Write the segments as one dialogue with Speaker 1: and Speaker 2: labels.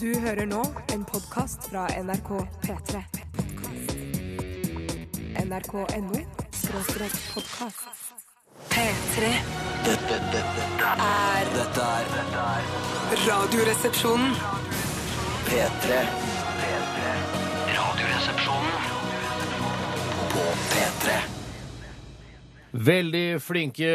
Speaker 1: Du hører nå en podkast fra NRK P3. NRK.no skråstrek podkast. P3
Speaker 2: Dette, dette, dette,
Speaker 1: er
Speaker 2: dette er dette er
Speaker 1: Radioresepsjonen.
Speaker 2: P3. P3. Radioresepsjonen på P3.
Speaker 3: Veldig flinke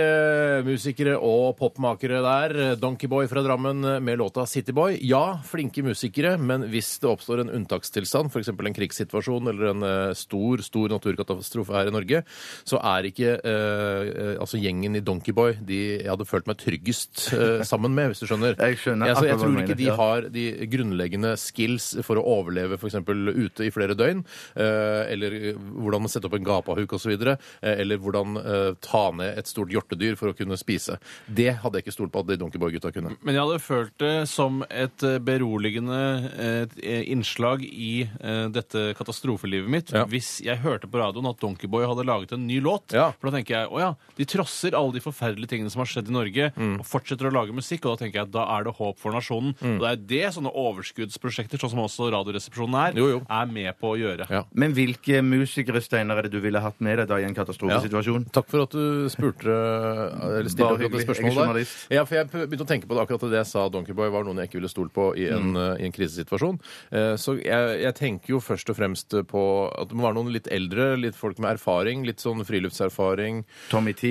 Speaker 3: musikere og popmakere der. Donkeyboy fra Drammen med låta Cityboy. Ja, flinke musikere, men hvis det oppstår en unntakstilstand, f.eks. en krigssituasjon eller en eh, stor stor naturkatastrofe her i Norge, så er ikke eh, eh, altså gjengen i Donkeyboy de jeg hadde følt meg tryggest eh, sammen med, hvis du skjønner.
Speaker 4: Jeg skjønner
Speaker 3: altså,
Speaker 4: akkurat
Speaker 3: jeg
Speaker 4: hva du
Speaker 3: tror ikke
Speaker 4: mener,
Speaker 3: de
Speaker 4: ja.
Speaker 3: har har de grunnleggende skills for å overleve f.eks. ute i flere døgn, eh, eller hvordan sette opp en gapahuk osv., eller hvordan eh, ta ned et stort hjortedyr for å kunne spise. Det hadde jeg ikke stolt på at de Donkeyboy-gutta kunne.
Speaker 5: Men jeg hadde følt det som et eh, beroligende eh, innslag i eh, dette katastrofelivet mitt
Speaker 3: Ja.
Speaker 5: hvis jeg hørte på radioen at Donkeyboy hadde laget en ny låt.
Speaker 3: Ja.
Speaker 5: For da tenker jeg å ja, de trosser alle de forferdelige tingene som har skjedd i Norge,
Speaker 3: Mm.
Speaker 5: og fortsetter å lage musikk, og da tenker jeg da er det håp for nasjonen. Og det er det sånne overskuddsprosjekter, sånn som også Radioresepsjonen er,
Speaker 3: Jo, jo.
Speaker 5: er med på å gjøre.
Speaker 3: Ja.
Speaker 4: Men hvilke musikere Steiner, er det du ville hatt med deg da i en katastrofesituasjon?
Speaker 3: Takk for at du spurte eh, eller stilte
Speaker 4: Bare
Speaker 3: akkurat det
Speaker 4: hyggelig. Jeg er
Speaker 3: spørsmålet der.
Speaker 4: journalist.
Speaker 3: Ja, for jeg begynte å tenke på det akkurat det jeg sa Donkeyboy var noen jeg ikke ville stolt på i en,
Speaker 4: Mm.
Speaker 3: eh, i en krisesituasjon. Eh, Så jeg, jeg tenker jo først og fremst på at det må være noen litt eldre, litt folk med erfaring, litt sånn friluftserfaring.
Speaker 4: Tommy T.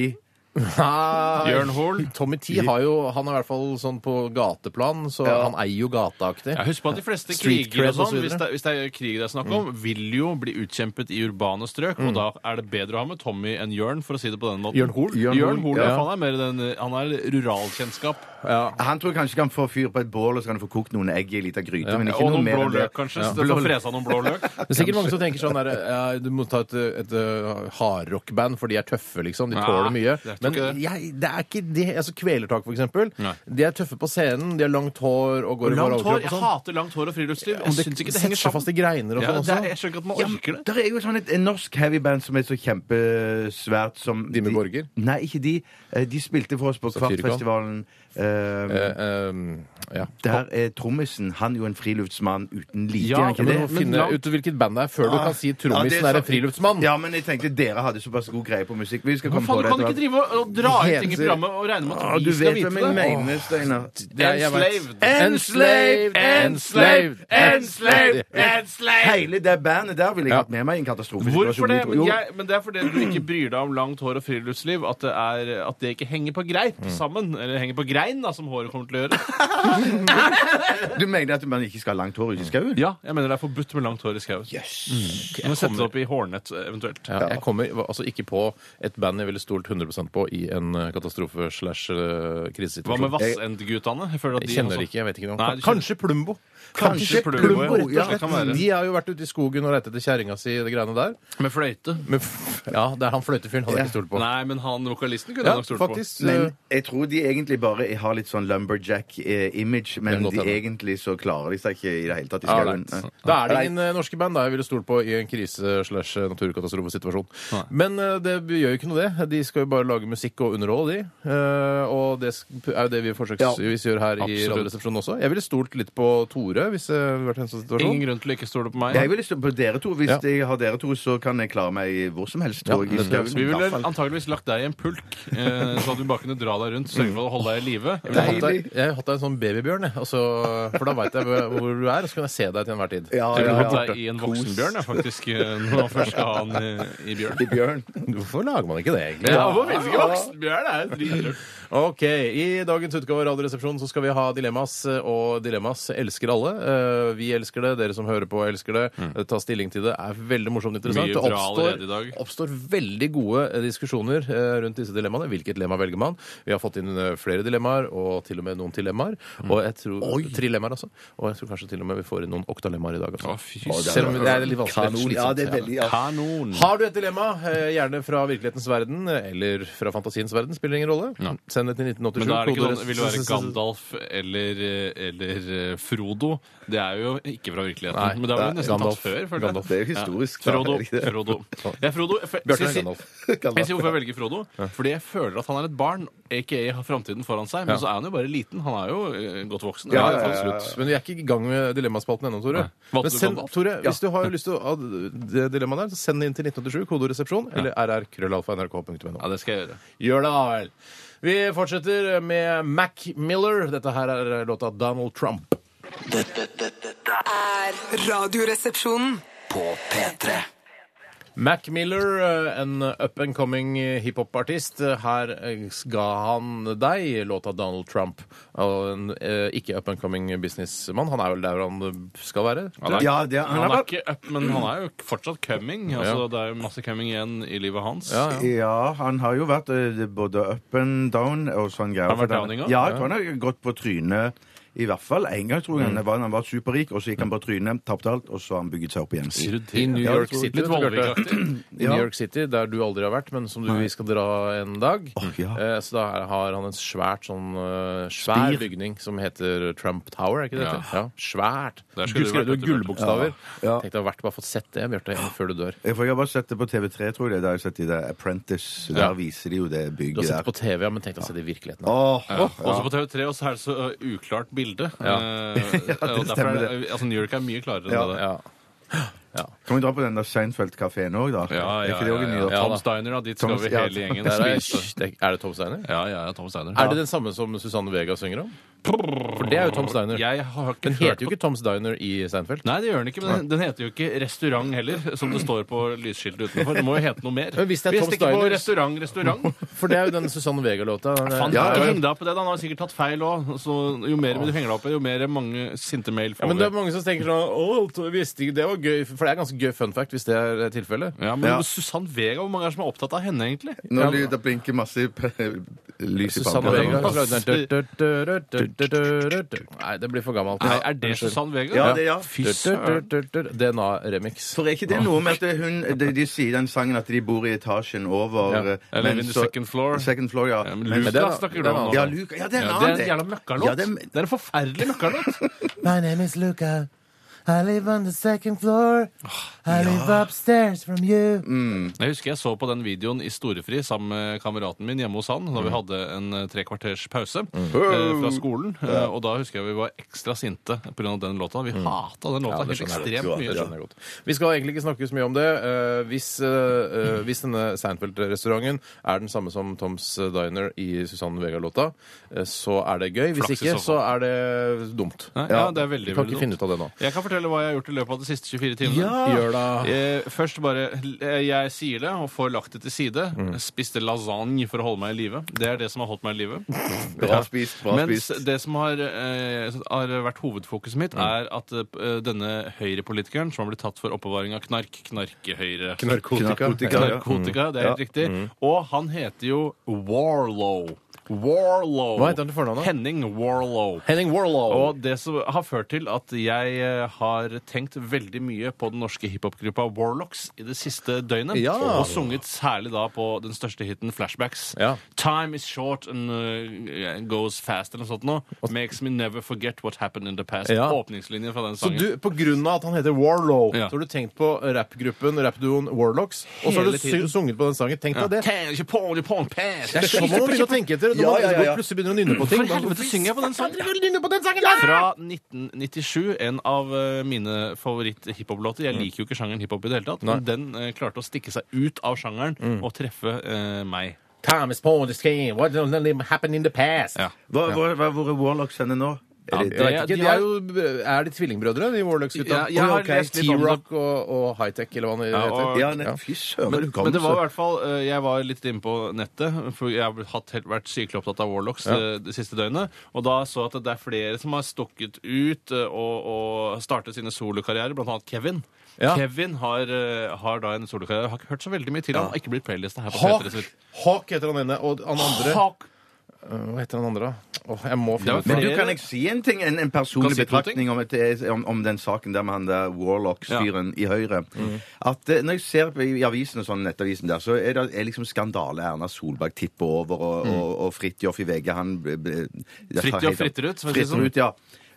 Speaker 3: Nei.
Speaker 5: Bjørn Hoel?
Speaker 3: Tommy T har jo Han er i hvert fall sånn på gateplan, så han eier jo gateaktig.
Speaker 5: Ja, husk på at de fleste
Speaker 3: Street
Speaker 5: kriger
Speaker 3: cred
Speaker 5: og
Speaker 3: og så
Speaker 5: sånn,
Speaker 3: videre.
Speaker 5: hvis, det, hvis det er krig det er snakk om, vil jo bli utkjempet i urbane strøk, og da er det bedre å ha med Tommy enn Jørn, for å si det på den måten.
Speaker 3: Jørn Hoel?
Speaker 5: Jørn
Speaker 4: Jørn
Speaker 5: Hoel,
Speaker 4: Hoel,
Speaker 5: ja.
Speaker 4: ja.
Speaker 5: for Han er mer den, eh, han er ruralkjennskap.
Speaker 4: Han tror kanskje han kan få fyr på et bål og så kan han få kokt noen egg i ei lita gryte. men ikke
Speaker 5: Og
Speaker 4: noe
Speaker 5: noen
Speaker 4: mer
Speaker 5: blå
Speaker 4: enn det.
Speaker 5: løk, kanskje.
Speaker 4: Ja.
Speaker 5: så det får fresa noen blå løk.
Speaker 3: Det er sikkert mange som tenker sånn der, ja, du må ta et, et, eh, hardrockband, for de er tøffe, liksom. De
Speaker 5: Nei,
Speaker 3: tåler mye.
Speaker 5: jeg tror
Speaker 3: Men
Speaker 5: ikke det.
Speaker 3: jeg, det er ikke det. Altså, Kvelertak, for eksempel.
Speaker 5: Nei.
Speaker 3: De er tøffe på scenen, de har langt hår og går i
Speaker 5: Langt hår,
Speaker 3: overkropp
Speaker 5: Jeg
Speaker 3: og sånn.
Speaker 5: hater langt hår og friluftsliv.
Speaker 3: Og
Speaker 5: Jeg syns ikke det henger
Speaker 3: setter seg fast
Speaker 5: sammen.
Speaker 3: i greiner og
Speaker 5: Ja,
Speaker 3: sånn
Speaker 5: det er,
Speaker 3: også.
Speaker 5: jeg skjønner ikke at man
Speaker 4: Ja,
Speaker 5: orker det.
Speaker 4: der er jo sånn et, en norsk heavyband som er så kjempesvært som
Speaker 3: De med borger?
Speaker 4: Nei, ikke de. Eh, De spilte for oss på
Speaker 3: Satyricon?
Speaker 4: Kvartfestivalen. Eh,
Speaker 3: Eh, ehm, ja.
Speaker 4: der er trommisen. Han er jo en friluftsmann uten like.
Speaker 5: Ja,
Speaker 4: er han
Speaker 3: Ja, men
Speaker 4: ikke
Speaker 3: du må
Speaker 4: det? Ah.
Speaker 5: men Ah.
Speaker 3: finne
Speaker 5: langt-
Speaker 3: ut hvilket band det er, før du kan si
Speaker 4: Ja, det
Speaker 3: trommisen
Speaker 4: er
Speaker 3: er en
Speaker 4: sant.
Speaker 3: friluftsmann.
Speaker 4: Ja, men jeg tenkte dere hadde såpass god greie på musikk. Vi skal
Speaker 5: Hva
Speaker 4: komme på
Speaker 5: faen, du
Speaker 4: det.
Speaker 5: kan ikke
Speaker 4: etter hvert.
Speaker 5: drive og, og dra ut ting
Speaker 3: Heter-
Speaker 5: i programmet og regne med
Speaker 4: Å,
Speaker 5: at
Speaker 4: du
Speaker 5: vi skal
Speaker 4: vet
Speaker 5: vite
Speaker 4: hvem jeg
Speaker 5: det.
Speaker 4: mener, Steinar.
Speaker 3: Jeg- jeg vet. Enslaved!
Speaker 5: Enslaved.
Speaker 3: Enslaved! Enslaved!
Speaker 5: Enslaved!
Speaker 4: Hele det bandet der ville jeg
Speaker 3: Ja.
Speaker 4: hatt med meg i en katastrofesituasjon.
Speaker 5: Hvorfor det?
Speaker 4: jeg tror.
Speaker 5: Men,
Speaker 4: Jo,
Speaker 5: jeg, men det er fordi du ikke bryr deg om langt hår og friluftsliv. At det, er, at det ikke henger på greip
Speaker 3: Mm.
Speaker 5: sammen. Eller henger på grein, da, som håret kommer til å gjøre.
Speaker 4: Du mener at man ikke skal ha langt hår ute i skauen?
Speaker 5: Ja, jeg mener det er forbudt med langt hår i skauen. Du må sette det opp i hårnett eventuelt.
Speaker 3: Ja, jeg kommer altså ikke på et band jeg ville stolt 100 på i en eh, katastrofe slash eh,
Speaker 5: Hva med
Speaker 3: krisesituasjon.
Speaker 5: Vassendgutane? Jeg, føler at
Speaker 3: Jeg
Speaker 5: de
Speaker 3: kjenner
Speaker 5: også-
Speaker 3: det ikke, jeg vet ikke noe.
Speaker 5: Nei, du kjenner-
Speaker 3: Kanskje Plumbo.
Speaker 5: Kanskje Plumbo, ja.
Speaker 3: rett og slett.
Speaker 5: Kan være.
Speaker 3: De har jo vært ute i skogen og lett etter kjerringa si, de greiene der.
Speaker 5: Med fløyte?
Speaker 3: Men f- ja, det er han fløytefyren hadde jeg ikke stolt på.
Speaker 5: Nei, men han vokalisten kunne
Speaker 3: Ja,
Speaker 5: jeg nok stolt på.
Speaker 3: faktisk.
Speaker 4: Men
Speaker 3: eh,
Speaker 4: jeg tror de egentlig bare har litt sånn lumberjack-image,
Speaker 3: Det
Speaker 4: men
Speaker 3: kan godt
Speaker 4: de
Speaker 3: hende.
Speaker 4: egentlig så klarer de seg ikke i det hele tatt i
Speaker 3: ja,
Speaker 4: skauen.
Speaker 3: nei.
Speaker 4: Nei.
Speaker 3: Da er det ingen eh, norske band da jeg ville stolt på i en krise slash eh, naturkatastrofesituasjon. Men eh, det gjør jo ikke noe, det. De skal jo bare lage musikk og underholde, de. Eh, Og det sk- er jo det vi forsøksvis gjør her i
Speaker 5: Absolutt.
Speaker 3: Radioresepsjonen også. Jeg ville stolt litt på Tore hvis jeg hadde vært i en sånn situasjon.
Speaker 5: Ingen grunn til å ikke stole på meg.
Speaker 4: Jeg vil stå på dere to. Hvis
Speaker 3: Ja.
Speaker 4: jeg har dere to, så kan jeg klare meg hvor som helst.
Speaker 3: Ja,
Speaker 4: tror jeg, i
Speaker 3: det tror jeg
Speaker 4: skauen.
Speaker 5: Vi ville
Speaker 4: Iallfall.
Speaker 5: antageligvis lagt deg i en pulk, eh, så at du bare kunne dra deg rundt, sørge for å holde deg i live. Jeg
Speaker 3: Jeg
Speaker 5: ville
Speaker 3: har
Speaker 5: hatt
Speaker 3: hatt
Speaker 5: deg-
Speaker 3: deg- jeg har hatt deg en sånn babybjørn, jeg. Altså, for da veit jeg hvor hvor du er, og så kan jeg se deg til enhver tid.
Speaker 4: Ja,
Speaker 5: Jeg
Speaker 4: ja,
Speaker 5: ville
Speaker 4: ja.
Speaker 5: hatt deg i en voksenbjørn, jeg, faktisk, eh, når man først skal ha han i, i bjørn.
Speaker 4: Bjørn.
Speaker 3: Hvorfor lager man ikke det, egentlig?
Speaker 5: Ja, Hvorfor finnes ikke voksenbjørn? Det er jo dritkult.
Speaker 3: Ok, I dagens utgave av Radioresepsjonen så skal vi ha dilemmas, eh, og dilemmas elsker alle. Eh, Vi elsker det, dere som hører på elsker det. Eh, Ta stilling til det er veldig morsomt og interessant.
Speaker 5: Mm. Mye
Speaker 3: Det
Speaker 5: bra allerede i dag.
Speaker 3: oppstår, oppstår veldig gode eh, diskusjoner eh, rundt disse dilemmaene. Hvilket dilemma velger man? Vi har fått inn eh, flere dilemmaer, og til og med noen dilemmaer.
Speaker 5: Mm.
Speaker 3: Og jeg tror, trilemmaer, altså. Og jeg tror kanskje til og med vi får inn noen oktalemmaer i dag. Altså.
Speaker 5: Å, fy
Speaker 3: Selv om det er litt vanskelig.
Speaker 4: Kanon. Ja,
Speaker 3: slitsomt.
Speaker 4: det er veldig ja.
Speaker 5: Kanon.
Speaker 3: Har du et dilemma, eh, gjerne fra virkelighetens verden eller fra fantasiens verden, spiller ingen rolle, send sendt til 1987.
Speaker 5: Men da er det ikke
Speaker 3: kodeord-
Speaker 5: noen, vil det være Gandalf eller, eh, eller Frodo. Det er jo ikke fra virkeligheten.
Speaker 3: Nei,
Speaker 5: men det er
Speaker 3: det
Speaker 5: vel
Speaker 3: er
Speaker 5: nesten
Speaker 3: Gandalf.
Speaker 5: tatt før, føler jeg.
Speaker 3: Gandalf.
Speaker 4: Det er jo historisk.
Speaker 5: Frodo.
Speaker 4: er det ikke det?
Speaker 5: Frodo. Det er Frodo. For-
Speaker 3: Bjarte
Speaker 5: si-
Speaker 3: er
Speaker 5: si-
Speaker 3: Gandalf.
Speaker 5: Jeg sier hvorfor jeg velger Frodo. Fordi jeg føler at han er et barn, aka har framtiden foran seg. Men
Speaker 3: Ja.
Speaker 5: så er han jo bare liten. Han er jo eh, godt voksen.
Speaker 3: Ja,
Speaker 5: Eller,
Speaker 3: absolutt. Men vi er ikke i gang med dilemmaspalten ennå, Tore.
Speaker 5: Nei. Valgte
Speaker 3: Men
Speaker 5: du
Speaker 3: send,
Speaker 5: Gandalf?
Speaker 3: Tore, hvis du har lyst til å ha det dilemmaet der, så send det inn til 1987, kodoresepsjon, eller rrkrøllalfa.nrk.no.
Speaker 5: Ja, det skal jeg gjøre.
Speaker 3: Gjør det, da vel. Vi fortsetter med Mac Miller. Dette her er låta Donald Trump.
Speaker 2: Dette, dette, dette er
Speaker 6: er Radioresepsjonen.
Speaker 2: på P3.
Speaker 3: Mac Miller, eh, en up and coming hiphop-artist. Her eh, ga han deg låta Donald Trump. Og en eh, ikke up and coming businessmann. Han er vel der han skal være?
Speaker 5: Han er,
Speaker 4: Ja, det er,
Speaker 5: han er ikke up, men han er jo fortsatt coming. Altså, Det er jo masse coming igjen i livet hans.
Speaker 3: Ja, ja.
Speaker 4: Ja, han har jo vært eh, både up and down og sånn greier.
Speaker 5: Har han vært downing også?
Speaker 4: Ja, jeg tror han har gått på trynet. I hvert fall en gang, tror jeg.
Speaker 5: Mm.
Speaker 4: Han var, han var superrik, og så gikk han på trynet, tapte alt, og så har han bygget seg opp igjen.
Speaker 5: Skrudd til.
Speaker 3: I New
Speaker 5: Ja,
Speaker 3: York
Speaker 5: jeg tror-
Speaker 3: City.
Speaker 5: Litt Vollvik-aktig.
Speaker 3: I New York City, der du aldri har vært, men som du vi skal dra en dag.
Speaker 4: Åh, ja.
Speaker 3: Eh, Så da er- har han en svært sånn eh, svær
Speaker 4: Spir.
Speaker 3: bygning som heter Trump Tower, er ikke det? det? heter? Ja. Svært.
Speaker 5: Der
Speaker 3: Du
Speaker 5: skulle du
Speaker 3: skrev jo
Speaker 5: vært, Bjarte.
Speaker 3: gullbokstaver.
Speaker 4: Ja.
Speaker 3: Tenkte jeg har vært bare fått sett det, Bjarte, før du dør.
Speaker 4: Jeg, for jeg har bare sett det på TV3, tror jeg. Der har jeg sett i det Apprentice. Der
Speaker 3: Ja.
Speaker 4: viser de jo det
Speaker 3: Du har
Speaker 4: bygget
Speaker 3: sett det
Speaker 4: der.
Speaker 3: på TV, ja, men tenkte jeg å se det i virkeligheten.
Speaker 4: Åh,
Speaker 5: Ja. Også på TV3 og så er det så ø, uklart bilde.
Speaker 3: Ja.
Speaker 5: Eh, og derfor er det, altså New York er mye klarere enn det.
Speaker 3: Ja.
Speaker 4: Kan vi dra på den der Seinfeld-kafeen òg, da?
Speaker 5: Ja,
Speaker 4: Er
Speaker 5: ja,
Speaker 4: ikke det
Speaker 5: ja,
Speaker 4: også en ny
Speaker 5: ja.
Speaker 4: da?
Speaker 5: Tom Steiner, da. Dit skal
Speaker 4: Tom-
Speaker 5: vi
Speaker 4: ja.
Speaker 5: hele gjengen.
Speaker 3: Der er,
Speaker 5: Spise.
Speaker 3: Hysj, det er- er det Tom Steiner?
Speaker 5: Ja, ja, ja, Tom Steiner.
Speaker 3: Er det den samme som Susanne Vega synger om? For det er jo Tom Steiner.
Speaker 5: Jeg har ikke
Speaker 3: Den
Speaker 5: hørt
Speaker 3: heter jo ikke Tom Steiner i Seinfeld.
Speaker 5: Nei, det gjør den ikke, men den, den heter jo ikke restaurant heller, som det står på lysskiltet utenfor. Det må jo hete noe mer.
Speaker 3: Men hvis det er Tom
Speaker 5: ikke på
Speaker 3: Steiner-
Speaker 5: restaurant, restaurant.
Speaker 3: For det er jo den Susanne Vega-låta. Den er-
Speaker 5: Faen,
Speaker 4: Ja,
Speaker 5: ikke
Speaker 4: ja, ja.
Speaker 5: heng deg opp i det, da. Han har sikkert tatt feil òg. Jo mer du henger deg opp i, jo mer mange sinte mail
Speaker 3: Ja,
Speaker 5: får
Speaker 3: men det er mange som tenker sånn Å, to- visste ikke Det var gøy. For det er ganske gøy fun fact hvis det er tilfellet.
Speaker 5: Ja, men
Speaker 4: Ja.
Speaker 5: Susann Vega, hvor mange er det som er opptatt av henne, egentlig?
Speaker 4: Nå lyder det blinker masse i pe- lys i
Speaker 5: Altså,
Speaker 3: Susanne
Speaker 4: panna.
Speaker 3: Vega hun lagde den der, dø, dø, dø, dø, dø, dø, dø. Nei, det blir for gammelt.
Speaker 5: Nei, er det Susann Vega?
Speaker 4: Ja, det, ja.
Speaker 5: Fy søren.
Speaker 3: DNA-remix.
Speaker 4: For er ikke det noe med at hun, de, de sier i den sangen at de bor i etasjen over
Speaker 3: Ja.
Speaker 4: eh,
Speaker 5: Eller
Speaker 4: men
Speaker 5: in the
Speaker 4: så-
Speaker 5: second floor.
Speaker 4: Second floor, ja.
Speaker 5: Ja, men
Speaker 4: Men-
Speaker 5: Luka
Speaker 3: det er-
Speaker 5: snakker
Speaker 3: det
Speaker 5: du
Speaker 3: er
Speaker 5: om nå.
Speaker 3: en
Speaker 4: Ja, Luka. Ja, det er en
Speaker 5: Ja,
Speaker 4: annen.
Speaker 5: det er en jævla møkkalåt.
Speaker 4: Ja, det er-
Speaker 5: Det er en forferdelig møkkalåt.
Speaker 7: My name is Luca. I live on the second floor. I live upstairs from you.
Speaker 5: Jeg husker jeg så på den videoen i storefri sammen med kameraten min hjemme hos han da vi
Speaker 4: Mm.
Speaker 5: hadde en eh, tre kvarters pause eh, fra skolen. Eh, og da husker jeg vi var ekstra sinte pga. den låta. Vi
Speaker 4: Mm.
Speaker 5: hata den låta helt ekstremt
Speaker 3: Det
Speaker 5: mye.
Speaker 3: skjønner jeg godt. Vi skal egentlig ikke snakke så mye om det. Eh, hvis, eh, eh, hvis denne Seinfeld-restauranten er den samme som Toms Diner i Susanne Vega-låta, eh, så er det gøy. Hvis
Speaker 5: Flaks i
Speaker 3: ikke,
Speaker 5: så
Speaker 3: så er det dumt.
Speaker 5: Nei, ja, det er veldig,
Speaker 3: Vi kan
Speaker 5: veldig
Speaker 3: ikke
Speaker 5: dumt.
Speaker 3: finne ut av det nå.
Speaker 5: Jeg kan fortelle hva jeg har gjort i løpet av de siste 24 timene.
Speaker 3: Gjør da.
Speaker 5: Eh, først bare eh, Jeg sier det og får lagt det til side. Spiste lasagne for å holde meg i live. Det er det som har holdt meg i live.
Speaker 4: Bra spist, bra
Speaker 5: Mens
Speaker 4: spist.
Speaker 5: det som har, eh, har vært hovedfokuset mitt, er at eh, denne høyrepolitikeren som har blitt tatt for oppbevaring av knark, knarkehøyre
Speaker 3: Knarkotika.
Speaker 4: Knarkotika. Ja, ja.
Speaker 5: Narkotika, det er helt riktig. Og han heter jo Warlow. Warlow.
Speaker 3: Hva heter han til fornavn, da?
Speaker 5: Henning Warlow.
Speaker 3: Henning Warlow.
Speaker 5: Og det som har ført til at jeg eh, har tenkt veldig mye på den norske hiphopgruppa Warlocks i det siste døgnet.
Speaker 3: Ja.
Speaker 5: Og sunget særlig da på den største hiten Flashbacks.
Speaker 3: Ja.
Speaker 5: Time is short and uh, goes fast eller noe sånt nå. Makes me never forget what happened in the past.
Speaker 3: Ja.
Speaker 5: Åpningslinjen fra den
Speaker 3: Så
Speaker 5: sangen.
Speaker 3: du, på grunn av at han heter Warlow,
Speaker 5: Ja.
Speaker 3: så har du tenkt på rappgruppen, rappduoen Warlocks, og så har
Speaker 5: Hele
Speaker 3: du
Speaker 5: tiden.
Speaker 3: sy- sunget på den sangen. Tenk deg det.
Speaker 5: Can you pour it upon past?
Speaker 3: Det er sånn man må begynne å tenke etter. Når
Speaker 4: Ja,
Speaker 3: man
Speaker 4: ja, ja, ja.
Speaker 3: plutselig begynner å nynne på ting.
Speaker 5: For helvete synger jeg på den sangen!
Speaker 3: på den sangen
Speaker 5: Fra 1997, en av eh, mine favoritt-hiphop-låter. Jeg liker jo ikke sjangeren hiphop i det hele tatt, men den eh, klarte å stikke seg ut av sjangeren og treffe eh, meg.
Speaker 3: Thomas Paul is king. What happened in the past?
Speaker 5: Ja.
Speaker 4: Hva, hva, hva, hvor er Warlocks henne nå? Er det,
Speaker 3: Jeg vet
Speaker 5: Ja,
Speaker 3: ikke,
Speaker 5: de
Speaker 3: de er,
Speaker 5: har-
Speaker 3: jo, er de tvillingbrødre, de Warlocks-gutta?
Speaker 5: Ja, jeg har
Speaker 3: Ok,
Speaker 5: lest litt om det.
Speaker 3: T-Rock og, og Hightech, eller hva det
Speaker 5: Ja, og-
Speaker 3: heter.
Speaker 4: ja, nei, fy søren,
Speaker 5: Men,
Speaker 4: du kan
Speaker 5: men det var i
Speaker 4: så
Speaker 5: hvert fall eh, Jeg var litt inne på nettet, for jeg har hatt, helt- vært sykelig opptatt av Warlocks eh, det, siste døgnet. Og da så jeg at det er flere som har stukket ut eh, og, og startet sine solokarrierer, blant annet Kevin.
Speaker 3: Ja.
Speaker 5: Kevin har, eh, har da en solokarriere. Jeg Har ikke hørt så veldig mye til han. Har ikke blitt playlista her på
Speaker 3: Hawk,
Speaker 5: P3.
Speaker 3: Hawk heter han ene, og han andre
Speaker 5: Hawk.
Speaker 3: Eh, Hva heter den andre, da? Åh, jeg må finne
Speaker 5: Det var
Speaker 3: ut.
Speaker 4: Men
Speaker 3: hva-
Speaker 4: du, kan jeg si en ting? En, en personlig
Speaker 5: Kan si to
Speaker 4: betraktning om, et, eh, om, om den saken der med han der Warlock-fyren i Høyre.
Speaker 5: Mm.
Speaker 4: At eh, Når jeg ser på i avisen og sånn, nettavisen der, så er det er liksom skandale Erna Solberg tipper over, og,
Speaker 5: Mm.
Speaker 4: og, og Fridtjof i VG han eh, ble- ble- jeg tar
Speaker 5: Fridtjof
Speaker 4: helt av-
Speaker 5: fritter ut, for å si det sånn.
Speaker 4: Fritter ut, ja.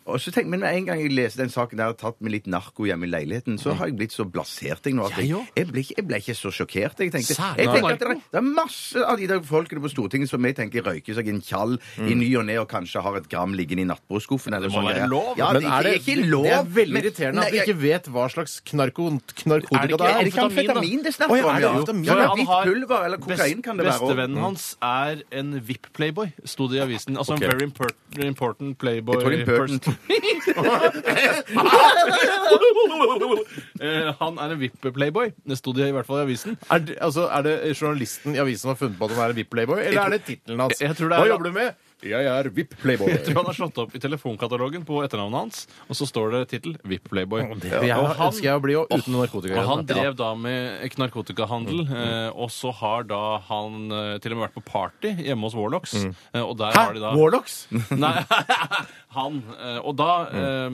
Speaker 4: Og så tenk, men med en gang jeg leser den saken der og tatt med litt narko hjemme i leiligheten, så har jeg blitt så blasert jeg nå at jeg,
Speaker 5: Jeg òg.
Speaker 4: jeg, ble, ikke- jeg ble ikke så sjokkert. Jeg tenkte,
Speaker 5: Særlig
Speaker 4: jeg tenker at
Speaker 5: narko.
Speaker 4: det, det er masse av de der folkene på Stortinget som jeg tenker røyker seg en tjall i ny og ne og kanskje har et gram liggende i nattbordskuffen. eller
Speaker 5: Det må
Speaker 4: sånn
Speaker 5: være
Speaker 4: greier.
Speaker 5: lov.
Speaker 4: Ja,
Speaker 3: Men
Speaker 4: det, er det ikke lov?
Speaker 3: Det er veldig
Speaker 4: men-
Speaker 3: irriterende at
Speaker 4: Nei,
Speaker 3: vi ikke vet hva slags knarko, knarkotika
Speaker 5: Er det
Speaker 3: det,
Speaker 5: ikke-
Speaker 4: er det
Speaker 3: er.
Speaker 4: ikke amfetamin det snakker
Speaker 3: Å, ja,
Speaker 4: om?
Speaker 3: er det amfetamin?
Speaker 4: Ja,
Speaker 3: Ja,
Speaker 4: ja,
Speaker 3: han
Speaker 4: Hvitt
Speaker 5: har-
Speaker 4: pulver eller kokain kan det være. Mm. og-
Speaker 5: Bestevennen hans er en VIP-playboy, sto det i
Speaker 4: Ah,
Speaker 5: avisen. Altså
Speaker 3: Ok.
Speaker 5: en very impor- important playboy
Speaker 4: Jeg tror det er important.
Speaker 5: person. Eh, Han er en VIP-playboy, det sto det i hvert fall i avisen.
Speaker 3: Er det, altså, er det journalisten i avisen som har funnet på at han er en VIP-playboy, eller er det tittelen hans?
Speaker 5: Jeg- jeg tror det er-
Speaker 3: Hva jobber du med? Jeg er VIP-playboy.
Speaker 5: Jeg tror han har slått opp i telefonkatalogen på etternavnet hans, og så står det tittel VIP-playboy.
Speaker 3: Jeg
Speaker 5: Og han-
Speaker 3: ønsker jeg å bli jo, uten narkotika.
Speaker 5: Og han drev da med narkotikahandel,
Speaker 4: Mm,
Speaker 5: eh, og så har da han eh, til og med vært på party hjemme hos Warlocks.
Speaker 4: Mm.
Speaker 5: eh, Og der har de da
Speaker 3: Warlocks?
Speaker 5: Nei, han. eh, Og da eh,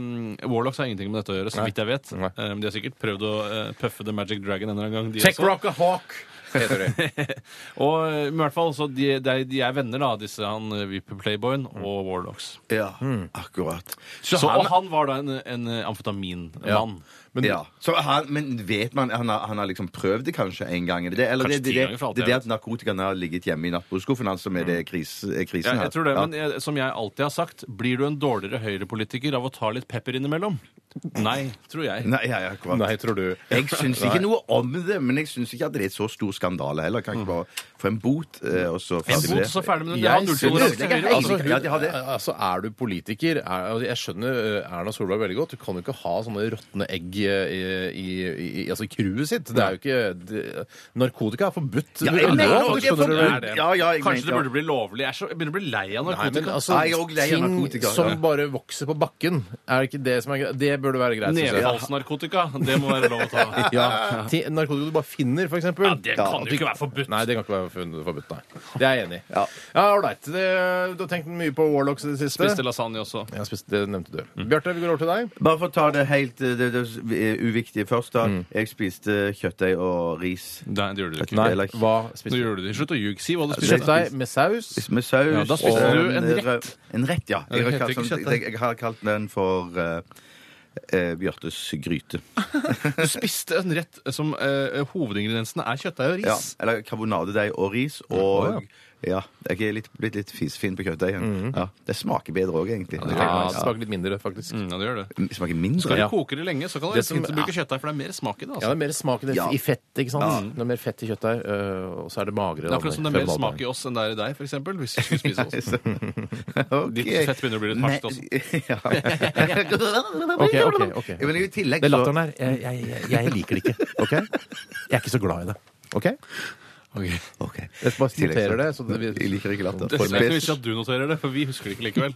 Speaker 5: Warlocks har ingenting med dette å gjøre, så vidt jeg vet.
Speaker 3: Nei.
Speaker 5: Eh, men De har sikkert prøvd å eh, pøffe The Magic Dragon en eller annen gang. de
Speaker 3: Tech
Speaker 5: også.
Speaker 3: Rock a Hawk. Heter det.
Speaker 5: Og eh, men i hvert fall, så de, de, de er venner, da, disse han eh, VIP-playboyen og Warlocks.
Speaker 4: Ja, akkurat.
Speaker 5: Så, og han var da en, en eh, amfetaminmann.
Speaker 3: Men
Speaker 4: ja. så han, men vet man han har, han har liksom prøvd det kanskje en gang? Eller det, eller
Speaker 5: Kanskje
Speaker 4: det, det,
Speaker 5: ti ganger
Speaker 4: det,
Speaker 5: for alt
Speaker 4: det,
Speaker 5: jeg
Speaker 4: at narkotikaen har ligget hjemme i nattbordskuffen hans, som er det kris, er krisen
Speaker 5: Mm. Ja,
Speaker 4: her?
Speaker 5: jeg tror det,
Speaker 4: Ja.
Speaker 5: men jeg, som jeg alltid har sagt, blir du en dårligere høyrepolitiker av å ta litt pepper innimellom? Nei, tror jeg.
Speaker 4: Nei, ja, ja, akkurat.
Speaker 3: Nei, tror du
Speaker 4: Jeg syns ikke noe om det, men jeg syns ikke at det er et så stor skandale heller. Kan ikke bare få en bot, eh, og så
Speaker 5: En
Speaker 4: ferdig med
Speaker 5: bot,
Speaker 4: det.
Speaker 5: så ferdig med det. Det
Speaker 3: Jeg
Speaker 5: har
Speaker 4: synes-
Speaker 5: nulltoleranse til høyre.
Speaker 3: Altså,
Speaker 5: Altså,
Speaker 3: hun,
Speaker 4: Ja, de har det.
Speaker 3: altså, er du politiker er, altså, Jeg skjønner eh, Erna Solberg veldig godt. Hun kan jo ikke ha sånne råtne egg eh, i, i, i altså, i crewet sitt. Det er jo ikke det, Narkotika er forbudt.
Speaker 4: Ja,
Speaker 3: Du-
Speaker 4: jeg
Speaker 3: du-
Speaker 4: mener
Speaker 3: du
Speaker 4: også det er
Speaker 3: skjønner
Speaker 4: forbudt.
Speaker 3: er det.
Speaker 4: Ja, ja, jeg
Speaker 5: Kanskje det
Speaker 4: mener-
Speaker 5: burde bli lovlig? Jeg, er så, jeg begynner å bli lei
Speaker 3: Nei,
Speaker 5: av
Speaker 3: men
Speaker 5: narkotika.
Speaker 3: altså,
Speaker 4: Nei, jeg er også lei av narkotika,
Speaker 3: ting
Speaker 4: ja.
Speaker 3: som bare vokser på bakken, er det ikke det som er greit? Det burde være greit. synes jeg.
Speaker 5: Nedfallsnarkotika, det må være lov å ta.
Speaker 3: Ja. Ti- Narkotika du bare finner, for eksempel.
Speaker 5: Ja, det kan jo ikke være forbudt.
Speaker 3: Nei, det kan ikke være forbudt, forbudt, nei. Det er jeg enig i. Ja, ålreit. Det- Du har tenkt mye på Warlocks i det siste.
Speaker 5: Spiste lasagne også.
Speaker 3: Ja, spiste- det nevnte du. Bjarte, vi går over til deg.
Speaker 4: Bare for å ta det helt eh, det, det, eh, uviktige først, da.
Speaker 5: Mm.
Speaker 4: Jeg spiste kjøttdeig og ris.
Speaker 5: Nei, det gjorde du ikke.
Speaker 4: Nei. Eller-
Speaker 3: hva
Speaker 5: Nå
Speaker 3: spiste du?
Speaker 5: gjorde du det. Slutt å ljuge. Si hva du spiste.
Speaker 3: Kjøttdeig med saus.
Speaker 4: Med saus.
Speaker 5: Ja, da spiste
Speaker 4: og
Speaker 5: du en
Speaker 4: rød-
Speaker 5: rett.
Speaker 4: En rett, ja.
Speaker 5: Ja, det
Speaker 4: Jeg har
Speaker 5: heter
Speaker 4: kalt,
Speaker 5: ikke
Speaker 4: sånn-
Speaker 5: kjøttdeig.
Speaker 4: jeg, jeg har kalt den for eh, eh, Bjørtes gryte.
Speaker 5: Du spiste en rett som eh, hovedingrediensene er kjøttdeig og
Speaker 4: Ja,
Speaker 5: ris.
Speaker 4: eller karbonadedeig og ris.
Speaker 3: Å,
Speaker 4: Og ja, jeg er litt, blitt litt fisefin på kjøttdeigen. Ja, det smaker bedre òg, egentlig.
Speaker 3: Mhm. Ja, det
Speaker 4: Ja,
Speaker 3: smaker litt mindre, faktisk.
Speaker 5: Mm, ja, det gjør det.
Speaker 4: det smaker mindre.
Speaker 5: Skal du
Speaker 4: Ja.
Speaker 5: koke det lenge, så kan du
Speaker 3: Det som-
Speaker 5: fint bruke kjøttdeig, for det er mer smak i det.
Speaker 3: Ja,
Speaker 5: altså.
Speaker 3: det er mer smak i det-
Speaker 4: Ja. Mm.
Speaker 3: i fett, ikke sant? Det er mer fett i kjøttdeig, øh, og så er det magrere.
Speaker 5: Det er akkurat som det er mer smak i oss enn det er i deg, for eksempel, hvis du skulle spise oss.
Speaker 4: Ok.
Speaker 5: Ditt fett begynner å bli litt marskt
Speaker 3: altså.
Speaker 5: også.
Speaker 4: Ja.
Speaker 3: Ok, ok, ok.
Speaker 4: Men i tillegg
Speaker 3: Det er
Speaker 4: så-
Speaker 3: latteren her. Jeg, jeg, jeg, jeg liker det ikke. ok? Jeg er ikke så glad i det. OK?
Speaker 4: Ok.
Speaker 3: Jeg bare
Speaker 4: I tillegg
Speaker 3: noterer det. Så det,
Speaker 4: Jeg liker ikke latter.
Speaker 5: Det er ikke noe vits i at du noterer det, for vi husker det ikke likevel.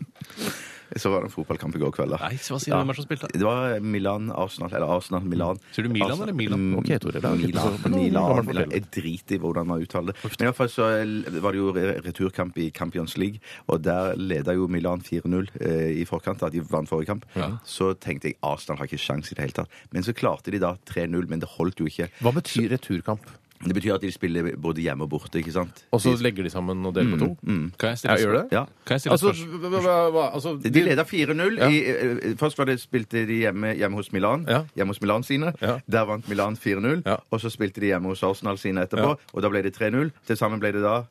Speaker 4: Så var det en fotballkamp i går kveld. da.
Speaker 5: Nei, hva sier du hvem er det som spilte?
Speaker 4: Det var Milan-Arsenal. Eller Arsenal-Milan.
Speaker 5: Sier du Milan eller Milan?
Speaker 4: Mm,
Speaker 3: Ok, Tore, det sånn, er jo ikke
Speaker 4: Milan.
Speaker 3: så-
Speaker 4: Milan,
Speaker 3: Gammel
Speaker 4: Milan. Jeg driter i hvordan man uttaler det. Men i hvert fall så eh, var det jo re- returkamp i Champions League, og der leda jo Milan 4-0 eh, i forkant av at de vant forrige kamp. Så tenkte jeg Arsenal har ikke sjans i det hele tatt. Men så klarte de da 3-0, men det holdt jo ikke.
Speaker 3: Hva betyr returkamp?
Speaker 4: Det betyr at de spiller både hjemme og borte, ikke sant?
Speaker 3: Og så legger de sammen og deler på to?
Speaker 5: Kan jeg
Speaker 3: Ja,
Speaker 5: stille
Speaker 3: gjør det?
Speaker 4: Mm, Ja.
Speaker 5: Kan jeg stille
Speaker 3: Altså,
Speaker 5: et spørsmål?
Speaker 3: hva- hva- hva- altså
Speaker 4: De leda 4-0. i- eh, Først var det, spilte de hjemme, hjemme hos Milan.
Speaker 3: Ja.
Speaker 4: Hjemme hos Milan sine.
Speaker 3: Ja.
Speaker 4: Der vant Milan 4-0.
Speaker 3: Ja.
Speaker 4: Og så spilte de hjemme hos Arsenal sine etterpå, og da ble det 3-0. Til sammen ble det da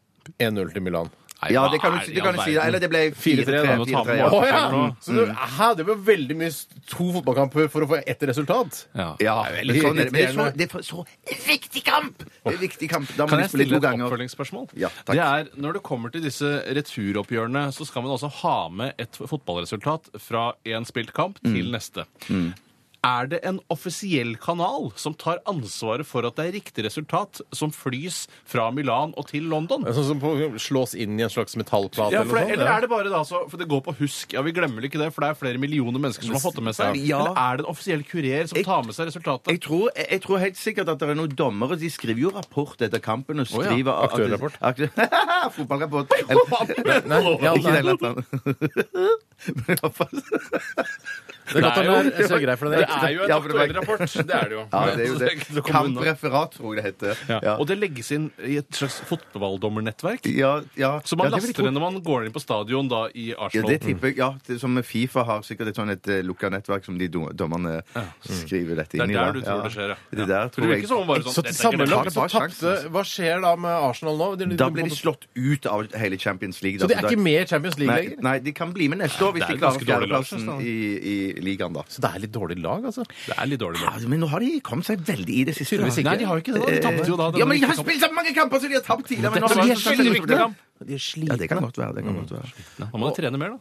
Speaker 3: 1-0 til Milan.
Speaker 5: Nei,
Speaker 4: Ja,
Speaker 5: hva
Speaker 4: det kan du,
Speaker 5: er
Speaker 4: si-
Speaker 5: i
Speaker 4: det kan du
Speaker 5: all
Speaker 4: si. da.
Speaker 5: verden?
Speaker 4: Eller det ble
Speaker 5: 4-3 da, må ta
Speaker 4: 4-3.
Speaker 5: med
Speaker 4: ja.
Speaker 5: mål.
Speaker 3: Å ja!
Speaker 5: Mm.
Speaker 3: Så du, hæ, det ble veldig mye s- to fotballkamper for å få ett resultat.
Speaker 5: Ja.
Speaker 4: Ja, men sånn er det. Men det er så, det er for- så viktig kamp! Det er viktig kamp. Da må
Speaker 5: Kan
Speaker 4: de
Speaker 5: jeg
Speaker 4: spille
Speaker 5: stille
Speaker 4: to
Speaker 5: et
Speaker 4: ganger.
Speaker 5: oppfølgingsspørsmål?
Speaker 4: Ja, takk.
Speaker 5: det er, Når det kommer til disse returoppgjørene, så
Speaker 4: Mm.
Speaker 5: skal man altså ha med et fotballresultat fra én spilt kamp til neste. Er det en offisiell kanal som tar ansvaret for at det er riktig resultat som flys fra Milan og til London?
Speaker 3: Det
Speaker 4: Altså,
Speaker 3: er Sånn som på, slås inn i en slags metallplate
Speaker 5: Ja, for det,
Speaker 3: noe sånt,
Speaker 5: eller er det bare da, så, for det går på husk? Ja, Vi glemmer ikke det, for det er flere millioner mennesker som har fått det med seg.
Speaker 4: Ja.
Speaker 5: Eller er det en offisiell kurer som tar med seg
Speaker 4: Jeg
Speaker 5: resultatet?
Speaker 4: tror, jeg, jeg tror helt sikkert at det er noen dommere De skriver jo rapport etter kampen og
Speaker 5: Å ja,
Speaker 4: skriver at-
Speaker 3: aktuellrapport.
Speaker 4: Aktu- Fotballrapport. Eller-
Speaker 3: Nei, ja,
Speaker 4: Ikke
Speaker 3: nei.
Speaker 4: den latteren. Men i hvert fall-
Speaker 3: Det er godt
Speaker 5: Nei,
Speaker 3: at det er så greit for
Speaker 5: Det
Speaker 3: deg.
Speaker 5: er jo en
Speaker 4: Ja, for det var-
Speaker 5: aktuell rapport. Det er det jo.
Speaker 4: Ja, det er jo
Speaker 5: Så
Speaker 4: det.
Speaker 5: ikke til å komme unna.
Speaker 4: Kampreferat, tror jeg det heter.
Speaker 5: Ja.
Speaker 4: Ja.
Speaker 5: Og det legges inn i et slags fotballdommernettverk.
Speaker 4: Ja, ja.
Speaker 5: Så man
Speaker 4: ja, det vil jeg
Speaker 5: laster
Speaker 4: tro.
Speaker 5: det når man går inn på stadion da i
Speaker 4: Ja,
Speaker 5: Arsenal.
Speaker 4: det tipper jeg. Ja, det, som Fifa har sikkert et sånn et eh, lukka nettverk som de dom- dommerne skriver dette
Speaker 5: Det
Speaker 4: inn i.
Speaker 5: er der
Speaker 4: da.
Speaker 5: du tror det skjer, ja.
Speaker 4: Det der
Speaker 5: For det
Speaker 4: tror
Speaker 5: virker som
Speaker 4: jeg.
Speaker 5: om bare sånn,
Speaker 3: Så
Speaker 5: dette
Speaker 3: til
Speaker 5: er ikke
Speaker 3: sammenlagt så
Speaker 4: Har bare
Speaker 3: tapte
Speaker 4: sjansen, altså.
Speaker 3: Hva skjer da med Arsenal nå? De- de-
Speaker 4: Da blir de slått ut av hele Champions League.
Speaker 3: Så
Speaker 4: altså,
Speaker 3: de er
Speaker 4: da-
Speaker 3: ikke med i Champions League
Speaker 4: Nei,
Speaker 3: lenger?
Speaker 4: nei, de kan bli med neste år hvis
Speaker 5: Det
Speaker 4: de
Speaker 5: er jo
Speaker 4: klarer
Speaker 5: ganske dårlig altså.
Speaker 4: fjerdeplassen
Speaker 5: lag, synes jeg,
Speaker 4: i, i ligaen, da.
Speaker 3: Så det er litt dårlig lag, altså?
Speaker 5: Det er litt dårlig.
Speaker 4: Ja,
Speaker 5: lag.
Speaker 4: men nå har de kommet seg veldig i det siste. Eh,
Speaker 3: Tydeligvis ikke.
Speaker 5: Nei, de har jo ikke det. da. De tapte jo da.
Speaker 4: Ja, men de har
Speaker 5: denne
Speaker 4: spilt så mange kamper, så de har tapt tidligere. Men
Speaker 5: Men
Speaker 4: nå har
Speaker 5: de
Speaker 4: de-
Speaker 5: er veldig viktige kamp.
Speaker 3: De er
Speaker 4: Ja,
Speaker 3: slitne.
Speaker 4: det kan godt være. Det kan
Speaker 5: Mm.
Speaker 4: godt være.
Speaker 5: kampen. Da må du trene mer, da.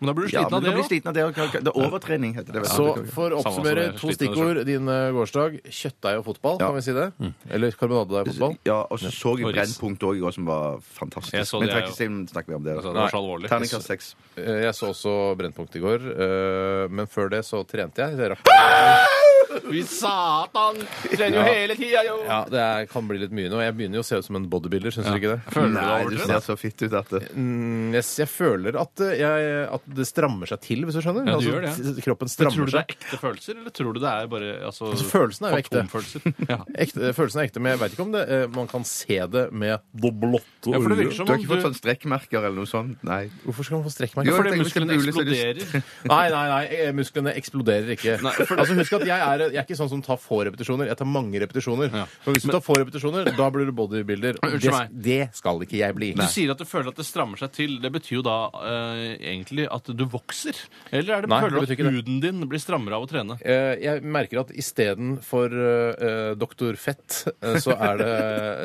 Speaker 5: Men da blir du
Speaker 4: Ja,
Speaker 5: sliten
Speaker 4: men
Speaker 5: av
Speaker 4: du
Speaker 5: det
Speaker 4: blir
Speaker 5: òg.
Speaker 4: sliten av det. og- det er Overtrening heter det. vet
Speaker 3: Så
Speaker 4: du.
Speaker 3: for å
Speaker 5: Samme som
Speaker 3: oppsummere,
Speaker 5: det,
Speaker 3: to
Speaker 5: sliten av
Speaker 3: stikkord din eh, gårsdag. Kjøttdeig og fotball,
Speaker 4: Ja.
Speaker 3: kan vi si det? Eller karbonadedeig og fotball?
Speaker 4: Ja, og så så jeg
Speaker 5: Og ris.
Speaker 4: Brennpunkt òg i går, som var fantastisk.
Speaker 5: Jeg så
Speaker 4: men
Speaker 5: det,
Speaker 4: trekker
Speaker 5: jeg
Speaker 4: siden snakker vi om det.
Speaker 5: Altså, det var så alvorlig.
Speaker 4: Terningkast seks.
Speaker 3: Eh, Jeg så også Brennpunkt i går, eh, men før det så trente jeg. Det rakk
Speaker 5: Vi satan! Trener jo hele tida, jo!
Speaker 3: ja, det er, kan bli litt mye nå. Jeg begynner jo å se ut som en bodybuilder, syns dere ikke det?
Speaker 5: Føler du deg
Speaker 4: Nei, du
Speaker 5: overtrent?
Speaker 4: ser så fitt ut at det
Speaker 3: Mm, Yes, jeg føler at, eh, jeg, at det strammer seg til, hvis du skjønner?
Speaker 5: Ja, det gjør det,
Speaker 3: t- Kroppen
Speaker 5: Men Tror
Speaker 3: strammer
Speaker 5: du det
Speaker 3: seg.
Speaker 5: er ekte følelser, eller tror du det er bare altså,
Speaker 3: Altså, følelsen er jo ekte.
Speaker 5: fantomfølelser? Ja.
Speaker 3: Ekte, følelsen er ekte, men jeg veit ikke om det, eh, man kan se det med det blotte
Speaker 5: Ja, for det
Speaker 3: øyet.
Speaker 5: virker som
Speaker 4: Du har
Speaker 5: om
Speaker 4: ikke
Speaker 5: du
Speaker 4: fått sånn strekkmerker eller noe sånt? Nei.
Speaker 3: Hvorfor skal man få strekkmerker?
Speaker 4: Jo, jeg
Speaker 5: Fordi
Speaker 4: tenker hvis det
Speaker 5: musklene
Speaker 4: blir så er det-
Speaker 5: eksploderer.
Speaker 3: Nei, nei, nei, eh, musklene eksploderer ikke. altså Husk at jeg er, jeg er ikke sånn som tar få repetisjoner. Jeg tar mange repetisjoner.
Speaker 5: Ja.
Speaker 3: For hvis du tar få repetisjoner, da blir du bodybuilder.
Speaker 5: Men unnskyld
Speaker 3: Det,
Speaker 5: meg.
Speaker 3: det skal ikke jeg bli.
Speaker 5: Du sier at du føler at det strammer seg til. Det betyr jo da eh, egentlig at du vokser? Eller er det,
Speaker 3: Nei, det
Speaker 5: føler du at
Speaker 3: betyr ikke
Speaker 5: huden din blir strammere av å trene?
Speaker 3: Eh, Jeg merker at istedenfor uh, doktor Fett, eh, så er, det,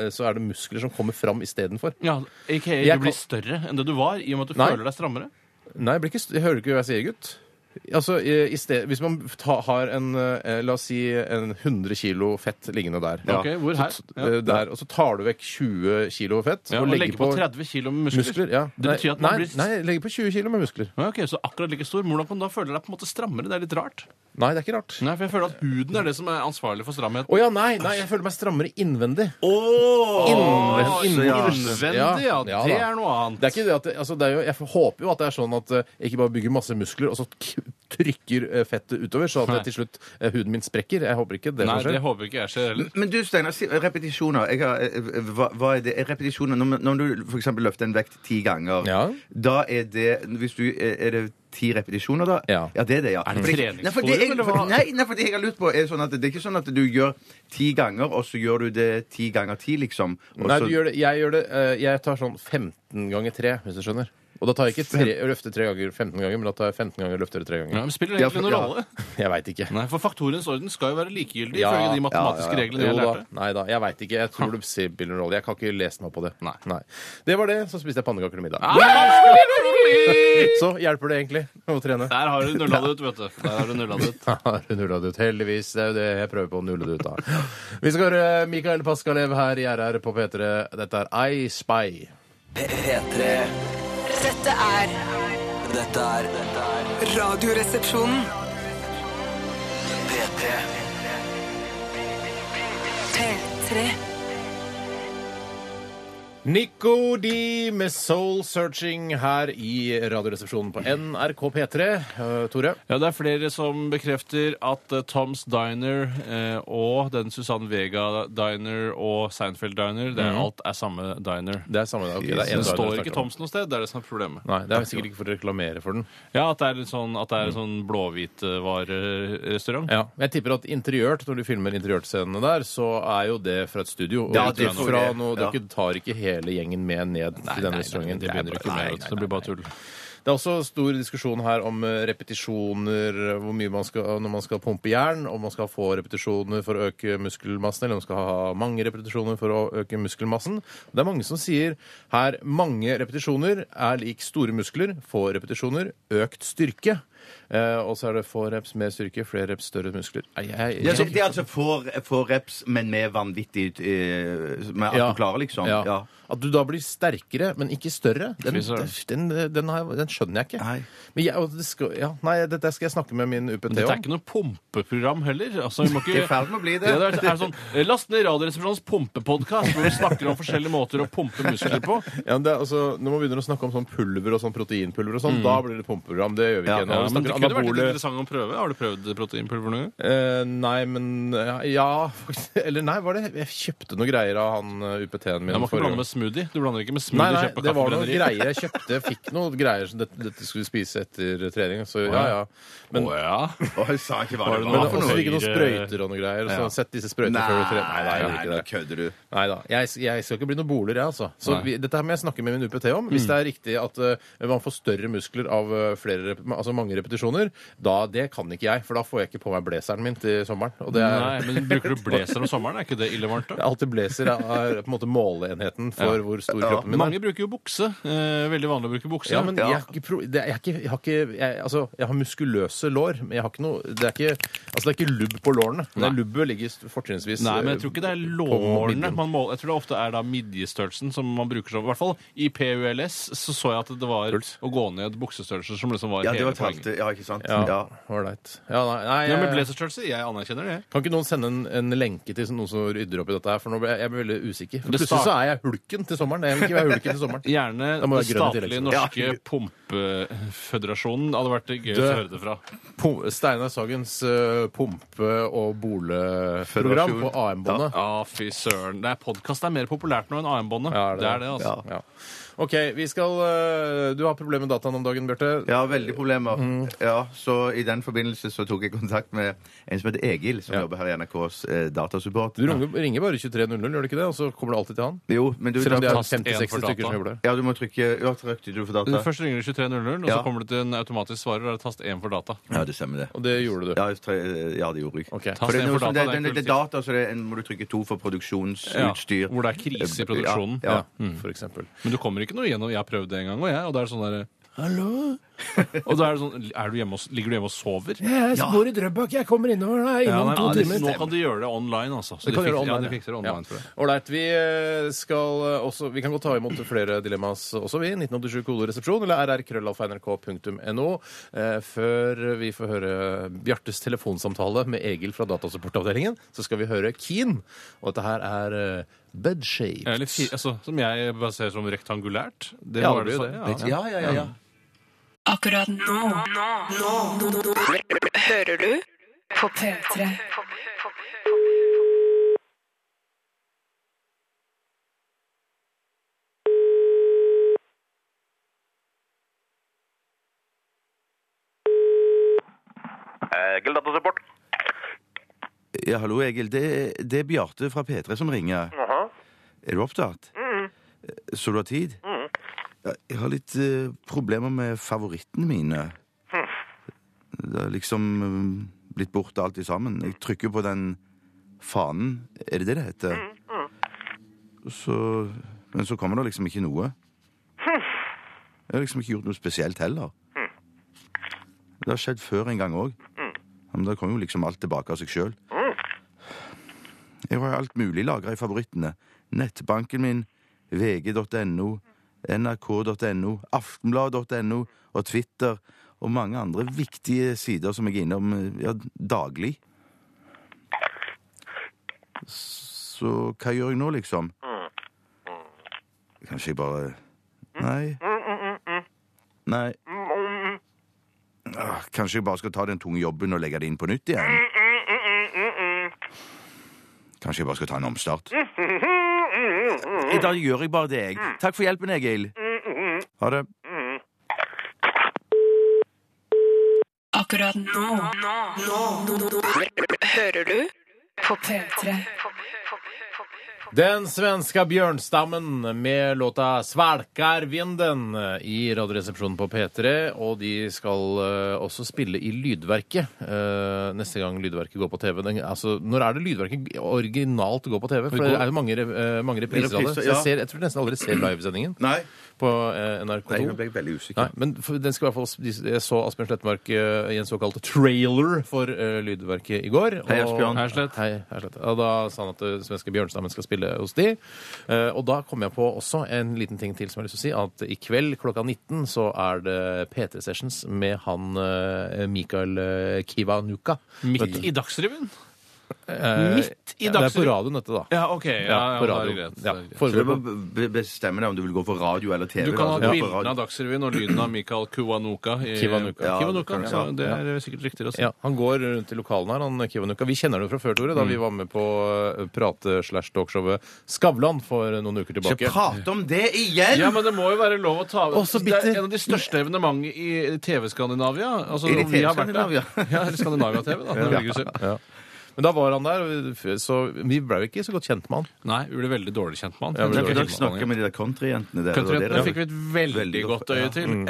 Speaker 3: eh, så er det muskler som kommer fram istedenfor.
Speaker 5: Ja, ikke
Speaker 3: Jeg
Speaker 5: Du blir
Speaker 3: kan-
Speaker 5: større enn det du var, i og med at du
Speaker 3: Nei.
Speaker 5: føler deg strammere?
Speaker 3: Nei, jeg, blir ikke, st- jeg hører ikke hva jeg sier, gutt. Altså, i i sted, Hvis man ta, har en eh, la oss si en 100 kilo fett liggende der,
Speaker 5: Ok, hvor her? Ja.
Speaker 3: eh, der og så tar du vekk 20 kilo fett
Speaker 5: Ja,
Speaker 3: og legger
Speaker 5: legge på 30 kilo med muskler.
Speaker 3: Muskler, ja.
Speaker 5: Det
Speaker 3: Nei,
Speaker 5: betyr at man
Speaker 3: nei,
Speaker 5: blir
Speaker 3: nei, jeg legger på 20 kilo med muskler.
Speaker 5: Ja, ok, Så akkurat like stor. Men Hvordan kan du da føle deg på en måte strammere? Det er litt rart.
Speaker 3: Nei, det er ikke rart.
Speaker 5: Nei, for jeg føler at huden er det som er ansvarlig for stramhet.
Speaker 3: Å ja, nei, nei, jeg føler meg strammere innvendig.
Speaker 5: Åh,
Speaker 3: Innven- innvortes.
Speaker 5: Innvendig, ja.
Speaker 3: Ja, ja
Speaker 5: det
Speaker 3: da.
Speaker 5: er noe annet.
Speaker 3: Det er ikke det at, det- altså, det er jo, jeg håper jo at det er sånn at eh, jeg ikke bare bygger masse muskler, og så k trykker eh, fettet utover, så at
Speaker 5: Nei.
Speaker 3: eh, til slutt eh, huden min sprekker. Jeg håper ikke det
Speaker 5: Nei,
Speaker 3: som
Speaker 5: det
Speaker 3: skjer.
Speaker 5: håper ikke jeg skjer heller.
Speaker 4: Men du, Steinar, si- repetisjoner. Jeg har, eh, hva, hva er det? Er Repetisjoner når, når du f.eks. løfter en vekt ti ganger,
Speaker 3: Ja.
Speaker 4: da er det hvis du, eh, Er det ti repetisjoner, da?
Speaker 3: Ja.
Speaker 4: det er det, ja.
Speaker 5: Er det
Speaker 4: Fordi-
Speaker 5: treningsform,
Speaker 4: Nei, for det,
Speaker 5: eller
Speaker 4: jeg, for,
Speaker 5: hva?
Speaker 4: nei, nei, for det jeg har lurt på, er sånn at det er ikke sånn at du gjør ti ganger, og så gjør du det ti ganger ti, liksom. Og
Speaker 3: Nei,
Speaker 4: så-
Speaker 3: du gjør det, jeg gjør det eh, Jeg tar sånn 15 ganger 3, hvis du skjønner. Og da tar jeg ikke tre, løfter tre ganger 15 ganger, men da tar jeg 15 ganger løfter tre
Speaker 5: Ja,
Speaker 3: ganger.
Speaker 5: men spiller
Speaker 4: Ja,
Speaker 5: egentlig
Speaker 4: for-
Speaker 5: noen
Speaker 4: ja.
Speaker 5: rolle.
Speaker 3: Jeg veit ikke.
Speaker 5: Nei, for faktorens orden skal jo være likegyldig
Speaker 3: Ja,
Speaker 5: ifølge de matematiske
Speaker 4: ja, ja, ja.
Speaker 5: reglene jeg
Speaker 3: Jo da.
Speaker 5: lærte.
Speaker 3: Nei da, jeg veit ikke. Jeg tror det spiller noen rolle. Jeg kan ikke lese meg på det.
Speaker 5: Nei.
Speaker 3: Det var det. Så spiste jeg pannekaker til middag.
Speaker 5: Ah!
Speaker 3: Så hjelper det egentlig å trene.
Speaker 5: Der har du nulla det ut, vet du. Der har du nulla det ut.
Speaker 3: Har du nulla det ut? Heldigvis. Det er jo det jeg prøver på å nulle det ut av. Vi skal høre Mikael Paskalev her i RR på P3. Dette er I Spy.
Speaker 2: P3
Speaker 6: Dette er
Speaker 2: Dette er dette er
Speaker 6: Radioresepsjonen.
Speaker 2: P3
Speaker 6: P3.
Speaker 3: Nico D med Soul Searching her i Radioresepsjonen på NRK P3. Eh, Tore?
Speaker 5: Ja, Det er flere som bekrefter at eh, Toms Diner eh, og den Susann Vega Diner og Seinfeld Diner, det er alt er samme diner.
Speaker 3: Det er samme dag.
Speaker 5: Det,
Speaker 3: en dag
Speaker 5: står
Speaker 3: dere
Speaker 5: ikke
Speaker 3: snakker om.
Speaker 5: Toms noe sted. Det er det som er problemet.
Speaker 3: Nei, Det er sikkert ikke for å reklamere for den.
Speaker 5: Ja, At det er en sånn, at det er en sånn eh, blåhvitvarerestaurant.
Speaker 3: Ja, Jeg tipper at interiørt, når du filmer interiørscenene der, så er jo det fra et studio. Og
Speaker 4: Ja,
Speaker 3: ikke
Speaker 4: det tror
Speaker 3: fra
Speaker 4: jeg.
Speaker 3: noe,
Speaker 4: Ja.
Speaker 3: dere tar ikke hele gjengen med ned til denne restauranten.
Speaker 5: det begynner ikke med. vet du. Det blir bare tull.
Speaker 3: Det er også stor diskusjon her om eh, repetisjoner, eh, hvor mye man skal, når man skal pumpe jern, om man skal få repetisjoner for å øke muskelmassen, eller om man skal ha mange repetisjoner for å øke muskelmassen. Det er mange som sier her mange repetisjoner er lik store muskler, få repetisjoner, økt styrke. Eh, og så er det få reps, mer styrke, flere reps, større muskler. Ei, ei, ei.
Speaker 4: Ja, så det er altså få, få reps, men med vanvittig eh, Med at du klarer, liksom.
Speaker 3: Ja.
Speaker 4: Ja.
Speaker 3: At du da blir sterkere, men ikke større, den,
Speaker 5: Fy søren.
Speaker 3: den, den, har jeg- den skjønner jeg ikke.
Speaker 4: Nei.
Speaker 3: Men jeg, og det skal, ja, nei, dette skal jeg snakke med min UPT
Speaker 5: Dette er
Speaker 3: om.
Speaker 5: ikke noe pumpeprogram heller. Altså, vi må ikke...
Speaker 4: Det er i ferd med å bli det.
Speaker 5: Ja, det er, er sånn, eh, Last ned Radioresepsjonens pumpepodkast, hvor vi snakker om forskjellige måter å pumpe muskler på.
Speaker 3: Ja, men det er, altså, når man begynner å snakke om sånn pulver og sånn proteinpulver og sånn, da blir det pumpeprogram. Det gjør vi
Speaker 4: Ja,
Speaker 3: ikke ennå.
Speaker 5: Ja,
Speaker 3: Vi
Speaker 5: men det
Speaker 3: snakker
Speaker 5: kunne vært litt
Speaker 3: anabole-
Speaker 5: interessant å prøve. Har du prøvd proteinpulver noen gang?
Speaker 3: Eh, nei, men ja, ja, faktisk. Eller nei, var det Jeg kjøpte noen greier av han eh, UPT-en min.
Speaker 5: Jeg må ikke
Speaker 3: forrige gang.
Speaker 5: blande med smoothie. Du blander ikke med smoothie
Speaker 3: Nei, nei,
Speaker 5: kjøpt på
Speaker 3: det var noen
Speaker 5: kaffebrenneriet.
Speaker 3: greier jeg kjøpte. Jeg fikk noen greier som dette, dette skulle vi spise etter eh, trening. Så ja, ja. Men,
Speaker 5: Å, ja.
Speaker 4: Og jeg sa ikke hva det
Speaker 3: men
Speaker 4: var for
Speaker 3: også
Speaker 4: noe.
Speaker 3: fikk jeg noen sprøyter og noen greier. Så sett disse sprøytene
Speaker 4: Nei,
Speaker 3: før du trener. Nei, nei, jeg
Speaker 4: nei,
Speaker 3: gjør
Speaker 4: da
Speaker 3: ikke det.
Speaker 4: kødder du.
Speaker 3: Nei da. Jeg, jeg skal ikke bli noen boler, jeg, altså. Så
Speaker 5: Nei. Mm.
Speaker 3: vi, dette her må jeg snakke med min UPT om. Hvis det er riktig at eh, man får større muskler av eh, flere, rep- altså mange repetisjoner, da det kan ikke jeg. For da får jeg ikke på meg blazeren min til sommeren. Og det er
Speaker 5: Nei, men Bruker du blazer om sommeren? Er ikke det ille varmt? da?
Speaker 3: Alltid blazer er, er på en måte måleenheten for hvor stor kroppen min er.
Speaker 5: Mange bruker jo bukse. Eh, veldig vanlig å bruke bukse.
Speaker 3: Ja, men jeg, har ikke pro det, jeg, har ikke, jeg har ikke jeg, Altså, jeg har muskuløse lår, men jeg har ikke noe Det er ikke, altså, det er ikke lubb på lårene. Det
Speaker 5: Nei.
Speaker 3: er Lubbet ligger st- fortrinnsvis eh,
Speaker 5: Nei, men jeg tror ikke det er lårene. Man må, jeg tror det ofte er da midjestørrelsen som man bruker som I hvert fall i PULS så så jeg at det var å gå ned buksestørrelser som liksom var
Speaker 4: Ja, det
Speaker 5: hele
Speaker 4: var
Speaker 5: poenget.
Speaker 4: talte. Ja, ikke sant?
Speaker 3: Ja,
Speaker 4: Ja.
Speaker 3: ålreit. Ja, nei, nei,
Speaker 5: Ja, eh, men
Speaker 3: jeg-
Speaker 5: blazerstørrelse, jeg anerkjenner det.
Speaker 3: kan ikke noen sende en, en lenke til noen som rydder opp i dette her? For nå ble jeg, jeg ble veldig usikker. For
Speaker 5: Det
Speaker 3: plutselig så er jeg hulken til sommeren. Jeg vil ikke være hulken til sommeren.
Speaker 5: Gjerne
Speaker 3: Da må
Speaker 5: den
Speaker 3: det være grønn i tillegg,
Speaker 5: statlige
Speaker 3: så.
Speaker 5: norske pumpeføderasjonen. Det hadde vært gøy å høre det fra.
Speaker 3: Pum- Steinar Sagens eh, pumpe- og boleprogram på AM-båndet.
Speaker 5: Ja, Ah, fy søren. Det er Podkast er mer populært nå enn AM-båndet.
Speaker 3: Ja,
Speaker 5: det, er det, altså.
Speaker 3: Ja. OK, vi skal eh, Du har problemer med dataen om dagen, Bjarte.
Speaker 4: Ja, veldig problemer.
Speaker 5: Mm.
Speaker 4: Ja, så I den forbindelse så tok jeg kontakt med en som heter Egil, som jobber her i NRKs eh, datasupport.
Speaker 3: Du ringer, ringer bare 2300, gjør du ikke det? Og så kommer det alltid til han?
Speaker 4: Jo, men du,
Speaker 3: Selv om det er
Speaker 5: tast en
Speaker 3: 50-60
Speaker 5: for data.
Speaker 3: stykker som jobber der.
Speaker 4: ja, du må trykke Ja, trykte du for
Speaker 5: Du
Speaker 4: data?
Speaker 5: Først ringer du 2300, og så
Speaker 4: Ja.
Speaker 5: kommer du til en automatisk svarer. Og er det tast 1 for data.
Speaker 4: Ja, det stemmer det.
Speaker 3: Og det gjorde du.
Speaker 4: Ja, jeg tre- ja det gjorde jeg.
Speaker 3: Ok.
Speaker 4: For det, er
Speaker 5: Tast en
Speaker 4: noe
Speaker 5: for
Speaker 4: som-
Speaker 5: data,
Speaker 4: det, det,
Speaker 5: det er
Speaker 4: det er data, så det er, må du trykke to for produksjonsutstyr. Eh,
Speaker 5: Ja, hvor det er krise i produksjonen.
Speaker 4: Ja, ja.
Speaker 3: Ja, for eksempel.
Speaker 5: Men du kommer ikke noe gjennom. Jeg har prøvd det en gang, og jeg, og det er sånn derre Hallo? og da er det sånn er du hjemme og, Ligger du hjemme og sover?
Speaker 3: Jeg bor i Drøbak. Jeg kommer innover da,
Speaker 5: Ja, nei, ja, det- nå kan du gjøre det online, altså. Så
Speaker 3: Det
Speaker 5: de
Speaker 3: kan
Speaker 5: fikser,
Speaker 3: gjøre online,
Speaker 5: ja,
Speaker 3: ja.
Speaker 5: de fikser det online for deg.
Speaker 3: Ålreit. Vi eh, skal eh, også Vi kan godt ta imot flere dilemmas også, vi. 1987 kodoresepsjon eller rrkrøllalfa.nrk.no. Eh, Før vi får høre Bjartes telefonsamtale med Egil fra Datasupportavdelingen, så skal vi høre Keen. Og dette her er eh, Bedshaped.
Speaker 5: Eller, fi- altså, som jeg bare ser som rektangulært. Det
Speaker 3: Ja,
Speaker 5: må
Speaker 3: det blir
Speaker 5: være samme,
Speaker 3: det.
Speaker 5: ja.
Speaker 4: Ja, ja, ja, ja.
Speaker 6: Akkurat nå. Nå. Nå. Hører du på P3.
Speaker 8: Egil datasupport.
Speaker 4: Ja, hallo, Egil. Det, det er Bjarte fra P3 som ringer. Er du opptatt? Så du har tid? Ja, Jeg har litt eh, problemer med favorittene mine. Det har liksom eh, blitt borte alt i sammen. Jeg trykker på den fanen. Er det det det heter? Så, men så kommer det liksom ikke noe. Jeg har liksom ikke gjort noe spesielt heller. Det har skjedd før en gang òg. Men da kommer jo liksom alt tilbake av seg sjøl. Jeg har alt mulig lagra i favorittene. Nettbanken min, vg.no, nrk.no, aftenblad.no og Twitter og mange andre viktige sider som jeg er innom eh, ja, daglig. Så hva gjør jeg nå, liksom? Kanskje jeg bare Nei. Nei. Ah, Kanskje jeg bare skal ta den tunge jobben og legge det inn på nytt igjen? Kanskje jeg bare skal ta en omstart? I dag gjør jeg bare det, jeg. Takk for hjelpen, Egil. Mm. Ha det.
Speaker 6: Akkurat nå. Nå. Nå. Hører du på P3.
Speaker 3: Den svenska bjørnstammen med låta 'Svalkar vinden' i Radioresepsjonen på P3. Og de skal eh, også spille i Lydverket eh, neste gang Lydverket går på TV. Den, altså, når er det Lydverket originalt går på TV? For det er jo mange, re- eh, mange repriser av det. Så jeg, ser, jeg tror nesten aldri ser livesendingen
Speaker 4: Nei.
Speaker 3: på eh, NRK2.
Speaker 4: Nei, nå ble jeg veldig usikker.
Speaker 3: Nei, men for- den skal i hvert fall, de- jeg så Asbjørn Slettmark eh, i en såkalt trailer for eh, Lydverket i går.
Speaker 4: Hei, Asbjørn.
Speaker 5: Hei, Slett.
Speaker 3: Hei, hei, Slett. Og da sa han at eh, svenske Bjørnstammen skal spille hos de. Eh, og da kom jeg på også en liten ting til som jeg har lyst til å si, at i kveld klokka 19 så er det P3 Sessions med han eh, Mikael eh, Kivanuka.
Speaker 5: Midt
Speaker 3: Vet du.
Speaker 5: i Dagsrevyen?
Speaker 3: Eh,
Speaker 5: midt i
Speaker 3: Det er på
Speaker 5: Dagsrevyen.
Speaker 3: radioen, dette, da.
Speaker 5: Ja, OK. Ja, ja,
Speaker 3: på
Speaker 5: da er
Speaker 3: radio.
Speaker 5: det greit, da
Speaker 3: Ja,
Speaker 5: er det greit.
Speaker 4: Så du
Speaker 3: foregår
Speaker 4: må
Speaker 3: på
Speaker 4: be- bestemme deg om du vil gå for radio eller TV.
Speaker 5: Du kan ha
Speaker 4: da.
Speaker 5: bildene
Speaker 4: Gå for radio.
Speaker 5: av Dagsrevyen og lyden av Mikael Kuwanuka. i-
Speaker 3: Kiwanuka.
Speaker 5: Ja,
Speaker 4: Ja,
Speaker 5: Kiwanuka.
Speaker 4: det kan
Speaker 5: Ja,
Speaker 4: jeg
Speaker 5: det er sikkert riktig å si.
Speaker 3: Ja, Han går rundt i lokalene her, han Kivanuka. Vi kjenner det fra før, Tore, da vi var med på eh, prate-slash-talkshowet Skavlan for noen uker tilbake.
Speaker 4: Ikke prate om det igjen!
Speaker 5: Ja, men det må jo være lov å ta
Speaker 3: Å, så
Speaker 5: Det er
Speaker 3: bitter.
Speaker 5: en av de største evenementene i TV-Skandinavia. Altså,
Speaker 4: Er det
Speaker 5: vi har vært der.
Speaker 4: TV-Skandinavia?
Speaker 5: Ja, eller Skandinavia-TV, da. Norge selv.
Speaker 3: Ja. Men da var han der, og vi- så vi ble jo ikke så godt kjent med han.
Speaker 5: Nei, vi ble veldig dårlig kjent med
Speaker 3: Ja,
Speaker 5: han.
Speaker 3: vi ble
Speaker 4: Dere
Speaker 5: Dere-
Speaker 3: dårlig
Speaker 4: dere
Speaker 5: dere-
Speaker 3: kjent.
Speaker 4: snakker med de der countryjentene der. det var
Speaker 5: Countryjentene
Speaker 4: dere-
Speaker 5: fikk vi et veldig
Speaker 4: Veldig
Speaker 5: godt
Speaker 4: godt,
Speaker 5: øye
Speaker 4: ja.
Speaker 5: til.
Speaker 3: Mm.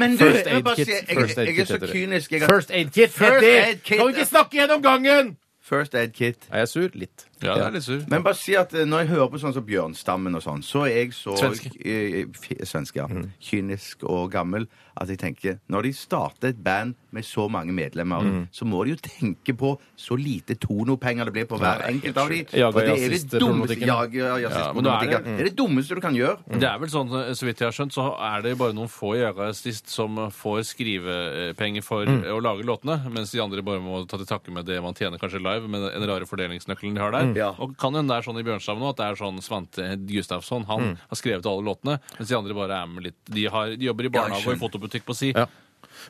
Speaker 4: Men du,
Speaker 3: First
Speaker 4: jeg, må
Speaker 3: aid
Speaker 4: bare
Speaker 3: kit.
Speaker 4: si, jeg,
Speaker 3: First aid
Speaker 4: jeg, jeg er
Speaker 3: kit
Speaker 4: så
Speaker 3: heter det.
Speaker 4: kynisk. Jeg har,
Speaker 3: First aid kit!
Speaker 4: First
Speaker 3: heter-
Speaker 4: aid kit.
Speaker 3: Kan vi ikke snakke gjennom gangen?!
Speaker 4: first aid kit.
Speaker 3: Er jeg sur? Litt.
Speaker 5: Ja, det er litt sur.
Speaker 4: Men bare si at eh, når jeg hører på sånn som Bjørnstammen og sånn, så er jeg så
Speaker 5: Svenske.
Speaker 4: eh, fi- Svenske, ja. Kynisk og gammel at jeg tenker når de starter et band med så mange medlemmer, så må de jo tenke på så lite tonopenger det blir på hver enkelt av de.
Speaker 3: Jager-
Speaker 4: For det er det dummeste
Speaker 3: jazzistproblematikken.
Speaker 4: jager- jazzistproblematikken.
Speaker 5: Ja, men da er det-
Speaker 4: Det er det dummeste du kan gjøre.
Speaker 3: Mm.
Speaker 5: Det er vel sånn, eh, så vidt jeg har skjønt, så er det bare noen få jægerartist som eh, får skrivepenger for
Speaker 3: Mm.
Speaker 5: eh, å lage låtene, mens de andre bare må ta til takke med det man tjener kanskje live, med den rare fordelingsnøkkelen de har
Speaker 3: Mm.
Speaker 5: der.
Speaker 4: Ja.
Speaker 5: Og kan hende det er sånn i Bjørnstad nå, at det er sånn Svante Gustafsson, han
Speaker 3: Mm.
Speaker 5: har skrevet alle låtene, mens de andre bare er med litt, de, har, de jobber i
Speaker 4: jeg
Speaker 5: barnehage og
Speaker 4: skjønner.
Speaker 5: i fotobutikk på si.
Speaker 3: Ja.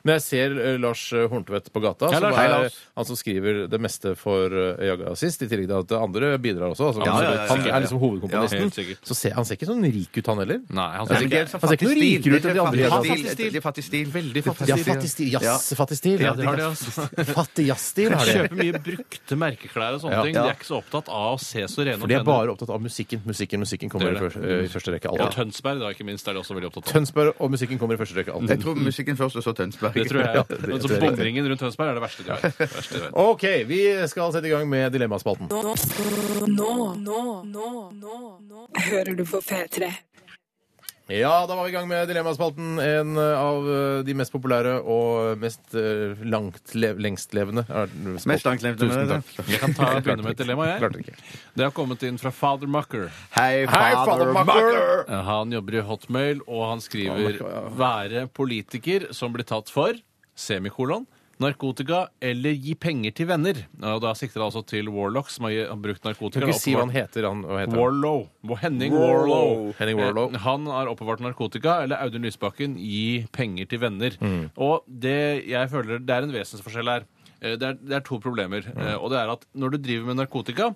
Speaker 3: Men jeg ser eh, Lars eh, Horntvedt på gata,
Speaker 5: Hei,
Speaker 3: som
Speaker 5: Lars.
Speaker 3: er
Speaker 5: Hei, Lars.
Speaker 3: han som skriver det meste for eh, Jaga Assist, i tillegg til at andre bidrar også. Altså,
Speaker 4: Ja, ja, ja, ja,
Speaker 3: Han
Speaker 4: ja.
Speaker 3: er liksom hovedkomponisten.
Speaker 5: Helt sikkert.
Speaker 3: Så ser, han ser ikke sånn rik ut, han heller.
Speaker 5: Nei, han
Speaker 4: Det er
Speaker 5: synes Altså, ikke
Speaker 4: ikke så
Speaker 3: Han ser ikke noe
Speaker 4: fattig stil.
Speaker 3: rikere ut
Speaker 4: Det er
Speaker 3: enn de andre.
Speaker 4: fattig
Speaker 3: altså.
Speaker 4: stil.
Speaker 5: Fattig stil.
Speaker 4: Det er Fattig stil.
Speaker 5: Veldig fattig
Speaker 3: Ja,
Speaker 5: stil.
Speaker 3: fattig stil. Jazz-fattig stil.
Speaker 5: Ja,
Speaker 3: Ja,
Speaker 5: det har de, altså.
Speaker 3: Fattig jazzstil har de.
Speaker 5: Kjøper mye brukte merkeklær og sånne
Speaker 3: Ja.
Speaker 5: ting. De er ikke så opptatt av å se så rene
Speaker 3: For de er bare opptatt av musikken. Musikken musikken kommer
Speaker 5: Det er
Speaker 3: i,
Speaker 5: det.
Speaker 3: første, eh, i første rekke.
Speaker 5: Og
Speaker 3: Alltid.
Speaker 5: Tønsberg, da, ikke minst, er de også veldig opptatt av.
Speaker 3: Tønsberg og musikken kommer i første rekke.
Speaker 4: Jeg
Speaker 3: Alltid.
Speaker 4: tror musikken først, og så Tønsberg.
Speaker 5: Det tror jeg.
Speaker 3: Ja,
Speaker 5: Ja.
Speaker 3: det
Speaker 5: Men
Speaker 3: tror
Speaker 5: så
Speaker 3: jeg.
Speaker 5: bomringen rundt Tønsberg er det verste du vet. Det verste du vet.
Speaker 3: OK, vi skal sette i gang med Dilemmaspalten.
Speaker 6: Nå, nå, nå, nå, nå, nå hører du på P3.
Speaker 3: Ja, da var vi i gang med Dilemmaspalten. En eh, av eh, de mest populære og mest eh, langtlev, lengstlevende er den spalten.
Speaker 4: Mest langtlevende,
Speaker 3: Tusen
Speaker 4: det er
Speaker 3: takk.
Speaker 5: Jeg kan ta begynne med et dilemma, jeg.
Speaker 3: Klarte ikke.
Speaker 5: Det har kommet inn fra Father Mucker.
Speaker 4: Hei,
Speaker 3: Hei,
Speaker 4: father
Speaker 3: Father Mucker!
Speaker 4: mucker!
Speaker 5: Eh, Han jobber i Hotmail, og han skriver 'være politiker som blir tatt for' semikolon. Narkotika eller gi penger til venner. Og da sikter det altså til Warlock, som har gi- har brukt narkotika.
Speaker 3: Kan ikke si
Speaker 5: oppbevart-
Speaker 3: hva han heter. Han, hva heter han?
Speaker 5: Warlow. Hvor Henning
Speaker 3: Warlow.
Speaker 5: Warlow.
Speaker 3: Henning Warlow.
Speaker 5: Eh, Han har oppbevart narkotika, eller Audun Lysbakken gi penger til venner.
Speaker 3: Mm.
Speaker 5: Og det jeg føler det er en vesensforskjell her. Eh, Det er, det er to problemer.
Speaker 3: Mm.
Speaker 5: Eh, Og det er at når du driver med narkotika,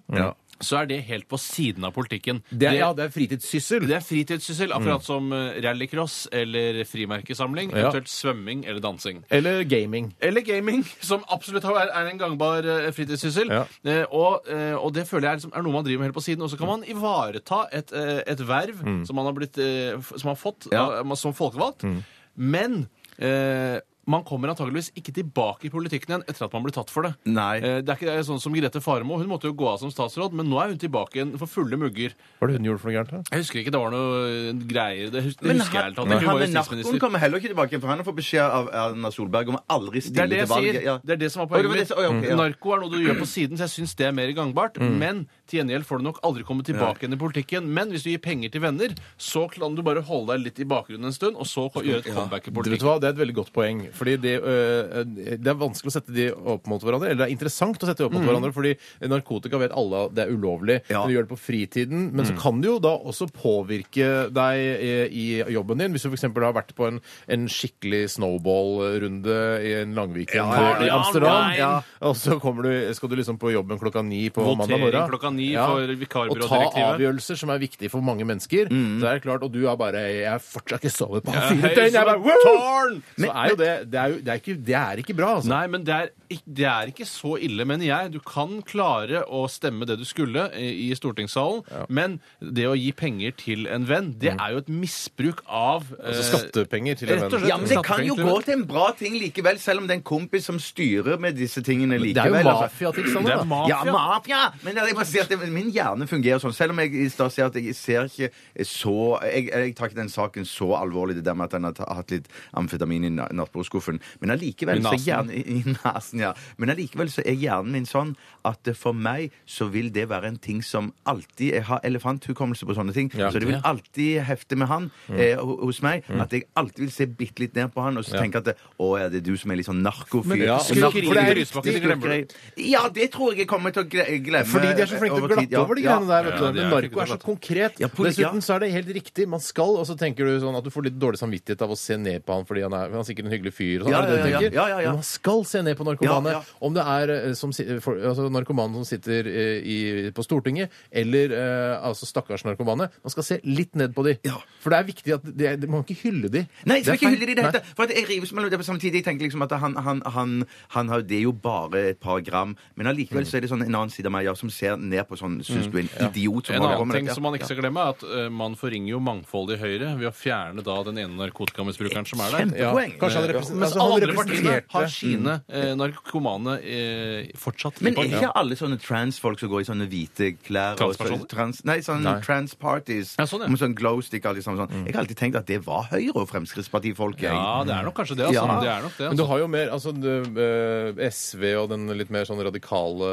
Speaker 5: så er det helt på siden av politikken.
Speaker 3: Det er, ja, det er Mm. fritidssyssel.
Speaker 5: Det er fritidssyssel, akkurat som eh, rallycross eller frimerkesamling,
Speaker 3: Ja.
Speaker 5: eventuelt svømming eller dansing.
Speaker 3: Eller gaming.
Speaker 5: Eller gaming, som absolutt har- er, er en gangbar eh, fritidssyssel.
Speaker 3: Ja.
Speaker 5: Eh, og, eh, og det føler jeg er, liksom, er noe man driver med helt på siden. Og så kan man ivareta et, eh, et verv
Speaker 4: Mm.
Speaker 5: som man har, blitt, eh, f- som man har fått av- som folkevalgt. Men eh, man kommer antageligvis ikke tilbake i politikken igjen etter at man blir tatt for det.
Speaker 4: Nei.
Speaker 5: Eh, det er ikke det er sånn som Grete Faremo. Hun måtte jo gå av som statsråd, men nå er hun tilbake igjen for fulle mugger.
Speaker 3: Hva var det hun gjorde for noe gærent? da?
Speaker 5: Jeg husker ikke det var noe eh, greier. Det hus- det
Speaker 4: Men
Speaker 5: husker jeg
Speaker 4: han,
Speaker 5: helt at
Speaker 4: men
Speaker 5: hun var
Speaker 4: han med narkoen
Speaker 5: justisminister.
Speaker 4: kommer heller ikke tilbake, for han har fått beskjed av Erna Solberg om å aldri
Speaker 5: Det
Speaker 4: stille
Speaker 5: er det jeg
Speaker 4: til valget.
Speaker 5: sier.
Speaker 4: Ja.
Speaker 5: Det er det som er
Speaker 4: Å, det var
Speaker 5: poenget
Speaker 4: det
Speaker 5: mitt.
Speaker 4: som- å, ja, Mm. ok, ja.
Speaker 5: Narko er noe du gjør på siden, så jeg syns det er mer gangbart. Men til gjengjeld får du nok aldri komme tilbake igjen i politikken. Men hvis du gir penger til venner, så kan du bare holde deg litt i bakgrunnen en stund, og så gjøre et comeback i
Speaker 3: Du vet
Speaker 5: politikken.
Speaker 3: hva, Det er et veldig godt poeng. Fordi det, øh, det er vanskelig å sette de opp mot hverandre. Eller det er interessant å sette de opp mot hverandre, fordi narkotika vet alle at det er ulovlig.
Speaker 4: Mm. Ja. Mm.
Speaker 3: Du gjør det på fritiden, men så kan det jo da også påvirke deg eh, i jobben din. Hvis du f.eks. har vært på en, en skikkelig snowball-runde i en langviken
Speaker 4: ja, ja,
Speaker 3: i Amsterdam,
Speaker 5: online.
Speaker 3: ja. og så kommer du, skal du liksom på jobben klokka ni på mandag
Speaker 5: Votering
Speaker 3: morgen.
Speaker 5: klokka ni geni
Speaker 3: Ja.
Speaker 5: for
Speaker 3: Å ta
Speaker 5: vikarbyrådirektivet.
Speaker 3: avgjørelser som er viktige for mange mennesker. Det er klart, Og du er bare 'Jeg har fortsatt ikke sovet på
Speaker 5: Ja,
Speaker 3: fire
Speaker 5: hei,
Speaker 3: døgn!' Jeg
Speaker 5: som
Speaker 3: bare,
Speaker 5: et
Speaker 3: «Woo!»
Speaker 5: tårn!
Speaker 3: Så er jo det Det er, jo, det er, ikke, det er ikke bra, altså.
Speaker 5: Nei, men det er, ikk- det er ikke så ille, mener jeg. Du kan klare å stemme det du skulle i i stortingssalen, men det å gi penger til en venn, det
Speaker 4: Mm.
Speaker 5: er jo et misbruk av
Speaker 3: Altså
Speaker 5: eh,
Speaker 3: skattepenger til en
Speaker 5: rett og
Speaker 3: venn.
Speaker 5: slett
Speaker 4: Ja, men Det kan jo gå til en bra ting likevel, selv om det er en kompis som styrer med disse tingene
Speaker 3: Det er jo
Speaker 4: likevel. altså.
Speaker 5: Det
Speaker 3: mafiatriksene,
Speaker 5: er
Speaker 3: da.
Speaker 5: mafia.
Speaker 4: Ja, mafia! Men jeg må si at det, min hjerne fungerer sånn. Selv om jeg i stad sier at jeg ser ikke så jeg, jeg tar ikke den saken så alvorlig, det der med at den har ta- hatt litt amfetamin i na- nattbordskuffen. Men allikevel
Speaker 5: I
Speaker 4: så er
Speaker 5: nasen.
Speaker 4: hjernen i, i nasen, ja. Men allikevel så er hjernen min sånn at eh, for meg så vil det være en ting som alltid Jeg har elefanthukommelse på sånne ting,
Speaker 3: Ja.
Speaker 4: så det vil alltid hefte med han eh, ho- hos meg. At jeg alltid vil se bitte litt ned på han og så tenke at det, å ja, det er du som er litt sånn narkofyr.
Speaker 3: Men ja,
Speaker 4: Narko-
Speaker 3: skurkeriet
Speaker 4: for det er
Speaker 5: i Rysbakken,
Speaker 4: riktig
Speaker 5: det glemmer du.
Speaker 4: skurkeri. Ja, det tror jeg jeg kommer til å gle- glemme.
Speaker 3: Fordi de er så flinke til å
Speaker 4: over tid,
Speaker 3: glatte
Speaker 4: ja.
Speaker 3: over de
Speaker 4: Ja.
Speaker 3: greiene der. vet
Speaker 5: Ja,
Speaker 3: du.
Speaker 5: de er
Speaker 3: Men narko
Speaker 5: flinke
Speaker 3: er
Speaker 5: til å
Speaker 3: så konkret.
Speaker 4: Ja, poli-
Speaker 3: Dessuten
Speaker 4: ja.
Speaker 3: så er det helt riktig. Man skal, og så tenker du sånn at du får litt dårlig samvittighet av å se ned på han fordi han er, han er sikkert en hyggelig fyr. og Sånn,
Speaker 4: Ja,
Speaker 3: er det det du
Speaker 4: ja, ja,
Speaker 3: tenker?
Speaker 4: ja, ja, ja.
Speaker 3: Men man skal se ned på narkomane.
Speaker 4: Ja, ja.
Speaker 3: Om det er eh, som, si- for, altså, narkomane som sitter eh, i, på Stortinget, eller eh, altså stakkars narkomane. Man skal se litt ned på de.
Speaker 4: Ja.
Speaker 3: For det er viktig at det, det, Man kan ikke hylle de.
Speaker 4: Nei, jeg
Speaker 3: er
Speaker 4: skal ikke hylle
Speaker 3: feil.
Speaker 4: det i det hele
Speaker 3: Nei.
Speaker 4: tatt. For at jeg rives mellom det på samtidig. Jeg tenker liksom at han, han, han, han har Det er jo bare et par gram. Men allikevel
Speaker 3: Mm.
Speaker 4: så er det sånn en annen side av meg ja, som ser ned på sånn Syns du er en idiot som
Speaker 5: En
Speaker 4: holder på
Speaker 5: annen
Speaker 4: med
Speaker 5: ting
Speaker 4: dette?
Speaker 5: som man ikke skal glemme, er at eh, man forringer jo mangfoldet i Høyre ved å fjerne da den ene narkotikamisbrukeren som er der.
Speaker 3: Ja.
Speaker 4: Kjempepoeng.
Speaker 3: Kanskje han, represen-
Speaker 5: Mens
Speaker 3: altså, han
Speaker 5: alle andre partiene har
Speaker 3: representerte
Speaker 5: sine eh, narkomane eh, fortsatt. i
Speaker 4: Men er
Speaker 5: partiet.
Speaker 4: ikke alle sånne transfolk som går i sånne hvite klær? og så-
Speaker 5: Transpersoner?
Speaker 4: Trans, nei, sånne
Speaker 3: Nei.
Speaker 4: transparties.
Speaker 5: Ja, sånn, ja.
Speaker 4: Med sånn glowstick og alt det samme.
Speaker 3: Mm.
Speaker 4: Sånn. Jeg har alltid tenkt at det var Høyre og Fremskrittspartifolk. jeg.
Speaker 5: Ja, det er nok kanskje det. Altså.
Speaker 4: Ja.
Speaker 5: det, er nok det
Speaker 3: Men du
Speaker 5: altså.
Speaker 3: har jo mer altså, det, eh, SV og den litt mer sånn radikale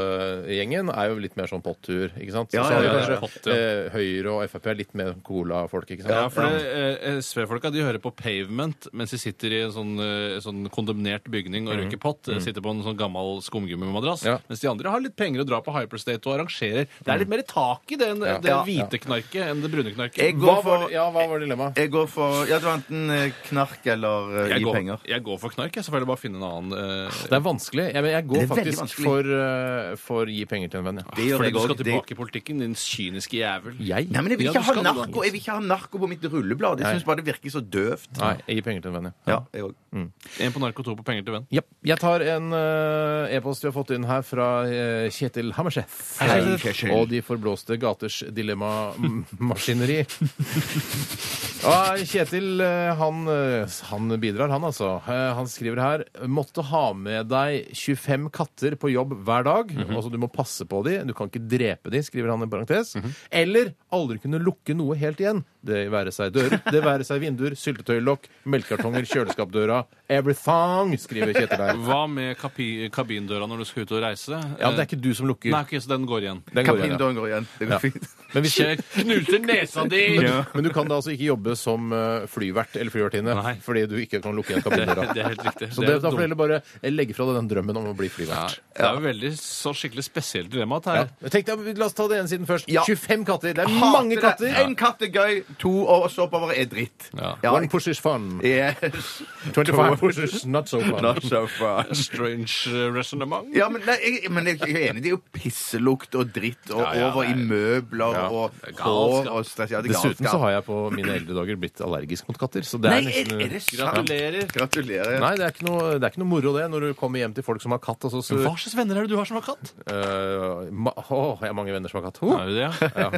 Speaker 3: gjengen er jo litt mer sånn pottur, ikke sant?
Speaker 4: Ja,
Speaker 3: så har
Speaker 4: ja,
Speaker 3: du
Speaker 4: ja,
Speaker 5: ja,
Speaker 3: kanskje
Speaker 5: pott, ja.
Speaker 3: eh, Høyre og Frp er litt mer cola-folk, ikke sant?
Speaker 5: Ja, for det, eh, SV-folka de hører på Pavement mens de sitter i en sånn, eh, sånn kondemnert bygning og røyker pott. eh, Sitter på en sånn gammel skumgummimadrass.
Speaker 3: Ja.
Speaker 5: Mens de andre har litt penger og drar på Hyperstate og arrangerer. Det er litt mer tak i det, enn det
Speaker 4: Ja.
Speaker 5: hvite knarket enn det brune knarket.
Speaker 4: Jeg
Speaker 3: Hva var,
Speaker 4: går for,
Speaker 3: det- ja, hva var dilemmaet?
Speaker 4: jeg går for Ja, det var enten eh, knark eller eh,
Speaker 5: jeg,
Speaker 4: gi
Speaker 5: går,
Speaker 4: penger.
Speaker 5: jeg går for knark. Jeg selvfølgelig bare finne en annen eh,
Speaker 3: Det er vanskelig. Jeg, men jeg går
Speaker 4: Det er veldig
Speaker 3: faktisk
Speaker 4: vanskelig.
Speaker 3: for, eh, for gi penger til en venn, ja.
Speaker 4: Det gjør
Speaker 5: Fordi
Speaker 4: jeg
Speaker 5: du skal
Speaker 4: også. Det-
Speaker 5: tilbake i politikken, din kyniske jævel.
Speaker 3: Jeg?
Speaker 4: Nei, men jeg vil
Speaker 5: Ja,
Speaker 4: ikke
Speaker 5: du
Speaker 4: ha
Speaker 5: skal det, da.
Speaker 4: narko Jeg vil ikke ha narko på mitt rulleblad. Jeg
Speaker 3: Nei.
Speaker 4: syns bare det virker så døvt.
Speaker 3: Nei, jeg gir penger til en venn, ja.
Speaker 4: Ja, jeg òg.
Speaker 5: En på narko, to på penger til venn.
Speaker 3: Ja. Jeg tar en eh, e-post vi har fått inn her fra eh, Kjetil Hammerseth.
Speaker 4: Hei, Kjetil.
Speaker 3: Og de forblåste gaters dilemmamaskineri. Ja, Kjetil, eh, han, eh, han bidrar, han altså. Eh, Han skriver her Måtte ha med deg 25 katter på jobb hver dag. Altså du må passe på de, du kan ikke drepe de, skriver han i parentes. Eller aldri kunne lukke noe helt igjen. Det være seg dører, det være seg vinduer, syltetøylokk, melkekartonger, kjøleskapdøra. Everything, skriver Kjetil her.
Speaker 5: Hva med kapi kabindøra når du skal ut og reise? Eh,
Speaker 3: Ja, men det er ikke du som lukker.
Speaker 5: Nei, ok, så den går igjen.
Speaker 3: Den går igjen, ja.
Speaker 4: Kapindoen går igjen. Det går
Speaker 3: Ja.
Speaker 4: fint.
Speaker 3: Men hvis du,
Speaker 5: Jeg knuser nesa di!
Speaker 3: men du kan da altså ikke jobbe som eh, flyvert eller
Speaker 5: Nei.
Speaker 3: flyvertinne fordi du ikke kan lukke igjen kabindøra.
Speaker 5: Det er helt riktig.
Speaker 3: Så
Speaker 5: Det er
Speaker 3: det, da får du
Speaker 5: dumt.
Speaker 3: heller bare legge fra deg den drømmen om å bli flyvert.
Speaker 5: Det er jo veldig så skikkelig spesielt dilemma at
Speaker 3: Ja.
Speaker 5: her.
Speaker 3: Men Tenk deg, La oss ta det ene siden først.
Speaker 4: Ja.
Speaker 3: 25 katter. Det er
Speaker 4: Hater
Speaker 3: mange
Speaker 4: det.
Speaker 3: katter!
Speaker 4: En katt er gøy, to og så oppover er dritt.
Speaker 5: Ja.
Speaker 3: One push is fun.
Speaker 4: Yes.
Speaker 3: 25 pushes not so fun.
Speaker 4: Not so far.
Speaker 5: Strange eh, resonnement.
Speaker 4: Ja, men, nei, jeg, men jeg er enig. Det er jo pisselukt og dritt og
Speaker 5: Ja, ja,
Speaker 4: over i
Speaker 5: nei.
Speaker 4: møbler og
Speaker 5: Det er
Speaker 4: hår
Speaker 5: galskap.
Speaker 4: og stress. Ja, det er
Speaker 3: Dessuten så
Speaker 4: galskap.
Speaker 3: har jeg på mine eldre dager blitt allergisk mot katter. Så det
Speaker 4: Nei,
Speaker 3: er
Speaker 4: er,
Speaker 3: nesten
Speaker 4: er det sant?
Speaker 5: Gratulerer.
Speaker 4: Gratulerer.
Speaker 3: Nei, det er, ikke noe, det er ikke noe moro, det, når du kommer hjem til folk som har katt. Og så, så,
Speaker 5: Hva slags venner er det du har som har katt?
Speaker 3: Øh, ma Åh, jeg har mange venner som har katt. Oh.
Speaker 5: Er du det, ja?
Speaker 3: Ja.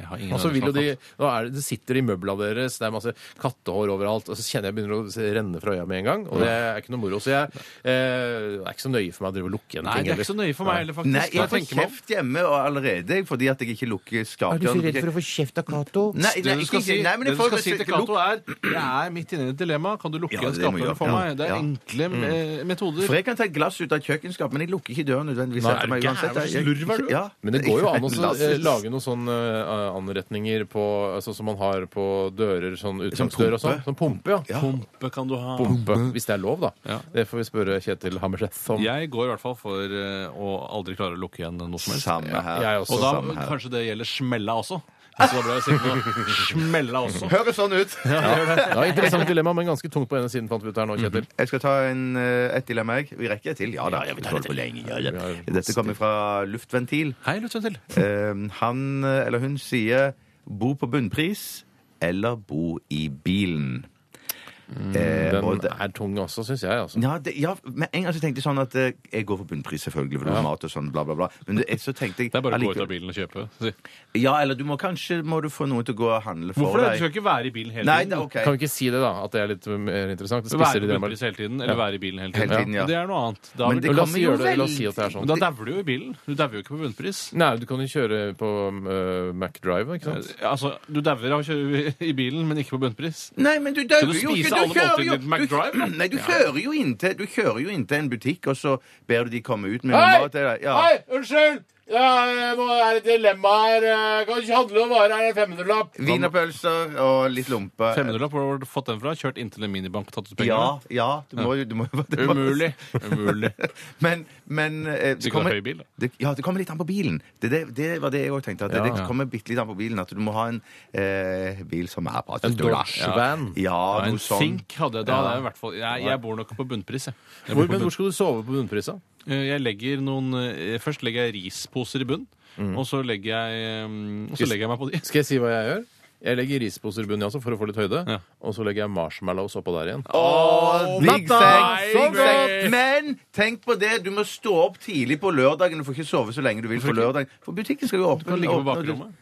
Speaker 5: Jeg har ingen
Speaker 3: Og så vil jo de,
Speaker 5: venner som har katt.
Speaker 3: nå er det, det sitter i møbla deres, det er masse kattehår overalt, og så kjenner jeg begynner å se- renne fra øya med en gang, og det er ikke noe moro. Så jeg, eh, det er ikke så nøye for meg å drive og lukke en
Speaker 5: Nei,
Speaker 3: ting.
Speaker 5: det er ikke så nøye for meg heller, faktisk.
Speaker 4: Nei, jeg
Speaker 5: Når
Speaker 4: får
Speaker 5: jeg tenker meg om.
Speaker 4: kjeft hjemme og allerede fordi at jeg ikke lukker skapdøren.
Speaker 7: å få kjeft av Cato?
Speaker 4: Nei, nei,
Speaker 5: Det du
Speaker 4: ikke,
Speaker 5: skal si,
Speaker 4: nei, men
Speaker 5: det
Speaker 4: jeg
Speaker 5: du
Speaker 4: får-
Speaker 5: skal si til Cato, er Jeg er midt inne i et dilemma. Kan du lukke
Speaker 4: Ja,
Speaker 5: igjen
Speaker 4: det må jeg
Speaker 5: skapdøren
Speaker 4: gjøre.
Speaker 5: for meg? Det er
Speaker 4: Ja. Mm.
Speaker 5: enkle eh, metoder.
Speaker 4: For jeg kan ta et glass ut av kjøkkenskapet, men jeg lukker ikke døren nødvendigvis.
Speaker 3: Nei,
Speaker 4: etter
Speaker 3: er
Speaker 4: meg
Speaker 3: du
Speaker 4: uansett.
Speaker 3: gæren?
Speaker 4: Jeg-
Speaker 3: Slurv er du?
Speaker 4: Ja.
Speaker 3: Men det går jo an å
Speaker 4: Glass
Speaker 3: eh,
Speaker 4: ut.
Speaker 3: lage noen sånne eh, anretninger på, altså, som man har på dører, sånn utgangsdør og sånn.
Speaker 4: pumpe?
Speaker 3: Som pumpe, ja.
Speaker 5: Pumpe kan du ha.
Speaker 3: Pumpe, hvis det er lov, da.
Speaker 5: Ja.
Speaker 3: Det får vi spørre Kjetil Hammerseth om.
Speaker 5: Jeg går i hvert fall for eh, å aldri klare å lukke igjen noe som helst.
Speaker 4: Samme her.
Speaker 3: jeg også.
Speaker 5: Og da
Speaker 4: Samme her.
Speaker 5: kanskje det gjelder smella også. Så da ble jeg sikker på å smelle også.
Speaker 4: Høres sånn ut!
Speaker 3: Ja, interessant dilemma, men ganske tungt på ene siden, fant vi ut her nå, Kjetil.
Speaker 5: Mm,
Speaker 4: Jeg skal ta en, eh, et dilemma, jeg. Vi rekker et til. Ja da. vi holder på lenge. Ja, ja. Dette kommer fra Luftventil.
Speaker 5: Hei, lytt til.
Speaker 4: Eh, Han eh, eller hun sier 'bo på bunnpris' eller 'bo i bilen'.
Speaker 5: Mm,
Speaker 4: Eh, og
Speaker 3: Den
Speaker 4: det-
Speaker 3: er tung også, syns jeg. altså.
Speaker 4: ja, det, ja, men en gang så tenkte jeg sånn at eh, jeg går for bunnpris, selvfølgelig, for det er mat og sånn, bla, bla, bla. Men det, så tenkte jeg
Speaker 5: Det er bare å gå ut av
Speaker 4: allikevel-
Speaker 5: bilen og kjøpe. Si.
Speaker 4: Ja, eller du må kanskje må du få noen til å gå og handle for
Speaker 5: Hvorfor
Speaker 4: deg.
Speaker 5: det? Du skal ikke være i bilen hele
Speaker 4: Nei,
Speaker 5: tiden.
Speaker 4: det er OK.
Speaker 3: Kan vi ikke si det, da? At det er litt mer interessant? Det
Speaker 5: Være
Speaker 3: spisser i
Speaker 5: på
Speaker 3: det
Speaker 5: bunnpris hele tiden, eller være i bilen hele
Speaker 4: Hele
Speaker 5: tiden.
Speaker 4: tiden, ja.
Speaker 5: Det er noe annet. Da,
Speaker 4: Men
Speaker 5: vil-
Speaker 4: det
Speaker 3: La
Speaker 5: la
Speaker 3: oss, si,
Speaker 4: kommer jo
Speaker 3: gjøre det, la oss si at det er
Speaker 5: oss-
Speaker 3: sånn.
Speaker 5: men da dauer du jo i bilen. Du dauer jo ikke på bunnpris.
Speaker 3: Nei, du kan jo kjøre på uh, McDrive, ikke sant?
Speaker 5: Eh, Altså, du dauer av å kjøre i bilen, men ikke på bunnpris.
Speaker 4: Nei, men du
Speaker 5: Skal
Speaker 4: dauer
Speaker 5: du
Speaker 4: jo
Speaker 5: spise
Speaker 4: ikke.
Speaker 5: alle
Speaker 4: Du kjører jo,
Speaker 5: måltidene til McDrive, da?
Speaker 4: du, nei, du kjører jo inntil Du kjører jo inntil en butikk, og så ber du de komme ut med
Speaker 3: Hei!
Speaker 4: noe mat til deg. Ja.
Speaker 3: unnskyld! Det er et dilemma her. eh. Kan ikke handle om varer. Er det 500-lapp?
Speaker 4: Wienerpølser og litt lompe.
Speaker 5: 500-lapp, hvor har du fått den fra? Kjørt inntil en minibank og tatt ut
Speaker 4: Ja,
Speaker 5: pengene?
Speaker 4: ja. Du må jo du må, jo- du må-
Speaker 5: Umulig. Umulig.
Speaker 4: Men, men eh, det
Speaker 5: ikke
Speaker 4: kommer-
Speaker 5: det er høy bil, da.
Speaker 4: det, ja, det kommer litt an på bilen. Det, det, det var det jeg òg tenkte. At det,
Speaker 3: Ja.
Speaker 4: det kommer bitte litt an på bilen. At du må ha en eh, bil som er bra.
Speaker 3: En Dodge van.
Speaker 4: Ja,
Speaker 5: Ja,
Speaker 4: noe
Speaker 5: en
Speaker 4: sånn.
Speaker 5: sink hadde jeg da. hadde Jeg, i hvert fall, jeg, jeg bor nok på bunnpris, jeg. jeg.
Speaker 3: Hvor,
Speaker 5: bor
Speaker 3: men
Speaker 5: på bunn-
Speaker 3: hvor skal du sove på bunnprisa?
Speaker 5: Eh, Jeg legger noen eh, Først legger jeg risposer i bunn, og så legger jeg eh, Og så legger jeg meg på de.
Speaker 3: Skal jeg si hva jeg gjør? Jeg legger risposer i bunnen jeg også, for å få litt høyde.
Speaker 5: Ja.
Speaker 3: Og så legger jeg marshmallows oppå der igjen.
Speaker 4: Å, digg
Speaker 5: nei,
Speaker 4: seng! Digg
Speaker 5: baby!
Speaker 4: seng. Men tenk på det, du må stå opp tidlig på lørdagen. Du får ikke sove så lenge du vil på lørdagen. For butikken skal jo åpne.
Speaker 5: Du kan ligge på
Speaker 4: åpne-
Speaker 5: bakrommet.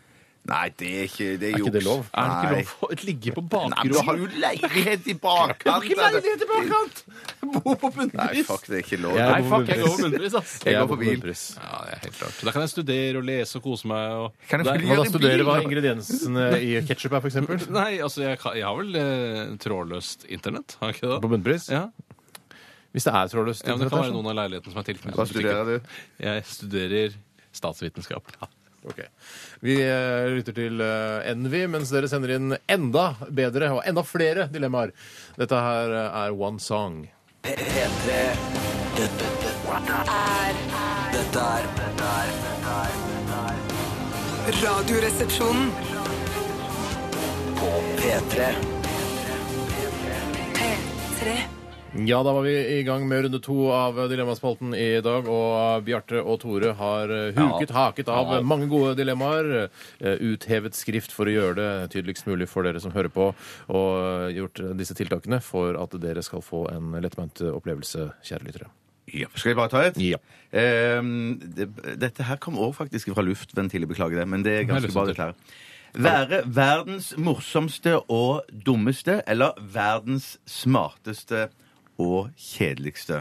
Speaker 4: Nei, det er ikke det er
Speaker 3: ikke
Speaker 4: juks.
Speaker 3: det lov?
Speaker 5: Er det ikke
Speaker 4: Nei.
Speaker 5: lov å ligge på
Speaker 4: Nei, men du har
Speaker 5: bakrommet?
Speaker 4: jo leilighet i bakkant. altså.
Speaker 5: i bakkant! Bo på
Speaker 4: Nei,
Speaker 5: bunnpris!
Speaker 4: fuck, det er ikke lov.
Speaker 3: Jeg-
Speaker 5: Nei, fuck, jeg går på bunnpris, ass.
Speaker 4: Jeg
Speaker 3: Jeg går
Speaker 4: går på
Speaker 3: på
Speaker 4: bil.
Speaker 3: bunnpris.
Speaker 5: Ja, det er helt klart. Da kan jeg studere og lese og kose meg. Og...
Speaker 4: Kan jeg få
Speaker 5: Der-
Speaker 3: Må
Speaker 4: lov
Speaker 3: da
Speaker 4: Gjør i
Speaker 3: studere
Speaker 4: bil,
Speaker 3: hva
Speaker 4: da.
Speaker 3: ingrediensene i ketsjup er, f.eks.
Speaker 5: Nei, altså, jeg, kan, jeg har vel eh, trådløst internett, har jeg ikke
Speaker 3: På
Speaker 5: det?
Speaker 3: bunnpris?
Speaker 5: Ja.
Speaker 3: Hvis det er trådløst.
Speaker 5: ja, men det kan
Speaker 3: internett,
Speaker 5: være
Speaker 3: altså.
Speaker 5: noen av leilighetene som er tilknyttet.
Speaker 4: Hva studerer du?
Speaker 5: Jeg studerer statsvitenskap.
Speaker 3: Ok. Vi eh, lytter til eh, Envy, mens dere sender inn enda bedre og enda flere dilemmaer. Dette her eh, er One Song.
Speaker 2: P- P3 Dette, dette dette er dette er
Speaker 6: Radioresepsjonen.
Speaker 2: P3
Speaker 6: P3.
Speaker 3: Ja, da var vi i gang med runde to av eh, Dilemmaspalten i dag, og eh, Bjarte og Tore har eh, huket haket av eh, mange gode dilemmaer. eh, Uthevet skrift for å gjøre det tydeligst mulig for dere som hører på, og eh, gjort eh, disse tiltakene for at dere skal få en lettbeint opplevelse, kjære lyttere.
Speaker 4: Ja. Skal jeg bare ta et?
Speaker 3: Ja.
Speaker 4: Ehm, det, dette her kom også faktisk fra luftventilet, beklager det, men det er
Speaker 5: Det
Speaker 4: ganske
Speaker 5: er
Speaker 4: bra, dette her. Være verdens morsomste og dummeste, eller verdens smarteste og kjedeligste.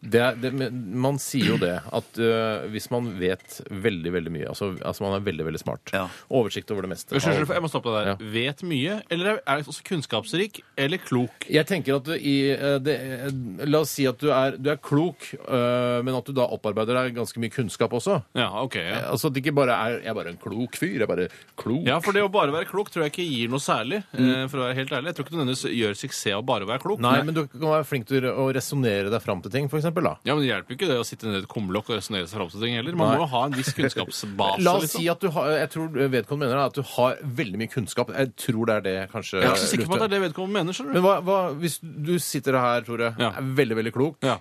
Speaker 3: Det, er- det, men man sier jo det at øh, hvis man vet veldig veldig mye, altså, altså man er veldig veldig smart,
Speaker 4: Ja.
Speaker 3: oversikt over det meste
Speaker 5: Unnskyld,
Speaker 3: Alt.
Speaker 5: jeg må stoppe deg der. Vet mye, eller er også kunnskapsrik, eller klok?
Speaker 3: Jeg tenker at du i eh, det, eh, La oss si at du er, du er klok, øh, men at du da opparbeider deg ganske mye kunnskap også.
Speaker 5: Ja, ok. Ja.
Speaker 3: Altså at det ikke bare er 'jeg er bare en klok fyr', jeg er bare klok.
Speaker 5: Ja, for det å bare være klok tror jeg ikke gir noe særlig. eh, For å være helt ærlig. Jeg tror ikke du nødvendigvis gjør suksess av bare å være klok.
Speaker 3: Mm. Nei, men du kan være flink til å resonnere deg fram til ting, for eksempel, da.
Speaker 5: Ja, men Det hjelper jo ikke det å sitte nede i et kumlokk og resonnere seg fram til ting heller. Man
Speaker 3: Nei.
Speaker 5: må jo ha en viss kunnskapsbase.
Speaker 3: La oss
Speaker 5: liksom.
Speaker 3: si at du har Jeg tror vedkommende mener at du har veldig mye kunnskap. Jeg tror det er det, kanskje.
Speaker 5: Jeg er ikke så sikker på at
Speaker 3: Luthe-
Speaker 5: det er det vedkommende mener. skjønner
Speaker 3: Men
Speaker 5: du?
Speaker 3: hva, hva, hvis du sitter her, Tore,
Speaker 5: Ja.
Speaker 3: er veldig, veldig klok,
Speaker 5: Ja.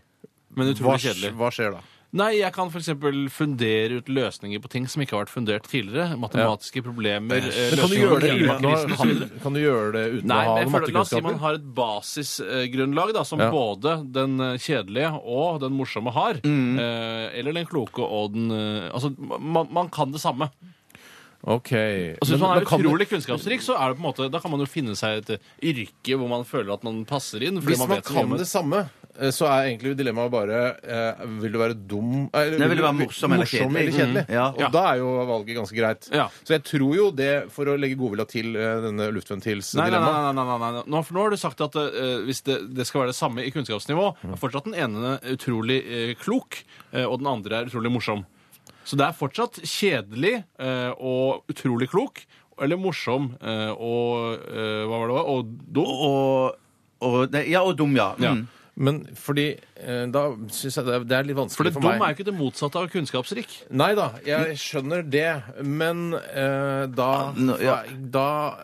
Speaker 5: Men
Speaker 3: hva,
Speaker 5: utrolig kjedelig.
Speaker 3: hva skjer da?
Speaker 5: Nei, jeg kan f.eks. fundere ut løsninger på ting som ikke har vært fundert tidligere. Matematiske problemer eh,
Speaker 3: Men kan du
Speaker 5: løsninger
Speaker 3: gjøre
Speaker 5: på
Speaker 3: det uten å
Speaker 5: klimakrisen
Speaker 3: ha,
Speaker 5: og så videre.
Speaker 3: kan du gjøre det uten
Speaker 5: Nei,
Speaker 3: å ha
Speaker 5: men jeg
Speaker 3: noen
Speaker 5: føler, La oss si man
Speaker 3: mattekunnskaper?
Speaker 5: har et basisgrunnlag da, som
Speaker 3: Ja.
Speaker 5: både den eh, kjedelige og den morsomme har.
Speaker 3: Mm.
Speaker 5: Eh, eller den kloke og den eh, Altså, man, man kan det samme.
Speaker 3: Ok.
Speaker 5: Altså, hvis
Speaker 3: Men-
Speaker 5: man er
Speaker 3: men kan-
Speaker 5: utrolig kunnskapsrik, så er det på en måte, da kan man jo finne seg et eh, yrke hvor man føler at man passer inn. Fordi
Speaker 3: Hvis man
Speaker 5: vet så mye om
Speaker 3: kan det
Speaker 5: det.
Speaker 3: samme, eh, så er egentlig dilemmaet bare eh, Vil du være dum eh, eller
Speaker 4: Nei, vil du være morsom eller kjedelig?
Speaker 3: kjedelig?
Speaker 4: Mm, ja.
Speaker 5: Ja.
Speaker 3: Og da er jo valget ganske greit.
Speaker 5: Ja.
Speaker 3: Så jeg tror jo det, for å legge godvilja til eh, denne luftventils
Speaker 5: Nei, nei, nei,
Speaker 3: dilemma
Speaker 5: nei, nei, nei, nei. Nå, for nå har du sagt at eh, hvis det, det skal være det samme i kunnskapsnivå,
Speaker 3: Mm.
Speaker 5: er fortsatt den ene utrolig eh, klok, eh, og den andre er utrolig morsom. Så det er fortsatt kjedelig eh, og utrolig klok, eller morsom eh, og eh, hva var det, og dum.
Speaker 4: Og, og, nei, ja, og dum, ja.
Speaker 5: Ja.
Speaker 4: Mm.
Speaker 3: Men fordi eh, Da syns jeg det er- det er litt
Speaker 5: For
Speaker 3: vanskelig
Speaker 5: det
Speaker 3: for,
Speaker 5: dum er
Speaker 3: meg.
Speaker 5: jo ikke det motsatte av kunnskapsrik.
Speaker 3: Nei da, jeg skjønner det, men eh,
Speaker 5: Ah,
Speaker 3: da,
Speaker 4: nå, ja.
Speaker 3: da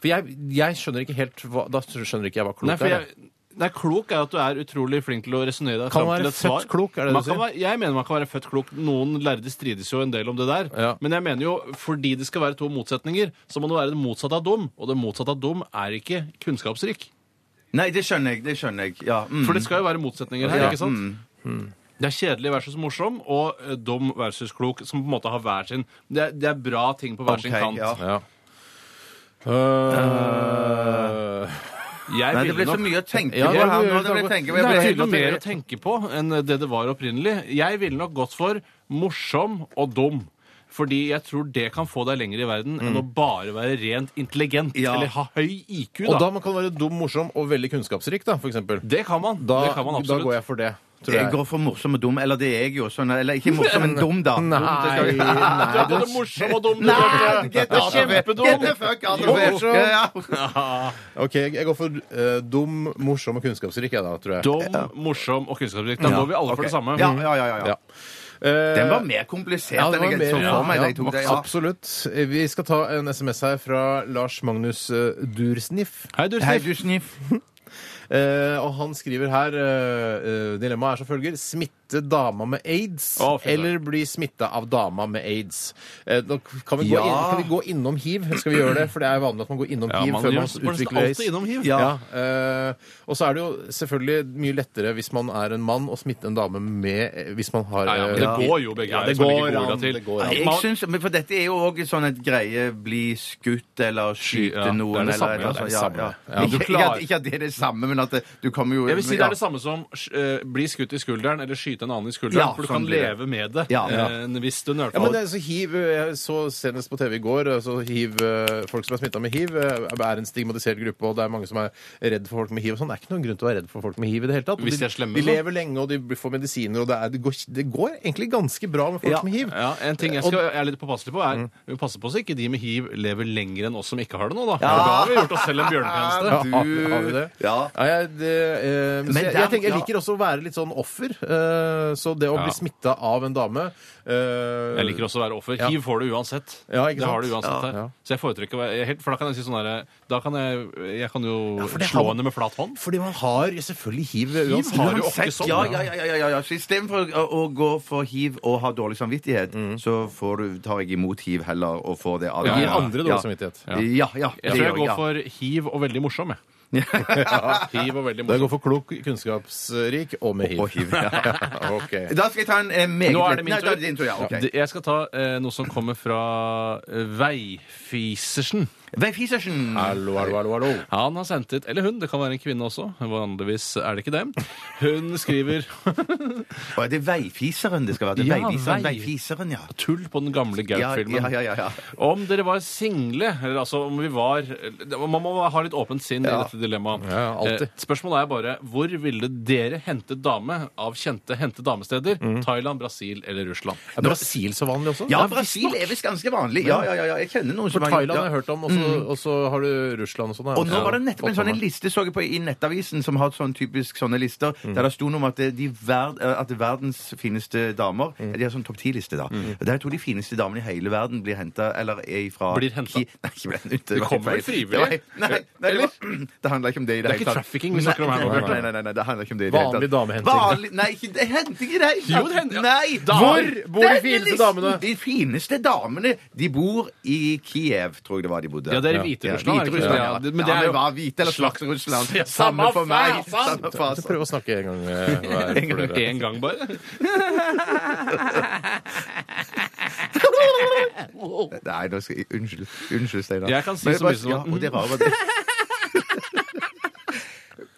Speaker 3: For jeg, jeg skjønner ikke helt hva Da skjønner ikke jeg hva
Speaker 5: Nei,
Speaker 3: klokt
Speaker 5: for
Speaker 3: er.
Speaker 5: jeg, nei, klok er at du er utrolig flink til å resonnere deg
Speaker 3: Kan
Speaker 5: fram
Speaker 3: man være
Speaker 5: til et
Speaker 3: født
Speaker 5: svar.
Speaker 3: klok, er det
Speaker 5: man
Speaker 3: du
Speaker 5: kan
Speaker 3: sier?
Speaker 5: være, jeg mener man kan være født klok. Noen lærde strides jo en del om det der.
Speaker 3: Ja.
Speaker 5: Men jeg mener jo, fordi det skal være to motsetninger, så må det være det motsatte av dum. Og det motsatte av dum er ikke kunnskapsrik.
Speaker 4: Nei, det skjønner jeg. det skjønner jeg. Ja, mm.
Speaker 5: For det skal jo være motsetninger her,
Speaker 3: Ja, Mm.
Speaker 5: ikke sant? Det er kjedelig versus morsom og eh, dum versus klok, som på en måte har hver sin Det er, det er bra ting på hver sin
Speaker 4: Ok,
Speaker 5: kant.
Speaker 4: ja.
Speaker 3: Ja. Eh,
Speaker 5: Eh,
Speaker 3: Øh,
Speaker 5: Jeg
Speaker 4: Nei, det
Speaker 5: ville
Speaker 4: ble så
Speaker 5: nok-
Speaker 4: mye å tenke
Speaker 3: Ja,
Speaker 4: på
Speaker 3: det
Speaker 4: her.
Speaker 3: ble
Speaker 4: nå,
Speaker 3: mye å
Speaker 4: Det ble
Speaker 3: tenke på.
Speaker 4: tenke på.
Speaker 5: Det
Speaker 4: Jeg
Speaker 5: er
Speaker 4: ble
Speaker 5: jo
Speaker 4: helt
Speaker 5: ikke noe mer å tenke på enn det det var opprinnelig. Jeg ville nok gått for morsom og dum. Fordi jeg tror det kan få deg lenger i verden enn
Speaker 3: Mm.
Speaker 5: å bare være rent intelligent.
Speaker 4: Ja.
Speaker 5: Eller ha høy IQ,
Speaker 3: og
Speaker 5: da.
Speaker 3: da man kan være dum, morsom og veldig kunnskapsrik, da, for eksempel.
Speaker 5: det kan man.
Speaker 3: Da,
Speaker 5: det kan man
Speaker 3: da
Speaker 5: absolutt.
Speaker 3: går jeg for det. Tror
Speaker 4: Jeg
Speaker 3: jeg.
Speaker 4: går for morsom og dum, eller det er jeg jo. Sånn, eller ikke morsom, men dum, da.
Speaker 3: Nei, nei.
Speaker 5: Du er både morsom og dum. du,
Speaker 4: Nei,
Speaker 5: Bjarte.
Speaker 4: get the
Speaker 5: Kjempedum.
Speaker 4: Get the fuck out of here.
Speaker 3: Morsom.
Speaker 4: Ja, ja.
Speaker 3: OK, jeg går for eh, dum, morsom og kunnskapsrik, jeg da, tror jeg.
Speaker 5: Dum, morsom og kunnskapsrik. Da går vi alle for det samme.
Speaker 4: Ja, ja, ja, ja,
Speaker 3: Ja.
Speaker 4: ja.
Speaker 3: Eh,
Speaker 4: Den var mer komplisert
Speaker 3: ja, det
Speaker 4: enn
Speaker 3: var
Speaker 4: jeg
Speaker 3: mer-
Speaker 4: så for meg.
Speaker 3: ja,
Speaker 4: de to.
Speaker 3: ja,
Speaker 4: Det- ja.
Speaker 3: Absolutt. Vi skal ta en SMS her fra Lars Magnus eh, Dursniff.
Speaker 5: Hei, du,
Speaker 4: Hei,
Speaker 5: Sniff.
Speaker 4: du sniff.
Speaker 3: Eh, og han skriver her uh, Dilemmaet er som følger. Smitte dama med aids,
Speaker 5: Å, fy søren.
Speaker 3: eller bli smitta av dama med aids. Eh, nå kan, vi gå
Speaker 4: Ja.
Speaker 3: inn, kan vi gå innom hiv? Skal vi gjøre det? For det er jo vanlig at man går innom
Speaker 5: Ja,
Speaker 3: hiv
Speaker 5: man
Speaker 3: før man
Speaker 5: gjør- man skal
Speaker 3: utvikler aids.
Speaker 5: alltid innom hiv.
Speaker 3: Ja. eh, og så er det jo selvfølgelig mye lettere hvis man er en mann, å smitte en dame med eh, Hvis man har
Speaker 5: Ja, ja, men det
Speaker 3: eh,
Speaker 5: går jo begge
Speaker 3: ja,
Speaker 5: veier,
Speaker 3: det
Speaker 5: som
Speaker 3: går
Speaker 5: ligger orda
Speaker 3: an,
Speaker 5: til.
Speaker 3: det går an.
Speaker 5: Ja,
Speaker 4: Jeg
Speaker 5: man-
Speaker 4: synes, men for dette er jo òg sånn et greie bli skutt eller skyte
Speaker 5: ja, det er det
Speaker 4: noen
Speaker 5: samme,
Speaker 4: eller
Speaker 5: ja, det er
Speaker 3: det
Speaker 4: ja,
Speaker 3: samme.
Speaker 4: ja.
Speaker 3: Ja,
Speaker 5: du
Speaker 4: Ikke, ikke,
Speaker 5: klarer-
Speaker 4: at, ikke at det er det samme, men at det, du kommer jo
Speaker 5: Jeg vil si det
Speaker 4: ja.
Speaker 5: er det samme som eh, bli skutt i skulderen eller skyte en annen i skulderen.
Speaker 4: Ja,
Speaker 5: for du
Speaker 4: sånn
Speaker 5: kan
Speaker 4: blir det.
Speaker 5: leve med det
Speaker 4: Ja.
Speaker 5: eh, hvis du
Speaker 3: Ja, men det,
Speaker 5: nørter.
Speaker 3: er så hiv, Jeg så senest på TV i går så hiv, eh, folk som er smitta med hiv, eh, er en stigmatisert gruppe. og Det er mange som er redd for folk med hiv. og sånn. Det er ikke noen grunn til å være redd for folk med hiv. i det hele tatt. Og
Speaker 5: Hvis de er slemme, sånn.
Speaker 3: de
Speaker 5: så.
Speaker 3: lever lenge, og de får medisiner. og Det, er, det, går, det går egentlig ganske bra med folk med hiv.
Speaker 5: Ja, en ting jeg,
Speaker 3: Og-
Speaker 5: skal, jeg er litt påpasselig på, er mm. passe på så ikke de med hiv lever lenger enn oss som ikke har det nå, da. For da har vi gjort oss selv en bjørnetjeneste.
Speaker 3: Ja, har vi det?
Speaker 4: Ja.
Speaker 3: Nei, jeg, det, eh, så
Speaker 4: Men
Speaker 3: jeg,
Speaker 4: dem-
Speaker 3: jeg, tenker, jeg
Speaker 4: ja.
Speaker 3: liker også å være litt sånn offer. eh, så det å
Speaker 5: Ja.
Speaker 3: bli smitta av en dame eh,
Speaker 5: Jeg liker også å være offer.
Speaker 3: Ja.
Speaker 5: Hiv får du uansett.
Speaker 3: Ja, ikke
Speaker 5: det har du
Speaker 3: sant?
Speaker 5: uansett
Speaker 3: Ja.
Speaker 5: her. Så jeg foretrekker å være helt For da kan jeg si sånn herre Da kan jeg Jeg kan jo
Speaker 3: for det
Speaker 5: slå
Speaker 3: har-
Speaker 5: henne med flat hånd.
Speaker 3: Fordi man har selvfølgelig hiv uansett.
Speaker 5: har jo
Speaker 4: Uansett,
Speaker 5: ofte sånn.
Speaker 4: ja, ja, ja, ja, ja, ja. Så Istedenfor å, å gå for hiv og ha dårlig samvittighet,
Speaker 5: Mm.
Speaker 4: så får du, tar jeg imot hiv heller og får det av
Speaker 5: Ja,
Speaker 3: Gir
Speaker 5: ja.
Speaker 3: andre dårlig samvittighet.
Speaker 4: Ja, ja. ja
Speaker 5: Jeg tror jeg går for hiv og veldig morsom, jeg. Hiv og veldig
Speaker 3: Da går
Speaker 5: morsom.
Speaker 3: jeg for klok, kunnskapsrik og med hiv.
Speaker 4: Og hiv, ja.
Speaker 3: Ok.
Speaker 4: Da skal jeg ta en eh, meget
Speaker 5: Nå er
Speaker 4: lett-
Speaker 5: det min
Speaker 4: Nei,
Speaker 5: tur.
Speaker 4: da er det din tur. Ja, ok.
Speaker 5: Det- Jeg skal ta eh, noe som kommer fra eh, Veifisersen.
Speaker 4: Veif Isersen.
Speaker 3: Hallo, hallo, hallo, hallo.
Speaker 5: Han har sendt ut Eller hun, det kan være en kvinne også. Vanligvis er det ikke det. Hun skriver
Speaker 4: Å, er det veifiseren det skal være? Det er
Speaker 5: Ja,
Speaker 4: veifiseren,
Speaker 5: vei-
Speaker 4: veifiseren, ja.
Speaker 5: tull på den gamle
Speaker 4: Ja,
Speaker 5: Gaup-filmen.
Speaker 4: ja, ja, ja, ja.
Speaker 5: Om dere var single, eller altså om vi var det- Man må ha litt åpent sinn i dette dilemmaet.
Speaker 3: Ja, alltid.
Speaker 5: Eh, Spørsmålet er bare hvor ville dere hentet dame av kjente hente damesteder?
Speaker 4: Mm.
Speaker 5: Thailand, Brasil eller Russland?
Speaker 3: Er Brasil så vanlig også?
Speaker 4: Ja, Brasil er visst ganske vanlig. Ja, ja, ja, ja. Jeg kjenner noen
Speaker 3: For
Speaker 4: som
Speaker 3: Thailand
Speaker 4: ja.
Speaker 3: har jeg hørt om, og så- og så har du Russland og sånn. ja.
Speaker 4: Mm. Og nå
Speaker 3: Ja.
Speaker 4: var det nettopp en sånn en liste så jeg på i Nettavisen som har sånn typisk sånne lister,
Speaker 5: Mm.
Speaker 4: der det sto noe om at, det- de verd, eh, at verdens fineste damer
Speaker 5: Mm.
Speaker 4: De har sånn topp ti-liste, da. Der jeg tror de fineste damene i hele verden blir henta eller er ifra
Speaker 5: Blir hentet?
Speaker 4: Ki- Nei, ikke blir hentet.
Speaker 5: Det kommer vel frivillig?
Speaker 4: Det var helt- Nei, nei, det, var, det handler ikke om det i det,
Speaker 5: Det er ikke
Speaker 4: hele tatt.
Speaker 5: trafficking vi snakker om her nå,
Speaker 4: Nei,
Speaker 5: Bjarte.
Speaker 4: nei, nei, nei, nei, det handler ikke om det i det hele tatt.
Speaker 3: Vanlig damehenting.
Speaker 4: Vanlig- Nei, ikke det henting i det hele
Speaker 5: Jo, det hender-
Speaker 4: Nei!
Speaker 5: Da-
Speaker 4: Hvor
Speaker 3: bor de
Speaker 4: Denne
Speaker 3: fineste
Speaker 4: listen-
Speaker 3: damene?
Speaker 4: De fineste damene, de bor i Kiev, tror jeg det var de bodde.
Speaker 5: Ja, det
Speaker 4: Ja,
Speaker 5: er i Hviterussland. er det ikke
Speaker 4: Hviterussland,
Speaker 5: det?
Speaker 4: ja.
Speaker 5: Ja, det-
Speaker 4: Men det er jo bare hvite eller
Speaker 5: slags-
Speaker 4: slags Russland.
Speaker 5: Ja,
Speaker 4: Samme
Speaker 5: samme
Speaker 4: for meg.
Speaker 5: fasen.
Speaker 4: Samme
Speaker 3: Så
Speaker 4: fasen.
Speaker 3: Prøv å snakke en gang. eh, hver
Speaker 4: altså. En gang.
Speaker 3: for dere.
Speaker 5: En gang bare?
Speaker 4: Nei, nå skal jeg Unnskyld, unnskyld Steinar.
Speaker 5: Jeg kan si
Speaker 4: Men
Speaker 5: så
Speaker 4: bare-
Speaker 5: mye som-
Speaker 4: ja, og det rare var det.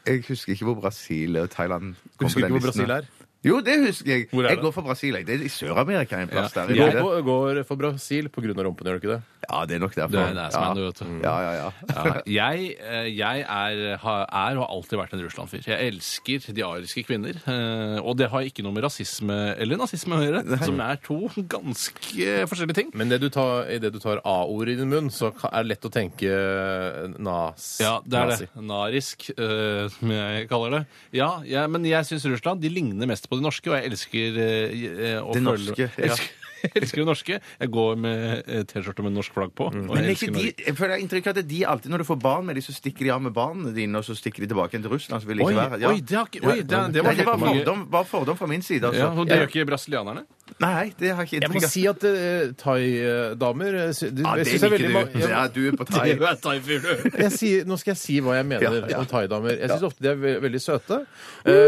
Speaker 4: Jeg husker ikke hvor Brasil og Thailand kom
Speaker 3: Husker
Speaker 4: på
Speaker 3: du ikke
Speaker 4: den
Speaker 3: hvor
Speaker 4: listen.
Speaker 3: Brasil er?
Speaker 4: Jo, det husker jeg.
Speaker 5: Hvor er
Speaker 4: Jeg
Speaker 5: det?
Speaker 4: går for Brasil. jeg. Det er i Sør-Amerika en plass
Speaker 5: Ja.
Speaker 4: der.
Speaker 3: Du
Speaker 4: er det
Speaker 3: går, på- går for Brasil pga. rumpen, gjør du ikke det?
Speaker 4: det? Ja, det er nok derfor.
Speaker 5: Du er en assman, du, vet du.
Speaker 4: Ja, ja, ja.
Speaker 5: Ja, jeg eh, jeg er, har- er og har alltid vært en Russland-fyr. Jeg elsker de ariske kvinner. eh, Og det har ikke noe med rasisme eller nazisme å gjøre, som er to ganske forskjellige ting.
Speaker 3: Men det du tar, i det du tar A-ord i din munn, så ka- er det lett å tenke eh, nas...
Speaker 5: Ja, det er
Speaker 3: nazi.
Speaker 5: det. Narisk, eh, som jeg kaller det. Ja, ja Men jeg syns Russland de ligner mest på de norske, og jeg elsker eh, eh, å
Speaker 4: Det
Speaker 5: følge-
Speaker 4: norske, ja.
Speaker 5: elsker, elsker det norske. Jeg går med eh, T-skjorte med norsk flagg på. Og
Speaker 4: Mm. Men er
Speaker 5: jeg
Speaker 4: ikke
Speaker 5: elsker Norge.
Speaker 4: de, jeg føler inntrykk av at de alltid, når du får barn med de, så stikker de av med barna dine, og så stikker de tilbake igjen til Russland. Så vil de
Speaker 5: Oi,
Speaker 4: ikke være her. Ja.
Speaker 5: oi, det, har ikke, oi det, det var
Speaker 4: Nei, det var
Speaker 5: mange-
Speaker 4: fordom, bare fordom fra min side.
Speaker 5: Ja,
Speaker 4: Altså.
Speaker 5: og det gjør ikke brasilianerne?
Speaker 4: Nei, det har jeg ikke
Speaker 3: Jeg må
Speaker 4: inntrykk av.
Speaker 3: si at eh, thaidamer eh, sy-
Speaker 4: Ja,
Speaker 3: jeg synes det er
Speaker 4: det liker
Speaker 3: veldig
Speaker 4: du.
Speaker 3: ma- ja,
Speaker 4: Ja, du er på thai.
Speaker 5: er thai-fyr, du.
Speaker 3: jeg sier, Nå skal jeg si hva jeg mener
Speaker 4: Ja, ja.
Speaker 3: om thaidamer. Jeg syns ofte de er ve veldig søte. eh,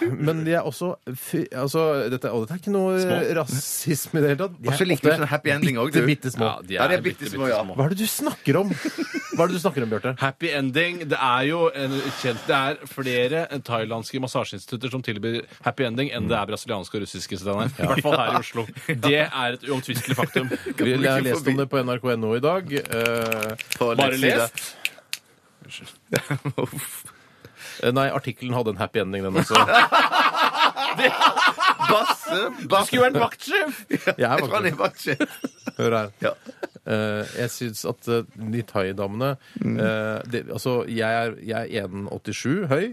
Speaker 3: men, men de er også fy, altså, dette, og dette er ikke noe
Speaker 5: Små.
Speaker 3: rasisme i det hele tatt. De
Speaker 4: Og så
Speaker 3: er
Speaker 4: liker du
Speaker 3: ofte
Speaker 4: sånn happy ending også,
Speaker 3: bitte,
Speaker 4: du.
Speaker 3: bitte små.
Speaker 5: de
Speaker 4: Ja, de er bitte, små, ja.
Speaker 3: Hva er det du snakker om? Hva er det du snakker om, Bjarte?
Speaker 5: Happy ending. Det er jo en kjent Det er flere thailandske massasjeinstitutter som tilbyr happy ending enn det er brasilianske og russiske steder. I hvert fall her i Oslo. Det er et uomtvistelig faktum.
Speaker 3: Vi
Speaker 4: ikke
Speaker 3: har lest
Speaker 4: forbi.
Speaker 3: om det på nrk.no i dag. eh,
Speaker 4: På
Speaker 5: Bare
Speaker 4: nettsida.
Speaker 5: lest.
Speaker 3: Eh, Nei, artikkelen hadde en happy ending, den også.
Speaker 4: Basse, basse.
Speaker 5: Skulle vært vaktsjef!
Speaker 3: Jeg er
Speaker 4: Jeg tror han er vaktsjef.
Speaker 3: Hør her.
Speaker 4: Ja.
Speaker 3: Eh, jeg syns at eh, de thaidamene
Speaker 5: Mm.
Speaker 3: eh, det- Altså, jeg er, jeg er 1,87 høy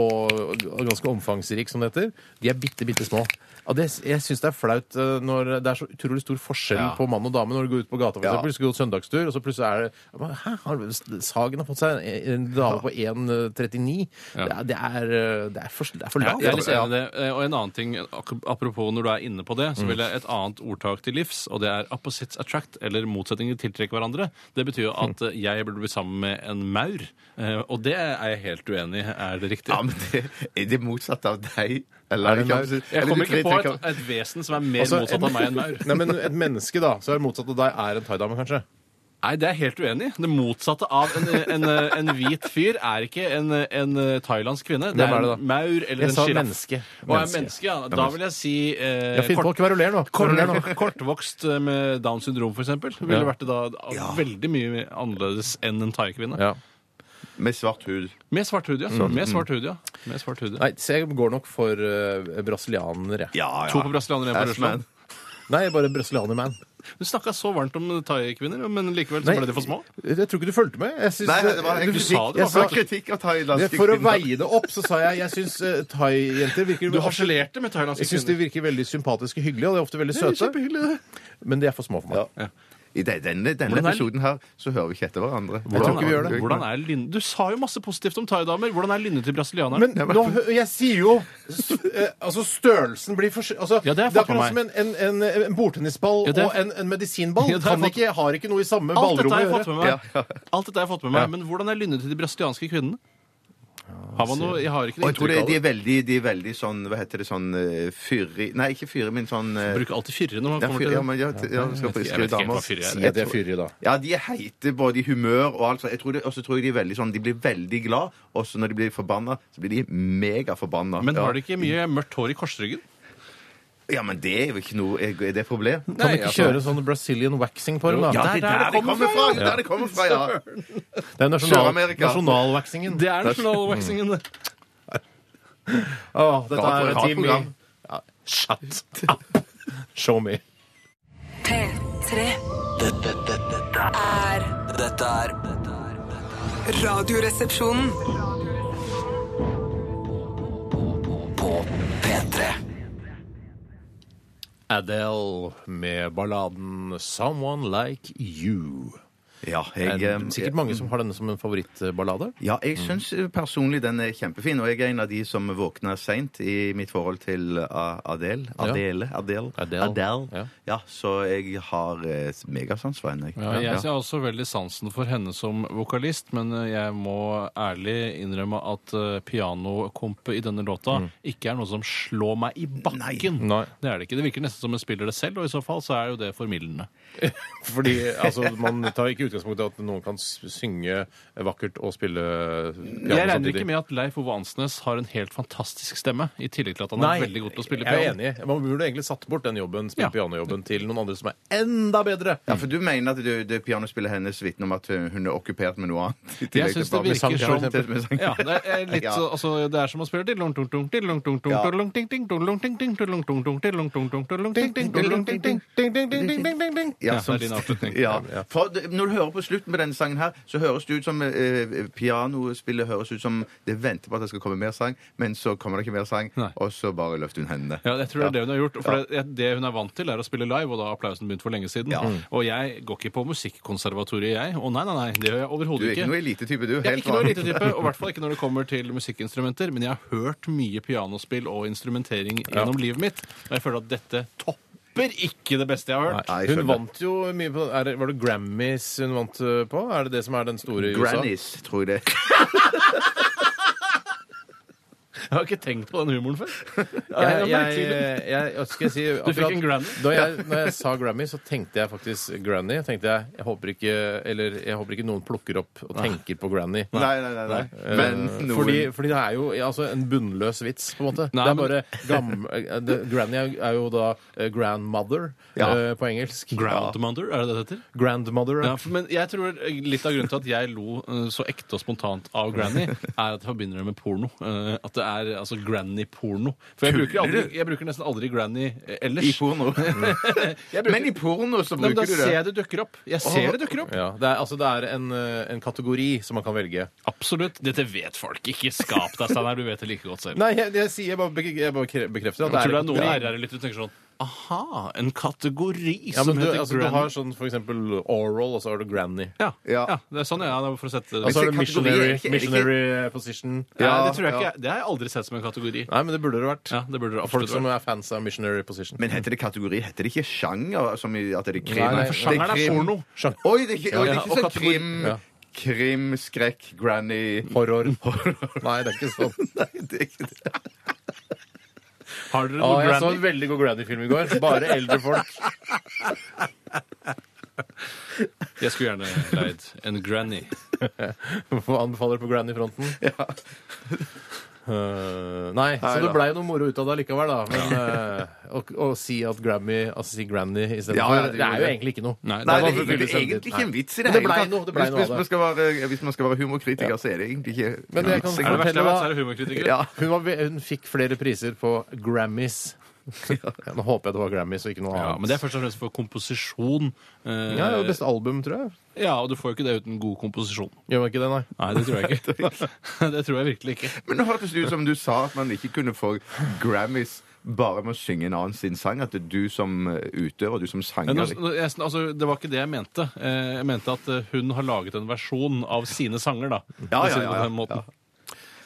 Speaker 3: og ganske omfangsrik, som det heter. De er bitte, bitte små. Ja, det, jeg syns det er flaut eh, når det er så utrolig stor forskjell
Speaker 5: Ja.
Speaker 3: på mann og dame når du går ut på gata, for
Speaker 4: Ja.
Speaker 3: eksempel. Du skal gå søndagstur, og så plutselig er det Hæ, har Sagen har fått seg en, en dame på 1,39? Det, er- det, er, eh, det, er for- det er for
Speaker 5: Ja,
Speaker 3: lavt.
Speaker 5: jeg er litt enig i det. Eh, Og en annen ting, ak- apropos når du er inne på det, så vil jeg et annet ordtak til livs, og det er opposites attract, eller motsetninger tiltrekker hverandre. Det betyr jo at eh, jeg burde bli sammen med en maur, eh, og det er jeg helt uenig i. Er det riktig?
Speaker 4: Ja, men det er det motsatt av deg.
Speaker 3: Er
Speaker 4: Eller,
Speaker 3: det meg?
Speaker 5: Jeg kommer ikke på et,
Speaker 4: det.
Speaker 5: et vesen som er mer
Speaker 3: Altså,
Speaker 5: motsatt av meg enn maur.
Speaker 3: Nei, men Et menneske, da, så er det motsatt av deg, er en thaidame, kanskje?
Speaker 5: Nei, det er jeg helt uenig. i. Det motsatte av en, en, en hvit fyr er ikke en, en eh, thailandsk kvinne. Det
Speaker 3: Hvem
Speaker 5: er,
Speaker 3: er det da?
Speaker 5: en maur eller
Speaker 3: Jeg
Speaker 5: en
Speaker 3: sa
Speaker 5: sjiraff.
Speaker 3: menneske.
Speaker 5: Og er
Speaker 3: Menneske.
Speaker 5: menneske, ja. Da vil jeg si eh,
Speaker 3: Ja, Finn på
Speaker 5: kort-
Speaker 3: å kveruler nå. Kveruler nå.
Speaker 5: Kort- Kortvokst eh, med Downs syndrom, f.eks., ville
Speaker 3: Ja.
Speaker 5: vært det da veldig mye annerledes enn en thaikvinne.
Speaker 3: Ja. Mm.
Speaker 4: Med svart hud.
Speaker 5: Med svart hud, ja. Med svart hud, ja. Med svart hud, ja.
Speaker 3: Nei, så jeg går nok for eh, brasilianer, jeg.
Speaker 4: Ja,
Speaker 5: To på brasilianere, én på Russland.
Speaker 3: Nei, bare brasilianer-man.
Speaker 5: Du snakka så varmt om thai-kvinner, men likevel så
Speaker 3: Nei.
Speaker 5: ble de for små.
Speaker 3: Jeg tror ikke du fulgte med. Jeg syns-
Speaker 4: Nei, det var
Speaker 3: du
Speaker 4: egentlig
Speaker 5: sa
Speaker 3: jeg
Speaker 5: det, det var
Speaker 4: Det
Speaker 3: sa-
Speaker 4: var kritikk av
Speaker 3: Men
Speaker 4: thailandske
Speaker 3: For å
Speaker 4: kvinner.
Speaker 3: veie det opp, så sa jeg jeg syns eh, thai-jenter virker
Speaker 5: Du harselerte med thailandske
Speaker 3: Jeg syns de
Speaker 5: kvinner.
Speaker 3: virker veldig sympatiske og hyggelige, og de er ofte veldig søte. Men de er for små for meg.
Speaker 4: I de- denne, denne
Speaker 5: Hvordan er-
Speaker 4: episoden her så hører vi ikke etter hverandre. Jeg
Speaker 3: Hvordan
Speaker 4: tror ikke
Speaker 3: er-
Speaker 4: vi gjør det.
Speaker 5: Hvordan er lynne? Du sa jo masse positivt om thaidamer. Hvordan er lynnet til brasilianerne?
Speaker 3: Men nå, hø- jeg sier jo s- eh, Altså, størrelsen blir forskjellig altså,
Speaker 5: Ja, det har jeg fått
Speaker 3: akkurat
Speaker 5: med
Speaker 3: som en, en, en, en bordtennisball
Speaker 5: Ja, det har
Speaker 3: og
Speaker 5: jeg
Speaker 3: en, en medisinball.
Speaker 5: Ja, det har jeg
Speaker 3: kan ikke, har ikke noe i samme
Speaker 5: Alt dette
Speaker 3: ballrommet å
Speaker 5: har jeg fått
Speaker 3: gjøre.
Speaker 5: med meg. Alt dette har jeg fått med meg. Men hvordan er lynnet til de brasilianske kvinnene? Har man noe? Jeg har ikke
Speaker 4: Og
Speaker 5: noe
Speaker 4: jeg tror
Speaker 5: inntrykk
Speaker 4: det,
Speaker 5: av
Speaker 4: de,
Speaker 5: det.
Speaker 4: er veldig, de er veldig sånn Hva heter det sånn eh, fyrig Nei, ikke fyrig, men sånn eh,
Speaker 5: Bruker alltid fyrre når man
Speaker 4: ja,
Speaker 5: kommer
Speaker 4: fyr,
Speaker 5: til
Speaker 4: ja,
Speaker 5: det.
Speaker 4: men ja, t- ja, vi skal på
Speaker 5: Jeg vet
Speaker 4: friske
Speaker 5: ikke helt hva
Speaker 4: damer.
Speaker 5: fyrre er.
Speaker 3: Si at de er fyrige, da.
Speaker 4: Ja, de er heite både i humør og alt sånt. Jeg tror det- Og så tror jeg de er veldig sånn De blir veldig glad, og så når de blir forbanna, så blir de megaforbanna.
Speaker 5: Men
Speaker 4: ja.
Speaker 5: har de ikke mye mørkt hår i korsryggen?
Speaker 4: Ja, men det er jo ikke noe Er er det et problem?
Speaker 3: Kan vi ikke kjøre sånn Brazilian waxing på dem, da?
Speaker 4: Ja,
Speaker 5: Der-
Speaker 4: det er
Speaker 5: der
Speaker 4: der det kommer fra! Det er der det kommer fra, ja.
Speaker 3: Det er nasjonal,
Speaker 4: Sør-Amerika.
Speaker 3: nasjonalvaksingen.
Speaker 5: Det er nasjonal waxingen, det.
Speaker 3: Åh, dette
Speaker 4: Rart
Speaker 3: er et
Speaker 4: program.
Speaker 3: team i Shut up. Show me.
Speaker 6: P3
Speaker 2: Dette, dette, dette
Speaker 6: er
Speaker 2: er Dette er dette er-
Speaker 6: Radioresepsjonen.
Speaker 2: På P3
Speaker 3: Adele med balladen 'Someone Like You'.
Speaker 4: Ja,
Speaker 3: En,
Speaker 4: jeg, eh,
Speaker 3: sikkert mange som har denne som en favorittballade.
Speaker 4: ja,
Speaker 5: Mm.
Speaker 4: jeg syns eh, personlig den er kjempefin, og jeg er en av de som våkner seint i mitt forhold til eh, Adele. Adele. Adele.
Speaker 3: Adele, ja.
Speaker 4: Adele. Ja, så jeg har eh, megasans for henne. jeg.
Speaker 5: Ja, jeg ser også veldig sansen for henne som vokalist, men eh, jeg må ærlig innrømme at eh, pianokompet i denne låta ikke er noe som slår meg i bakken.
Speaker 3: Mm. Nei.
Speaker 5: Det er det ikke. Det virker nesten som hun spiller det selv, og i så fall så er jo det formildende.
Speaker 3: Fordi altså, man tar ikke utgangspunktet at noen kan s- synge vakkert og spille piano
Speaker 5: Jeg regner
Speaker 3: samtidig.
Speaker 5: ikke med at Leif Ove Ansnes har en helt fantastisk stemme, i tillegg til at han er veldig god til å spille
Speaker 3: Jeg er
Speaker 5: piano.
Speaker 3: enig. Man burde egentlig satt bort den jobben, spille
Speaker 5: Ja.
Speaker 3: pianojobben til noen andre som er enda bedre.
Speaker 4: Ja, for du mener at det, det pianospillet hennes vitner om at eh, hun er okkupert med noe annet? i tillegg
Speaker 5: Jeg
Speaker 4: til
Speaker 5: syns det
Speaker 4: bare med sang,
Speaker 5: virker
Speaker 4: for
Speaker 5: som
Speaker 4: eksempel, med sang.
Speaker 5: ja, det, er litt,
Speaker 4: Ja.
Speaker 5: så- altså, det er som å spille tidlung, tung, tung, tidlung, tung, tung,
Speaker 4: Ja.
Speaker 5: tidlung, ting, ting, tidlung, ting, ting, tidlung, tung, tung, tidlung, tung, tung, tidlung, ting, ting, tidlung, ting, ting. Ja, det
Speaker 4: som-
Speaker 5: er din avslutning.
Speaker 4: Ja. For det- når du hører på slutten på denne sangen her, så høres det ut som eh, pianospillet høres ut som det venter på at det skal komme mer sang, men så kommer det ikke mer sang,
Speaker 5: Nei.
Speaker 4: og så bare løfter hun hendene.
Speaker 5: Ja, jeg tror det er det hun har gjort. For det, det hun er vant til, er å spille live, og da har applausen begynt for lenge siden. Og jeg går ikke på musikkonservatoriet, jeg. Å nei, nei, nei, det gjør jeg
Speaker 4: Du
Speaker 5: overhodet
Speaker 4: er ikke noe elitetype, du.
Speaker 5: Jeg er
Speaker 4: Helt
Speaker 5: ikke noe
Speaker 4: vanlig.
Speaker 5: lite type, og i hvert fall ikke når det kommer til musikkinstrumenter, men jeg har hørt mye pianospill og instrumentering gjennom livet mitt, og jeg føler at dette topper ikke det beste jeg har hørt.
Speaker 4: Nei, jeg
Speaker 3: Hun
Speaker 4: skjønner.
Speaker 3: vant jo mye på er, det- Var det Grammys hun vant eh, på? Er det det som er den store i USA?
Speaker 4: Grannies, tror jeg det.
Speaker 5: Jeg har ikke tenkt på den humoren før.
Speaker 3: Jeg,
Speaker 5: det er
Speaker 3: jeg,
Speaker 5: merkelig.
Speaker 3: jeg, hva skal jeg si,
Speaker 5: Du fikk en Grammy?
Speaker 3: Da jeg, når jeg sa Grammy, så tenkte jeg faktisk Granny. Tenkte jeg, jeg, håper ikke, eller, jeg håper ikke noen plukker opp og tenker på Granny.
Speaker 4: Nei, nei, nei. nei.
Speaker 3: Eh,
Speaker 4: Men noen
Speaker 3: fordi, fordi det er jo ja, altså, en bunnløs vits, på en måte.
Speaker 5: Nei,
Speaker 3: det er
Speaker 5: men-
Speaker 3: bare gam, eh, det, Granny er, er jo da eh, grandmother
Speaker 4: Ja.
Speaker 3: eh, på engelsk.
Speaker 5: Groundmother, er det det det heter?
Speaker 3: Ja. Grandmother.
Speaker 5: Ja, for- men jeg tror litt av grunnen til at jeg lo eh, så ekte og spontant av Granny, er at jeg forbinder det med porno. Eh, At det er altså Granny-porno. For jeg bruker, aldri, jeg bruker nesten aldri Granny eh,
Speaker 4: I
Speaker 5: ellers.
Speaker 4: porno. Men i porno så
Speaker 5: Nei, men da
Speaker 4: bruker du
Speaker 5: ser
Speaker 4: det.
Speaker 5: jeg det dukker opp. Jeg ser det dukker opp.
Speaker 3: Ja, det er, altså, det er en, eh, en kategori som man kan velge.
Speaker 5: Absolutt. Dette vet folk. Ikke skap deg, Steinar. Du vet det like godt selv.
Speaker 3: Nei, jeg, jeg, sier- jeg, bare, bekre- jeg bare kre- bekrefter at
Speaker 5: Jeg
Speaker 3: det er
Speaker 5: tror det
Speaker 3: en
Speaker 5: er noen
Speaker 3: kategori.
Speaker 5: RR-lyttere som tenker sånn Aha, en kategori
Speaker 3: Ja,
Speaker 5: som
Speaker 3: men du,
Speaker 5: heter
Speaker 3: altså, du
Speaker 5: granny.
Speaker 3: har sånn for eksempel oral, og så har du granny.
Speaker 5: ja, ja.
Speaker 4: Ja.
Speaker 5: det er sånn ja, det er for å sette
Speaker 3: Og så har
Speaker 4: Men
Speaker 3: du
Speaker 4: se, kategori
Speaker 3: missionary,
Speaker 4: er ikke- er det ikke-
Speaker 3: missionary eh, position.
Speaker 5: Nei,
Speaker 4: Ja,
Speaker 5: det tror jeg
Speaker 4: ja.
Speaker 5: ikke. Det har jeg aldri sett som en kategori.
Speaker 3: Nei, men det burde det vært.
Speaker 5: Ja, det burde det
Speaker 3: Folk
Speaker 5: absolutt
Speaker 3: som
Speaker 5: være.
Speaker 3: er fans av missionary position.
Speaker 4: Men heter det kategori? Heter det ikke sjanger? Som i at det er krim?
Speaker 3: Nei, nei,
Speaker 4: Det er
Speaker 5: Sjangeren er
Speaker 4: krim.
Speaker 5: porno.
Speaker 3: Sjang-
Speaker 4: Oi, det er ikke, oi, det
Speaker 5: Ja,
Speaker 4: er
Speaker 5: og
Speaker 4: ikke sånn
Speaker 5: kategori-
Speaker 4: krim,
Speaker 3: Ja.
Speaker 4: krim, skrekk, granny
Speaker 3: Horror. Nei, det er ikke sånn.
Speaker 4: Nei, det er ikke det.
Speaker 5: Har dere
Speaker 3: Å,
Speaker 5: noe
Speaker 3: Ah, jeg så
Speaker 5: granny?
Speaker 3: en veldig god granny-film i går. Bare eldre folk.
Speaker 5: Jeg skulle gjerne leid en granny.
Speaker 3: Hva Anbefaler på granny-fronten. Eh, nei, så det blei jo noe moro ut av det likevel, da. Men eh, å, å si at Grammy Altså si Granny istedenfor,
Speaker 4: Ja, ja,
Speaker 3: det, det
Speaker 4: det
Speaker 3: er
Speaker 4: gjorde
Speaker 3: jo
Speaker 4: det.
Speaker 3: egentlig ikke noe.
Speaker 5: Nei,
Speaker 4: Nei,
Speaker 5: det
Speaker 4: det
Speaker 5: var
Speaker 4: er,
Speaker 5: for
Speaker 4: egentlig- det er
Speaker 3: selvfølgelig
Speaker 4: egentlig ikke en vits i det
Speaker 3: Men det
Speaker 4: hele
Speaker 3: ble
Speaker 4: tatt.
Speaker 3: noe- det ble
Speaker 4: Hvis-
Speaker 3: noe av
Speaker 4: hvis,
Speaker 3: det.
Speaker 4: man skal være, hvis man skal være humorkritiker, så er det egentlig ikke
Speaker 3: Men jeg kan-
Speaker 4: vits.
Speaker 3: er
Speaker 5: Er det verste jeg vet, så er det
Speaker 4: Ja.
Speaker 5: humorkritikere.
Speaker 4: Ja.
Speaker 3: Hun, var, ve- hun fikk flere priser på Grammys. Ja, Nå håper jeg det var Grammys og ikke noe
Speaker 5: Ja,
Speaker 3: annet.
Speaker 5: men det er først og fremst for komposisjon. Eh,
Speaker 3: Ja, det var best album, tror jeg.
Speaker 5: ja, og du får jo ikke det uten god komposisjon.
Speaker 3: Gjør man ikke det, nei?
Speaker 5: Nei, det tror jeg ikke. det tror jeg virkelig ikke.
Speaker 4: Men nå hørtes det ut som du sa at man ikke kunne få Grammys bare med å synge en annen sin sang. At det er du som eh, utøver, du som sanger
Speaker 5: Men nå- nå- jeg, altså, det var ikke det jeg mente. Eh, Jeg mente at eh, hun har laget en versjon av sine sanger, da.
Speaker 4: Ja,
Speaker 5: For å
Speaker 4: ja,
Speaker 5: si det
Speaker 4: ja,
Speaker 5: på
Speaker 4: ja.
Speaker 5: den måten.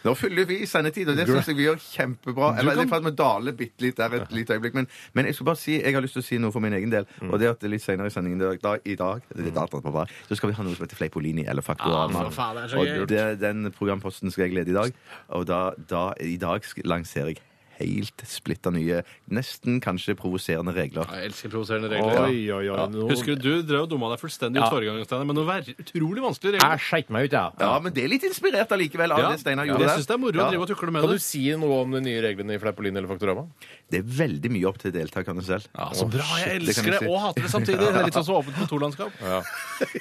Speaker 4: Nå fyller vi sendetid, og det syns jeg vi gjør kjempebra. Jeg er i ferd med å dale bitte litt der et lite øyeblikk, men, men jeg skal bare si, jeg har lyst til å si noe for min egen del.
Speaker 5: Mm.
Speaker 4: Og det er at litt senere i sendingen i dag, i dag det er dataen på vei, så skal vi ha noe som heter Fleipolini eller Faktorama.
Speaker 5: Ah, for faen, det er så
Speaker 4: og
Speaker 5: kult.
Speaker 4: det, den programposten skal jeg lede i dag, og da, da i dag sk- lanserer jeg helt splitta nye, nesten kanskje provoserende regler.
Speaker 5: Jeg elsker provoserende regler.
Speaker 3: Oi, oi, oi, nå-
Speaker 5: Husker du, du drev og dumma deg fullstendig ut
Speaker 3: Ja.
Speaker 5: forrige gang, Steiner, men noen ver- utrolig vanskelige regler.
Speaker 3: Jeg skeit meg ut, jeg.
Speaker 4: Ja, men det er litt inspirert allikevel av
Speaker 5: Ja,
Speaker 4: det Steinar gjorde
Speaker 5: Jeg syns det er moro
Speaker 4: Ja.
Speaker 5: å drive og tukle med
Speaker 3: Kan du
Speaker 5: det.
Speaker 3: si noe om de nye reglene i Fleipolin eller Faktorama?
Speaker 4: Det er veldig mye opp til deltakerne selv.
Speaker 5: Ja, så bra!
Speaker 4: Shit,
Speaker 5: Jeg
Speaker 4: det kan
Speaker 5: elsker
Speaker 4: vi
Speaker 5: det,
Speaker 4: si.
Speaker 5: og hater det samtidig. Det er litt sånn som åpent kontorlandskap.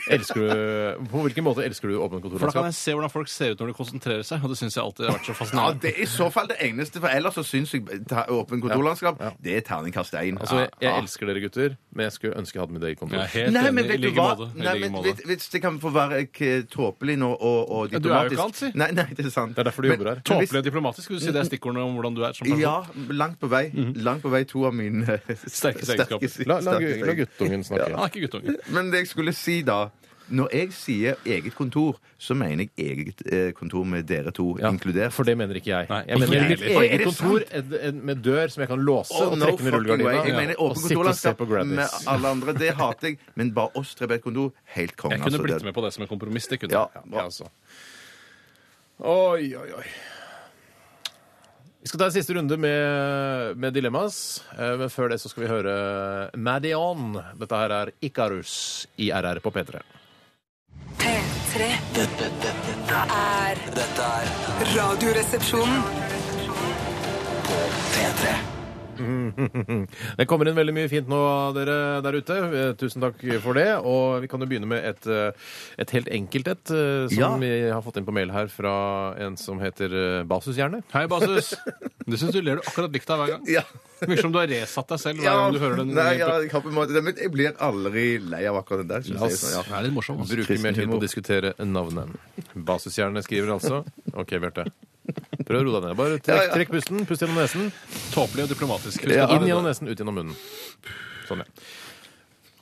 Speaker 3: Elsker du, på hvilken måte elsker du åpent
Speaker 5: For da kan
Speaker 3: kontorlandskap?
Speaker 5: jeg se hvordan folk ser ut når de konsentrerer seg, og det syns jeg alltid har vært så
Speaker 4: Ja,
Speaker 5: fascinerende.
Speaker 4: det er i så fall det eneste, for ellers så syns jeg ta- åpen kontorlandskap, det er terningkast 1.
Speaker 3: Altså, jeg, jeg elsker dere gutter, men jeg skulle ønske jeg hadde mitt eget kontor.
Speaker 5: Jeg er helt
Speaker 4: Nei, men
Speaker 5: enig. I
Speaker 4: vet du
Speaker 5: like
Speaker 4: hva?
Speaker 5: måte. I
Speaker 4: Nei,
Speaker 5: like
Speaker 4: men,
Speaker 5: måte.
Speaker 4: vet, hvis det kan få være k- tåpelig nå og, og
Speaker 5: du er jo
Speaker 4: diplomatisk
Speaker 5: ikke alt, si.
Speaker 4: Nei, nei, det er sant.
Speaker 3: Det er derfor du
Speaker 4: Men-
Speaker 3: jobber her.
Speaker 4: men hvis-
Speaker 5: Tåpelig og diplomatisk. Skal du si det er stikkordene om hvordan du er som person?
Speaker 4: Ja, langt på vei.
Speaker 5: Mhm.
Speaker 4: Langt på vei to av mine sterkeste
Speaker 5: egenskaper.
Speaker 4: si-
Speaker 3: La, la,
Speaker 4: sterkeste
Speaker 3: gu- la guttungen snakke.
Speaker 5: Han er ikke guttunge.
Speaker 4: Men det jeg skulle si da Når jeg sier eget kontor, så mener jeg eget eh, kontor med dere to
Speaker 3: Ja,
Speaker 4: inkludert.
Speaker 3: For det mener ikke jeg.
Speaker 5: Nei,
Speaker 3: jeg
Speaker 5: ikke
Speaker 3: mener
Speaker 5: jeg
Speaker 3: mitt
Speaker 5: heller.
Speaker 4: Oi, er
Speaker 3: eget
Speaker 4: det
Speaker 3: kontor en- en- med dør som jeg kan låse
Speaker 4: Oh,
Speaker 3: og
Speaker 4: no
Speaker 3: trekke ned
Speaker 4: fucking way. Jeg
Speaker 3: rullegardina.
Speaker 4: mener
Speaker 3: ja, Og
Speaker 4: åpen
Speaker 3: sitte og se
Speaker 4: kontorlandskap
Speaker 3: på
Speaker 4: med
Speaker 3: Grammys.
Speaker 4: alle andre. Det hater jeg. Men bare oss tre på et kontor, helt konge.
Speaker 5: Jeg kunne
Speaker 4: altså,
Speaker 5: blitt
Speaker 4: det-
Speaker 5: med på det som en kompromiss. Det kunne
Speaker 4: Ja,
Speaker 5: jeg.
Speaker 4: bra.
Speaker 3: altså. Oi, oi, oi. Vi skal ta en siste runde med, med dilemmas, eh, men før det så skal vi høre Madion. Dette her er Ikarus i RR på P3.
Speaker 6: P3
Speaker 2: Dette, dette, dette,
Speaker 6: er
Speaker 2: dette er
Speaker 6: Radioresepsjonen.
Speaker 2: P3.
Speaker 3: Det kommer inn veldig mye fint nå, dere der ute. Eh, Tusen takk for det. Og vi kan jo begynne med et, eh, et helt enkelt et, eh, som
Speaker 4: Ja.
Speaker 3: vi har fått inn på mail her fra en som heter eh, Basushjerne.
Speaker 5: Hei, Basus. Du syns du ler du akkurat likt deg hver gang.
Speaker 4: Ja.
Speaker 5: Virker som du har resatt deg selv hver gang du hører den.
Speaker 4: Nei, ja, jeg har på en måte, men jeg blir aldri lei av akkurat den der. Synes jeg, sånn, ja.
Speaker 5: Det er litt morsom. altså.
Speaker 3: Bruker mer tid på å diskutere navnet. Basushjerne skriver altså. OK, Bjarte. Prøv å roe deg ned. Bare trekk, trekk pusten. Pust gjennom nesen.
Speaker 5: Tåpelig og diplomatisk. Husk
Speaker 3: Inn
Speaker 5: at det-
Speaker 3: gjennom nesen, ut gjennom munnen. Sånn, ja.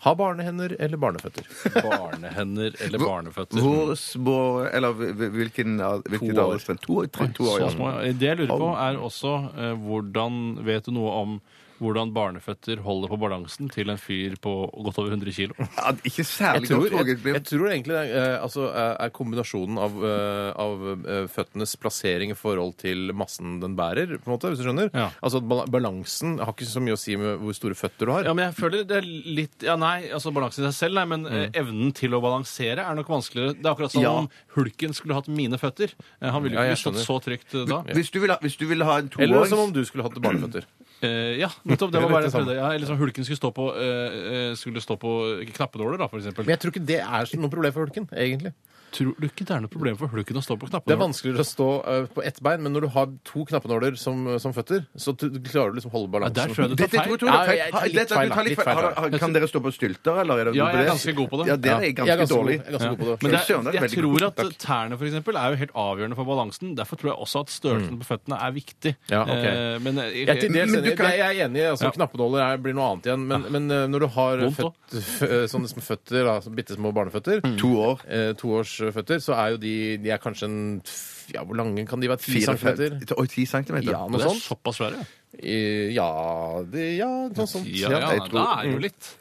Speaker 3: Ha barnehender eller barneføtter?
Speaker 5: Barnehender eller barneføtter.
Speaker 4: Hvor små Eller hvil- hvilken al- hvilket
Speaker 5: år.
Speaker 4: alderstrinn? To, år, tre, to år,
Speaker 5: Så
Speaker 4: ja.
Speaker 5: små. ja. Det jeg lurer på, er også eh, hvordan Vet du noe om hvordan barneføtter holder på balansen til en fyr på godt over 100 kilo?
Speaker 4: ja. Ikke
Speaker 3: Jeg
Speaker 4: særlig
Speaker 3: tror,
Speaker 4: godt, tror
Speaker 3: jeg,
Speaker 4: jeg. Det blir-
Speaker 3: jeg tror egentlig det er, eh, altså, er- er kombinasjonen av, eh, av eh, føttenes plassering i forhold til massen den bærer, på en måte, hvis du skjønner.
Speaker 5: Ja.
Speaker 3: Altså at bala- balansen har ikke så mye å si med hvor store føtter du har.
Speaker 5: Ja, men jeg føler det er litt Ja, nei, altså balansen i seg selv, nei, men
Speaker 3: Mm.
Speaker 5: eh, evnen til å balansere er nok vanskeligere. Det er akkurat som
Speaker 4: Ja.
Speaker 5: om Hulken skulle hatt mine føtter. Eh, Han ville jo
Speaker 3: Ja, jeg
Speaker 5: ikke stått
Speaker 3: skjønner.
Speaker 5: så trygt eh, da.
Speaker 4: Hvis du vil ha, hvis du vil ha en
Speaker 3: Eller som
Speaker 4: toåring
Speaker 3: om du skulle hatt barneføtter.
Speaker 5: Eh, ja, nettopp. Det
Speaker 3: Det er
Speaker 5: var bare
Speaker 3: litt det
Speaker 5: det jeg
Speaker 3: samme.
Speaker 5: prøvde. Ja, eller som Hulken skulle stå på, eh, eh, skulle stå på knappenåler, da, for eksempel.
Speaker 3: Men jeg tror ikke det er så noe problem for hulken, egentlig.
Speaker 5: Tror du ikke det er noe problem for Hulken å stå på
Speaker 3: Det er
Speaker 5: knappenåler?
Speaker 3: vanskeligere å stå eh, på ett bein, men når du har to knappenåler som, som føtter, så t- klarer du liksom å holde
Speaker 5: Ja,
Speaker 3: balansen.
Speaker 5: der tror jeg du
Speaker 4: Dette
Speaker 5: tar
Speaker 4: tror jeg
Speaker 5: feil.
Speaker 4: du tar
Speaker 3: Ja,
Speaker 4: feil.
Speaker 3: jeg
Speaker 4: Ha-
Speaker 3: tar litt
Speaker 4: dette-
Speaker 3: feil,
Speaker 4: du
Speaker 3: da.
Speaker 4: tar litt
Speaker 3: Litt
Speaker 4: feil.
Speaker 3: feil,
Speaker 4: Har- har- Kan dere stå på stylter, eller? Er det
Speaker 5: Ja, jeg er ganske god på det.
Speaker 4: Ja, dere
Speaker 3: Ja.
Speaker 4: er
Speaker 3: Jeg er
Speaker 4: ganske
Speaker 3: ganske god-
Speaker 4: dårlig.
Speaker 3: jeg er ganske god på det.
Speaker 5: Men det,
Speaker 4: Fy søren, det er
Speaker 5: jeg
Speaker 4: veldig god.
Speaker 5: tror at
Speaker 4: Takk.
Speaker 5: tærne for eksempel, er jo helt avgjørende for balansen. Derfor tror jeg også at størrelsen på føttene er viktig.
Speaker 3: Mm. Ja, ok.
Speaker 5: Eh, men eh,
Speaker 3: Jeg er, til dels
Speaker 4: Men du
Speaker 3: enig.
Speaker 4: kan-
Speaker 3: Det- jeg er enig. altså
Speaker 5: Ja.
Speaker 3: Knappenåler er, blir noe annet igjen. Men, men eh, når du har
Speaker 5: Vondt
Speaker 3: født, f- sånne små føtter, da, bitte små barneføtter,
Speaker 4: To år.
Speaker 3: eh, toårsføtter, så er jo de De er kanskje en f- Ja, hvor lange kan de være? Ti
Speaker 4: Fire
Speaker 3: centimeter?
Speaker 4: centimeter. Oi, ti centimeter.
Speaker 3: Ja,
Speaker 5: det
Speaker 3: noe
Speaker 5: er
Speaker 3: sånt.
Speaker 5: såpass svære.
Speaker 3: Eh, Ja, det, ja noe sånt.
Speaker 5: Ja,
Speaker 3: Ja.
Speaker 5: ja,
Speaker 4: jeg
Speaker 5: da
Speaker 4: tror-
Speaker 5: er jo litt.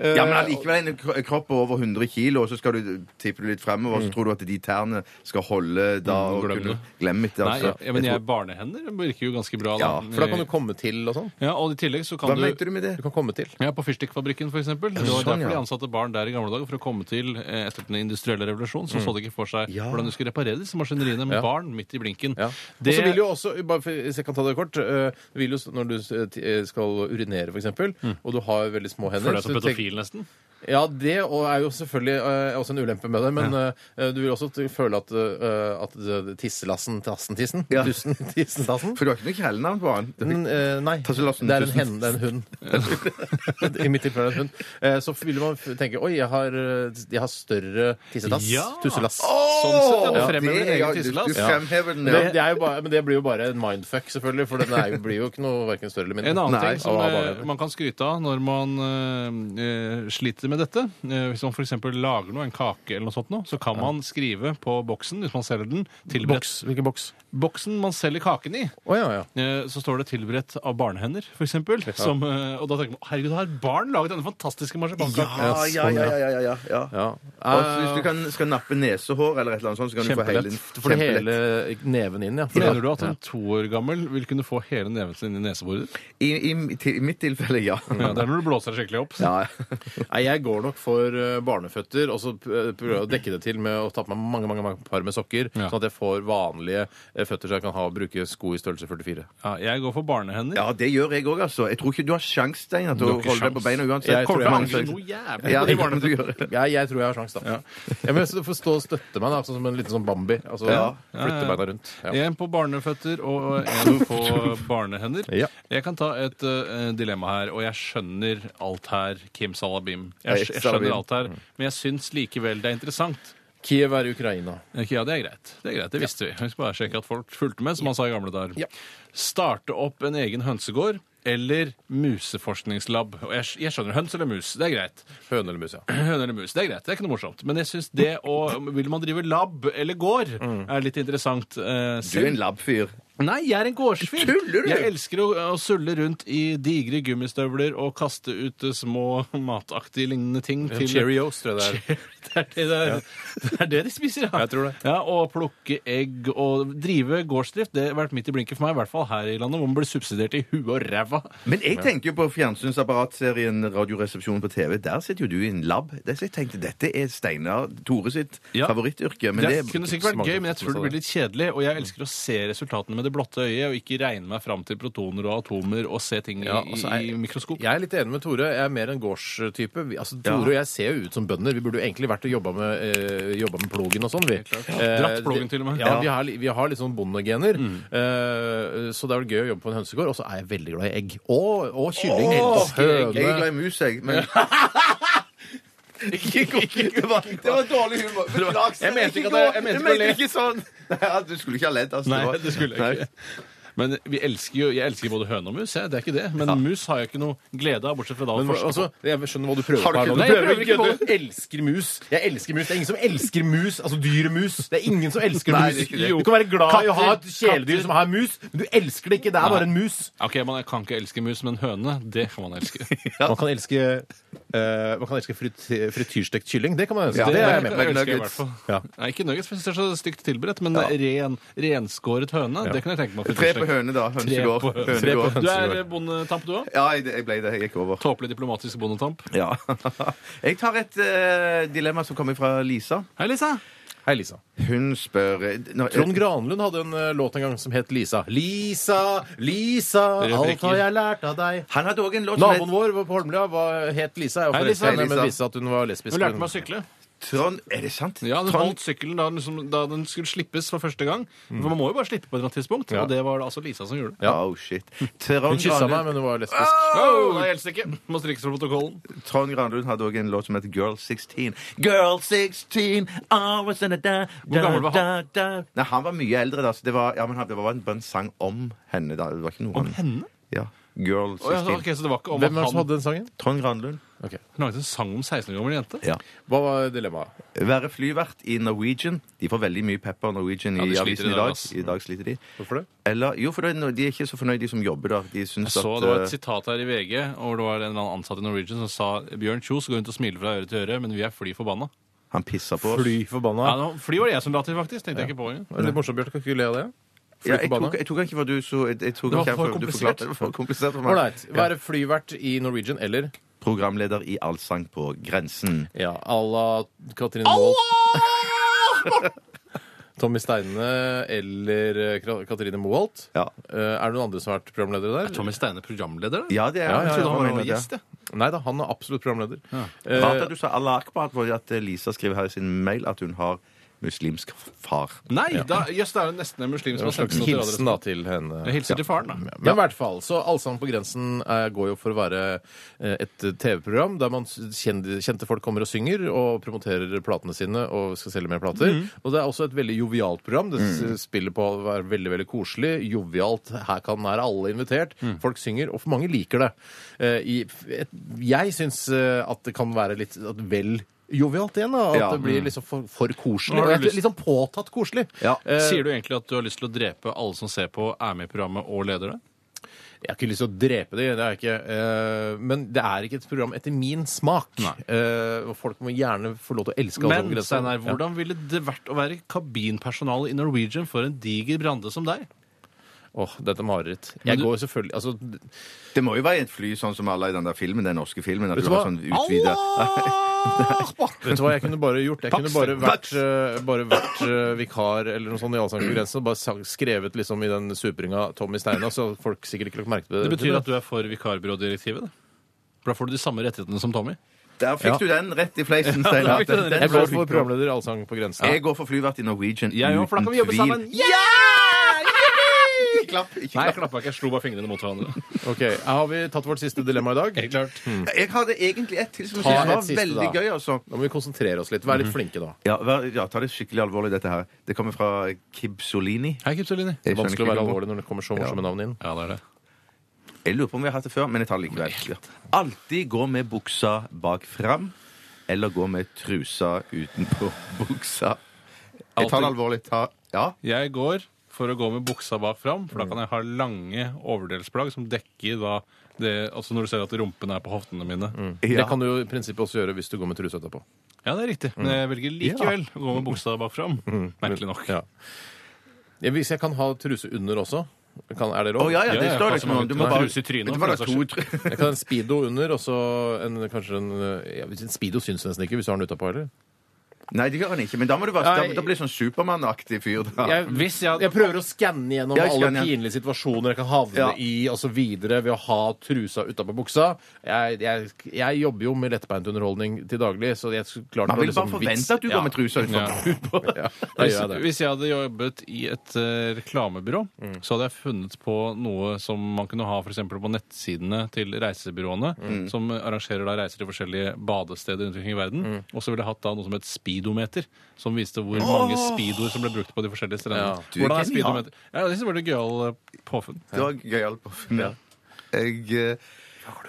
Speaker 4: Ja, men allikevel en kro- kropp på over 100 kilo, og så skal du tippe litt fremover, så tror du at de tærne skal holde da og kunne
Speaker 5: glem det.
Speaker 4: Glem det,
Speaker 5: Nei,
Speaker 4: altså.
Speaker 5: ja, men
Speaker 4: Jeg
Speaker 5: jeg barnehender virker jo ganske bra. Da.
Speaker 4: Ja,
Speaker 3: For da kan du komme til og sånn.
Speaker 5: Ja, og i tillegg så
Speaker 4: tror- Hva
Speaker 5: kan
Speaker 4: mente
Speaker 5: du
Speaker 4: du med det?
Speaker 3: Du Mm. kan komme til.
Speaker 5: ja, På fyrstikkfabrikken, f.eks. Det var
Speaker 4: sånn,
Speaker 5: derfor
Speaker 4: ja.
Speaker 5: de ansatte barn der i gamle dager. For å komme til eh, etter den industrielle revolusjonen, så så de ikke for seg hvordan de skulle reparere disse maskineriene
Speaker 3: Mm. Ja.
Speaker 5: med barn midt i blinken.
Speaker 3: Ja. Og
Speaker 5: Det-
Speaker 3: så vil jo også, bare for, hvis jeg kan ta det kort, eh, vil jo, s- når du s- t- eh, skal urinere f.eks., eksempel og du har veldig små hender
Speaker 5: Føler deg som
Speaker 3: så tenk-
Speaker 5: pedofil, nesten.
Speaker 3: Ja, det og er jo selvfølgelig eh, også en ulempe med det, men eh, du vil også t- føle at, eh, at det- tisselassen, tassen-tissen,
Speaker 4: Ja.
Speaker 3: dussen, tissen-tassen
Speaker 4: For du har ikke noe kjælenavn på han?
Speaker 3: Mm, eh, nei, det
Speaker 4: Tasselassen,
Speaker 3: er en,
Speaker 4: tusen.
Speaker 3: hen, det er en hund. I mitt tilfelle er det en hund. Eh, så vil man f- tenke Oi, jeg har, eh, jeg har større tissetass.
Speaker 5: Ja.
Speaker 3: Tusselass.
Speaker 5: Sånn sett, ja, du
Speaker 4: Ja,
Speaker 5: fremhever
Speaker 4: det-
Speaker 5: din
Speaker 4: ja,
Speaker 5: egen
Speaker 4: du-
Speaker 5: tisselass.
Speaker 4: Du fremhever den,
Speaker 3: Det,
Speaker 4: ja.
Speaker 3: det er jo bare, men det blir jo bare en mindfuck, selvfølgelig, for den er jo, blir jo ikke noe hverken større eller mindre.
Speaker 5: En annen
Speaker 4: Nei,
Speaker 5: ting som
Speaker 3: av- av
Speaker 5: eh,
Speaker 3: barnehender.
Speaker 5: man kan skryte av når man eh, eh, sliter med dette eh, Hvis man f.eks. lager noe, en kake eller noe sånt, noe, så kan man skrive på boksen hvis man selger den tilberedt-
Speaker 3: Boks. Hvilken boks?
Speaker 5: Boksen man selger kaken i,
Speaker 3: Å ja, ja.
Speaker 5: eh, så står det 'tilberedt av barnehender', f.eks. Som, eh, Og da tenker man 'herregud, har barn laget denne fantastiske marsipankaken'?
Speaker 4: Ja, ja, ja, ja, ja, ja, ja.
Speaker 3: ja.
Speaker 4: Og så hvis du kan, skal nappe nesehår eller et eller annet sånt, så kan du få hele
Speaker 3: Kjempelett. Du får
Speaker 4: kjempelett.
Speaker 3: hele neven inn, ja.
Speaker 5: Mener du at en to år gammel vil kunne få hele neven sin i neseboret?
Speaker 4: I, i, til- I mitt tilfelle, ja.
Speaker 5: Ja, det er når du blåser deg skikkelig opp.
Speaker 4: Ja,
Speaker 3: Nei, jeg går nok for eh, barneføtter, og så p- eh, prøver jeg å dekke det til med å ta på meg mange mange, mange par med sokker,
Speaker 5: Ja.
Speaker 3: sånn at jeg får vanlige eh, føtter så jeg kan ha, bruke sko i størrelse 44.
Speaker 5: Ja, jeg går for barnehender.
Speaker 4: ja det gjør jeg òg, altså. Jeg tror ikke du har sjans, Steinar, til å
Speaker 5: Du har ikke
Speaker 4: holde deg på
Speaker 5: sjans.
Speaker 4: beina uansett.
Speaker 3: Jeg tror jeg har
Speaker 4: Mange
Speaker 5: Det er
Speaker 4: sjanser.
Speaker 5: noe jævlig
Speaker 4: Ja,
Speaker 5: i
Speaker 4: det
Speaker 5: barnehender.
Speaker 4: kan du gjøre.
Speaker 3: Jeg, jeg tror jeg har sjans, da. Jeg må så få stå og støtte meg, da, sånn som en liten sånn Bambi. Altså
Speaker 4: Ja.
Speaker 3: flytte
Speaker 5: Ja, ja.
Speaker 3: beina rundt. Ja.
Speaker 5: En på barneføtter og en på barnehender.
Speaker 3: Ja.
Speaker 5: Jeg kan ta et eh, dilemma her, og jeg skjønner alt her, Kim Salabim. Mm. Jeg,
Speaker 4: Hei,
Speaker 5: jeg
Speaker 4: Salabim.
Speaker 5: skjønner alt her, men jeg syns likevel det er interessant.
Speaker 3: Kiev er i Ukraina.
Speaker 5: Ok, ja, det er greit. Det er greit, det visste vi. Vi skal bare sjekke at folk fulgte med, som han sa i gamle dager.
Speaker 3: Ja.
Speaker 5: Starte opp en egen hønsegård eller museforskningslab. Og jeg, jeg skjønner høns eller mus, det er greit.
Speaker 3: Høne eller mus, ja.
Speaker 5: Høne eller mus, det er greit. Det er ikke noe morsomt. Men jeg syns det å Vil man drive lab eller gård, er litt interessant. eh,
Speaker 4: Du
Speaker 5: selv.
Speaker 4: er en lab-fyr.
Speaker 5: Nei, jeg er en gårdsfyr.
Speaker 4: Tuller du?
Speaker 5: Jeg elsker å, å sulle rundt i digre gummistøvler og kaste ut eh, små mataktige lignende ting til
Speaker 3: Cheerios, tror jeg det er.
Speaker 5: Det er det, det, er, det er det de spiser, ja.
Speaker 3: Jeg tror det.
Speaker 5: Ja, Og plukke egg og drive gårdsdrift. Det har vært midt i blinken for meg, i hvert fall her i landet, hvor man blir subsidiert i huet og ræva.
Speaker 4: Men jeg tenker jo på fjernsynsapparatserien Radioresepsjonen på TV. Der sitter jo du i en lab. Det- Så jeg tenkte dette er Steinar Tore sitt
Speaker 5: Ja.
Speaker 4: favorittyrke. Men
Speaker 5: Det,
Speaker 4: det,
Speaker 5: kunne sikkert vært
Speaker 3: smaker
Speaker 5: gøy, men jeg tror det blir litt kjedelig. Og jeg elsker å se resultatene med det blotte øyet, og ikke regne meg fram til protoner og atomer og se ting i,
Speaker 3: Ja, altså,
Speaker 5: i mikroskop.
Speaker 3: Jeg er litt enig med Tore. Jeg er mer en gårdstype. Vi- Altså, Tore og jeg ser jo ut som bønder. Vi burde jo egentlig vært og jobba med, eh, jobba med plogen og sånn, vi. Eh,
Speaker 5: Dratt plogen
Speaker 3: det-
Speaker 5: til og med.
Speaker 3: Ja, vi har, li- vi har litt sånn bondegener. Eh, så det er vel gøy å jobbe på en hønsegård. Og så er jeg veldig glad i egg. Og, og kylling.
Speaker 4: Åh,
Speaker 3: og
Speaker 4: Jeg er
Speaker 3: høne.
Speaker 4: glad i mus, jeg. Men... det, var, det var dårlig humor. Beklager.
Speaker 5: Jeg mente ikke at
Speaker 4: det-
Speaker 5: jeg- jeg mente ikke å le.
Speaker 4: ikke sånn. Nei, du skulle ikke ha ledd. Altså,
Speaker 5: Nei,
Speaker 4: var-
Speaker 5: det
Speaker 4: Nei.
Speaker 5: skulle jeg ikke. Men vi elsker jo, jeg elsker både høne og mus, jeg. Det er ikke det. Men mus har jeg ikke noe glede av, bortsett fra da å
Speaker 3: Men hva-
Speaker 5: forske på.
Speaker 3: altså, jeg skjønner hva du prøver
Speaker 4: Har
Speaker 3: på
Speaker 4: du
Speaker 3: her nå.
Speaker 4: ikke- Nei,
Speaker 3: Du
Speaker 4: jeg
Speaker 3: prøver ikke
Speaker 4: prøver
Speaker 3: på det. elsker mus. Jeg elsker mus. Det er ingen som elsker mus. Altså dyremus. Det er ingen som elsker
Speaker 4: Nei,
Speaker 3: mus.
Speaker 4: det er ikke det.
Speaker 3: Du kan være glad i å ha et
Speaker 5: Katter.
Speaker 3: kjæledyr som har mus, men du elsker det ikke. Det er bare en mus.
Speaker 5: Ok, man kan ikke elske mus, men høne, det kan man elske.
Speaker 3: Man kan elske, eh, man kan elske frit- frityrstekt kylling. Det kan man elske.
Speaker 4: Ja,
Speaker 3: det
Speaker 4: det
Speaker 3: er jeg
Speaker 4: er-
Speaker 3: med på.
Speaker 4: Men
Speaker 5: elsker jeg i
Speaker 4: nuggets.
Speaker 5: hvert fall.
Speaker 3: Ja.
Speaker 5: Nei, ikke nuggets, for jeg synes det er så stygt tilberedt, men ren, renskåret høne, det kan jeg tenke meg.
Speaker 4: Tre på høne, da. Hønsegård.
Speaker 5: Tre på høne.
Speaker 4: Hønegård.
Speaker 5: Du er bondetamp, du òg?
Speaker 4: Ja, jeg, jeg ble det. Jeg gikk over.
Speaker 5: Tåpelig diplomatisk bondetamp.
Speaker 4: Ja. Jeg tar et eh, dilemma som kommer fra Lisa.
Speaker 5: Hei, Lisa.
Speaker 3: Hei, Lisa.
Speaker 4: Hun spør Nå- eh,
Speaker 3: Trond Granlund hadde en eh, låt en gang som het Lisa. Lisa, Lisa, alt har jeg lært av deg.
Speaker 4: Han hadde òg en låt som
Speaker 3: Naboen
Speaker 4: het
Speaker 3: vår på Holmlia var, het Lisa. Jeg var
Speaker 5: Hei, Lisa.
Speaker 3: forelska i henne,
Speaker 4: Hei, Lisa.
Speaker 3: men viste seg at hun var lesbisk.
Speaker 5: Hun lærte meg å sykle.
Speaker 4: Trond Er det sant?
Speaker 5: Ja, Hun
Speaker 4: Trond
Speaker 5: holdt sykkelen da den, liksom- da den skulle slippes for første gang. For man må jo bare slippe på et eller annet tidspunkt,
Speaker 3: Ja.
Speaker 5: og det var det altså Lisa som gjorde. det.
Speaker 4: Oh, shit. Trond
Speaker 3: Hun kyssa meg,
Speaker 4: Granlund,
Speaker 3: men hun var lesbisk.
Speaker 5: Oh, nei, helst ikke. Må strikkes på protokollen.
Speaker 4: Trond Granlund hadde òg en låt som het Girl 16. Girl 16, I was gonna die,
Speaker 5: Hvor gammel var han?
Speaker 4: Da, da, da. Nei, han var mye eldre. Da, så det var, ja, men han- det var en- bare en sang om henne. Da. Det var ikke noe om
Speaker 5: henne?
Speaker 4: Ja. Girl 16.
Speaker 5: Oh, ja, ok, så det var ikke om
Speaker 3: Hvem var
Speaker 5: at
Speaker 3: det som
Speaker 5: han
Speaker 3: hadde den sangen?
Speaker 4: Trond Granlund.
Speaker 5: Hun laget en sang om 16 år gammel jente?
Speaker 4: Ja.
Speaker 3: Hva var dilemmaet?
Speaker 4: Være flyvert i Norwegian. De får veldig mye pepper av Norwegian
Speaker 5: Ja, de
Speaker 4: i
Speaker 5: sliter
Speaker 4: avisen
Speaker 5: i
Speaker 4: i
Speaker 5: dag,
Speaker 4: dag.
Speaker 5: ass.
Speaker 4: I dag sliter de.
Speaker 3: Hvorfor det?
Speaker 4: Eller, jo, for det er no- de er ikke så fornøyd, de som jobber der. De syns
Speaker 5: Jeg så,
Speaker 4: at
Speaker 5: Det var
Speaker 4: eh,
Speaker 5: et sitat her i VG hvor det var en eller annen ansatt i Norwegian som sa Bjørn Kjos går rundt og smiler fra øre til øre, men vi er fly forbanna.
Speaker 4: han pisser på oss.
Speaker 3: Fly forbanna.
Speaker 5: Ja, nå- fly var det jeg som la til, faktisk. Tenkte jeg ikke på engang.
Speaker 3: Det er litt morsomt, Bjarte. Kan ikke du le av det? Fly
Speaker 4: Ja, jeg,
Speaker 3: forbanna.
Speaker 4: tok, jeg tok han ikke for du så jeg, jeg tok
Speaker 5: Det var
Speaker 4: han ikke
Speaker 5: for
Speaker 4: du
Speaker 5: komplisert.
Speaker 4: forklarte det var for komplisert for meg.
Speaker 3: Ålreit. Være flyvert i Norwegian eller
Speaker 4: Programleder i Allsang på grensen.
Speaker 3: ja, à la Katrine Moll. Tommy Steine eller eh, Kra- Katrine Moholt.
Speaker 4: Ja.
Speaker 3: Eh, Er det noen andre som har vært programledere der?
Speaker 5: Tommy Steine programleder, da?
Speaker 4: Ja, det
Speaker 3: Ja,
Speaker 4: er
Speaker 3: ja,
Speaker 5: Jeg
Speaker 3: ja,
Speaker 5: trodde han var
Speaker 4: mener det.
Speaker 5: gjest, jeg.
Speaker 3: Nei da, han er absolutt programleder. Eh,
Speaker 4: Rart at du sa Allah Akbar, fordi at eh, Lisa skriver her i sin mail at hun har muslimsk far.
Speaker 5: Nei, da, jøss, det er jo nesten en muslim
Speaker 3: det
Speaker 5: som
Speaker 3: var
Speaker 5: har
Speaker 3: en
Speaker 5: sendt
Speaker 3: slags
Speaker 5: noe
Speaker 3: hilsen
Speaker 5: til
Speaker 3: da
Speaker 5: radioen.
Speaker 3: til henne.
Speaker 5: Jeg hilser til faren, da.
Speaker 3: Men i hvert fall, så Allsang på grensen eh, går jo for å være eh, et TV-program der man s- kjende, kjente folk kommer og synger og promoterer platene sine og skal selge mer plater.
Speaker 5: Mm.
Speaker 3: Og det er også et veldig jovialt program. Det s- spiller på å være veldig veldig koselig, jovialt. Her kan være alle invitert.
Speaker 5: Mm.
Speaker 3: Folk synger, og for mange liker det. Eh, i, f- et, jeg syns eh, at det kan være litt at vel jovialt igjen. da, At
Speaker 4: Ja.
Speaker 3: det blir liksom for, for koselig.
Speaker 5: Nå har
Speaker 3: Og
Speaker 5: du
Speaker 3: jeg-
Speaker 5: lyst-
Speaker 3: Litt sånn påtatt koselig.
Speaker 4: Ja.
Speaker 3: Eh,
Speaker 5: Sier du egentlig at du har lyst til å drepe alle som ser på, er med i programmet og leder det?
Speaker 3: Jeg har ikke lyst til å drepe dem, det er jeg ikke. eh, men det er ikke et program etter min smak. Eh, og folk må gjerne få lov til å elske alle
Speaker 5: Men
Speaker 3: som grenser.
Speaker 5: Steinar, hvordan ville det vært å være kabinpersonale i Norwegian for en diger brande som deg?
Speaker 3: Ja. Åh, dette er mareritt.
Speaker 5: Men
Speaker 3: Jeg
Speaker 5: du-
Speaker 3: går selvfølgelig Altså,
Speaker 4: Det må jo være i et fly, sånn som alle i den der filmen, den norske filmen. At
Speaker 3: Vet
Speaker 4: du
Speaker 3: du
Speaker 4: har
Speaker 3: hva?
Speaker 4: sånn utvidet
Speaker 3: vet du hva jeg kunne bare gjort? Jeg kunne bare vært, eh, bare vært eh, vikar eller noe sånt i Allsang på grensen og bare sang- skrevet liksom i den supringa Tommy Steina, så folk sikkert ikke lagt merke til det.
Speaker 5: Det betyr at du er for vikarbyrådirektivet, da. For da får du de samme rettighetene som Tommy.
Speaker 4: Der fikk
Speaker 3: Ja.
Speaker 4: du den rett i fleisen, Steinar.
Speaker 5: der fikk du den rett i
Speaker 3: Jeg går for programleder i Allsang på grensen.
Speaker 4: Jeg går for flyvert i Norwegian.
Speaker 5: Jeg òg, for da kan vi jobbe
Speaker 4: uten tvil.
Speaker 5: sammen.
Speaker 4: Ikke klapp, ikke
Speaker 5: Nei, jeg
Speaker 4: klapp.
Speaker 5: klappa ikke. Jeg slo bare fingrene mot hverandre.
Speaker 3: Ok, Har vi tatt vårt siste dilemma i dag?
Speaker 5: Helt klart.
Speaker 4: Jeg hadde egentlig ett til som jeg
Speaker 3: Ta
Speaker 4: syntes
Speaker 3: et
Speaker 4: var
Speaker 3: siste,
Speaker 4: veldig
Speaker 3: da.
Speaker 4: gøy, altså.
Speaker 3: Da må vi konsentrere oss litt. Vær
Speaker 5: Mhm.
Speaker 3: litt flinke, da.
Speaker 4: Ja, vær- ja, ta det skikkelig alvorlig, dette her. Det kommer fra Kib Solini.
Speaker 5: Hei, Kipsolini.
Speaker 3: Det
Speaker 4: Jeg
Speaker 3: er
Speaker 4: skjønner
Speaker 3: vanskelig å være
Speaker 4: ikke hva-
Speaker 3: alvorlig når det kommer så morsomme navn inn.
Speaker 5: Ja, det er det.
Speaker 4: Jeg lurer på om vi har hatt det før, men jeg tar det likevel. Ja. Alltid gå med buksa bak fram, eller gå med trusa utenpå buksa. Jeg tar det alvorlig. Ta, ja.
Speaker 5: Jeg går for å gå med buksa bak fram, for da kan jeg ha lange overdelsplagg som dekker da det, altså når du ser at rumpen er på hoftene mine.
Speaker 3: Det kan du jo i prinsippet også gjøre hvis du går med truse etterpå.
Speaker 5: Ja, det er riktig. Men jeg velger likevel å gå med buksa bak fram. Merkelig nok.
Speaker 3: Ja. Ja, Hvis jeg kan ha truse under også, kan, er det
Speaker 4: Å
Speaker 3: lov?
Speaker 4: ja, ja, det
Speaker 5: Ja, ja,
Speaker 4: står
Speaker 5: pass
Speaker 4: liksom
Speaker 5: meg,
Speaker 4: Du
Speaker 5: du
Speaker 4: må
Speaker 5: har
Speaker 4: bare
Speaker 5: truse i trynet,
Speaker 4: Det var da
Speaker 5: for
Speaker 4: to
Speaker 5: den
Speaker 4: tr-
Speaker 3: Jeg kan ha en speedo under, og så en, kanskje en, ja, en Speedo syns nesten ikke hvis du har den utapå heller.
Speaker 4: Nei, det gjør han ikke. Men da må du være
Speaker 3: Nei.
Speaker 4: da, da blir du sånn Supermann-aktig fyr. da.
Speaker 3: Jeg,
Speaker 5: Hvis jeg hadde-
Speaker 3: jeg prøver å skanne gjennom
Speaker 4: Jeg
Speaker 3: alle
Speaker 4: skanner igjen.
Speaker 3: pinlige situasjoner jeg kan havne
Speaker 4: Ja.
Speaker 3: i, og så videre, ved å ha trusa utapå buksa. Jeg, jeg, jeg jobber jo med lettbeint underholdning til daglig, så jeg skulle klart
Speaker 4: Man
Speaker 3: å
Speaker 4: vil bare
Speaker 3: liksom
Speaker 4: forvente at du går med trusa utenfor.
Speaker 5: Ja.
Speaker 3: Ja, da
Speaker 5: Hvis,
Speaker 3: gjør jeg det.
Speaker 5: hvis jeg hadde jobbet i et eh, reklamebyrå, så hadde jeg funnet på noe som man kunne ha for eksempel på nettsidene til reisebyråene, som arrangerer da reiser til forskjellige badesteder rundt omkring i verden. Og så ville jeg hatt da noe som het speedometer, som viste hvor mange speedoer som ble brukt på de forskjellige strendene.
Speaker 3: Ja.
Speaker 4: Du er
Speaker 5: Hvordan er
Speaker 4: genial.
Speaker 5: speedometer? Ja, det synes jeg var et gøyal eh, påfunn.
Speaker 4: Det var gøyal på ja. Jeg eh,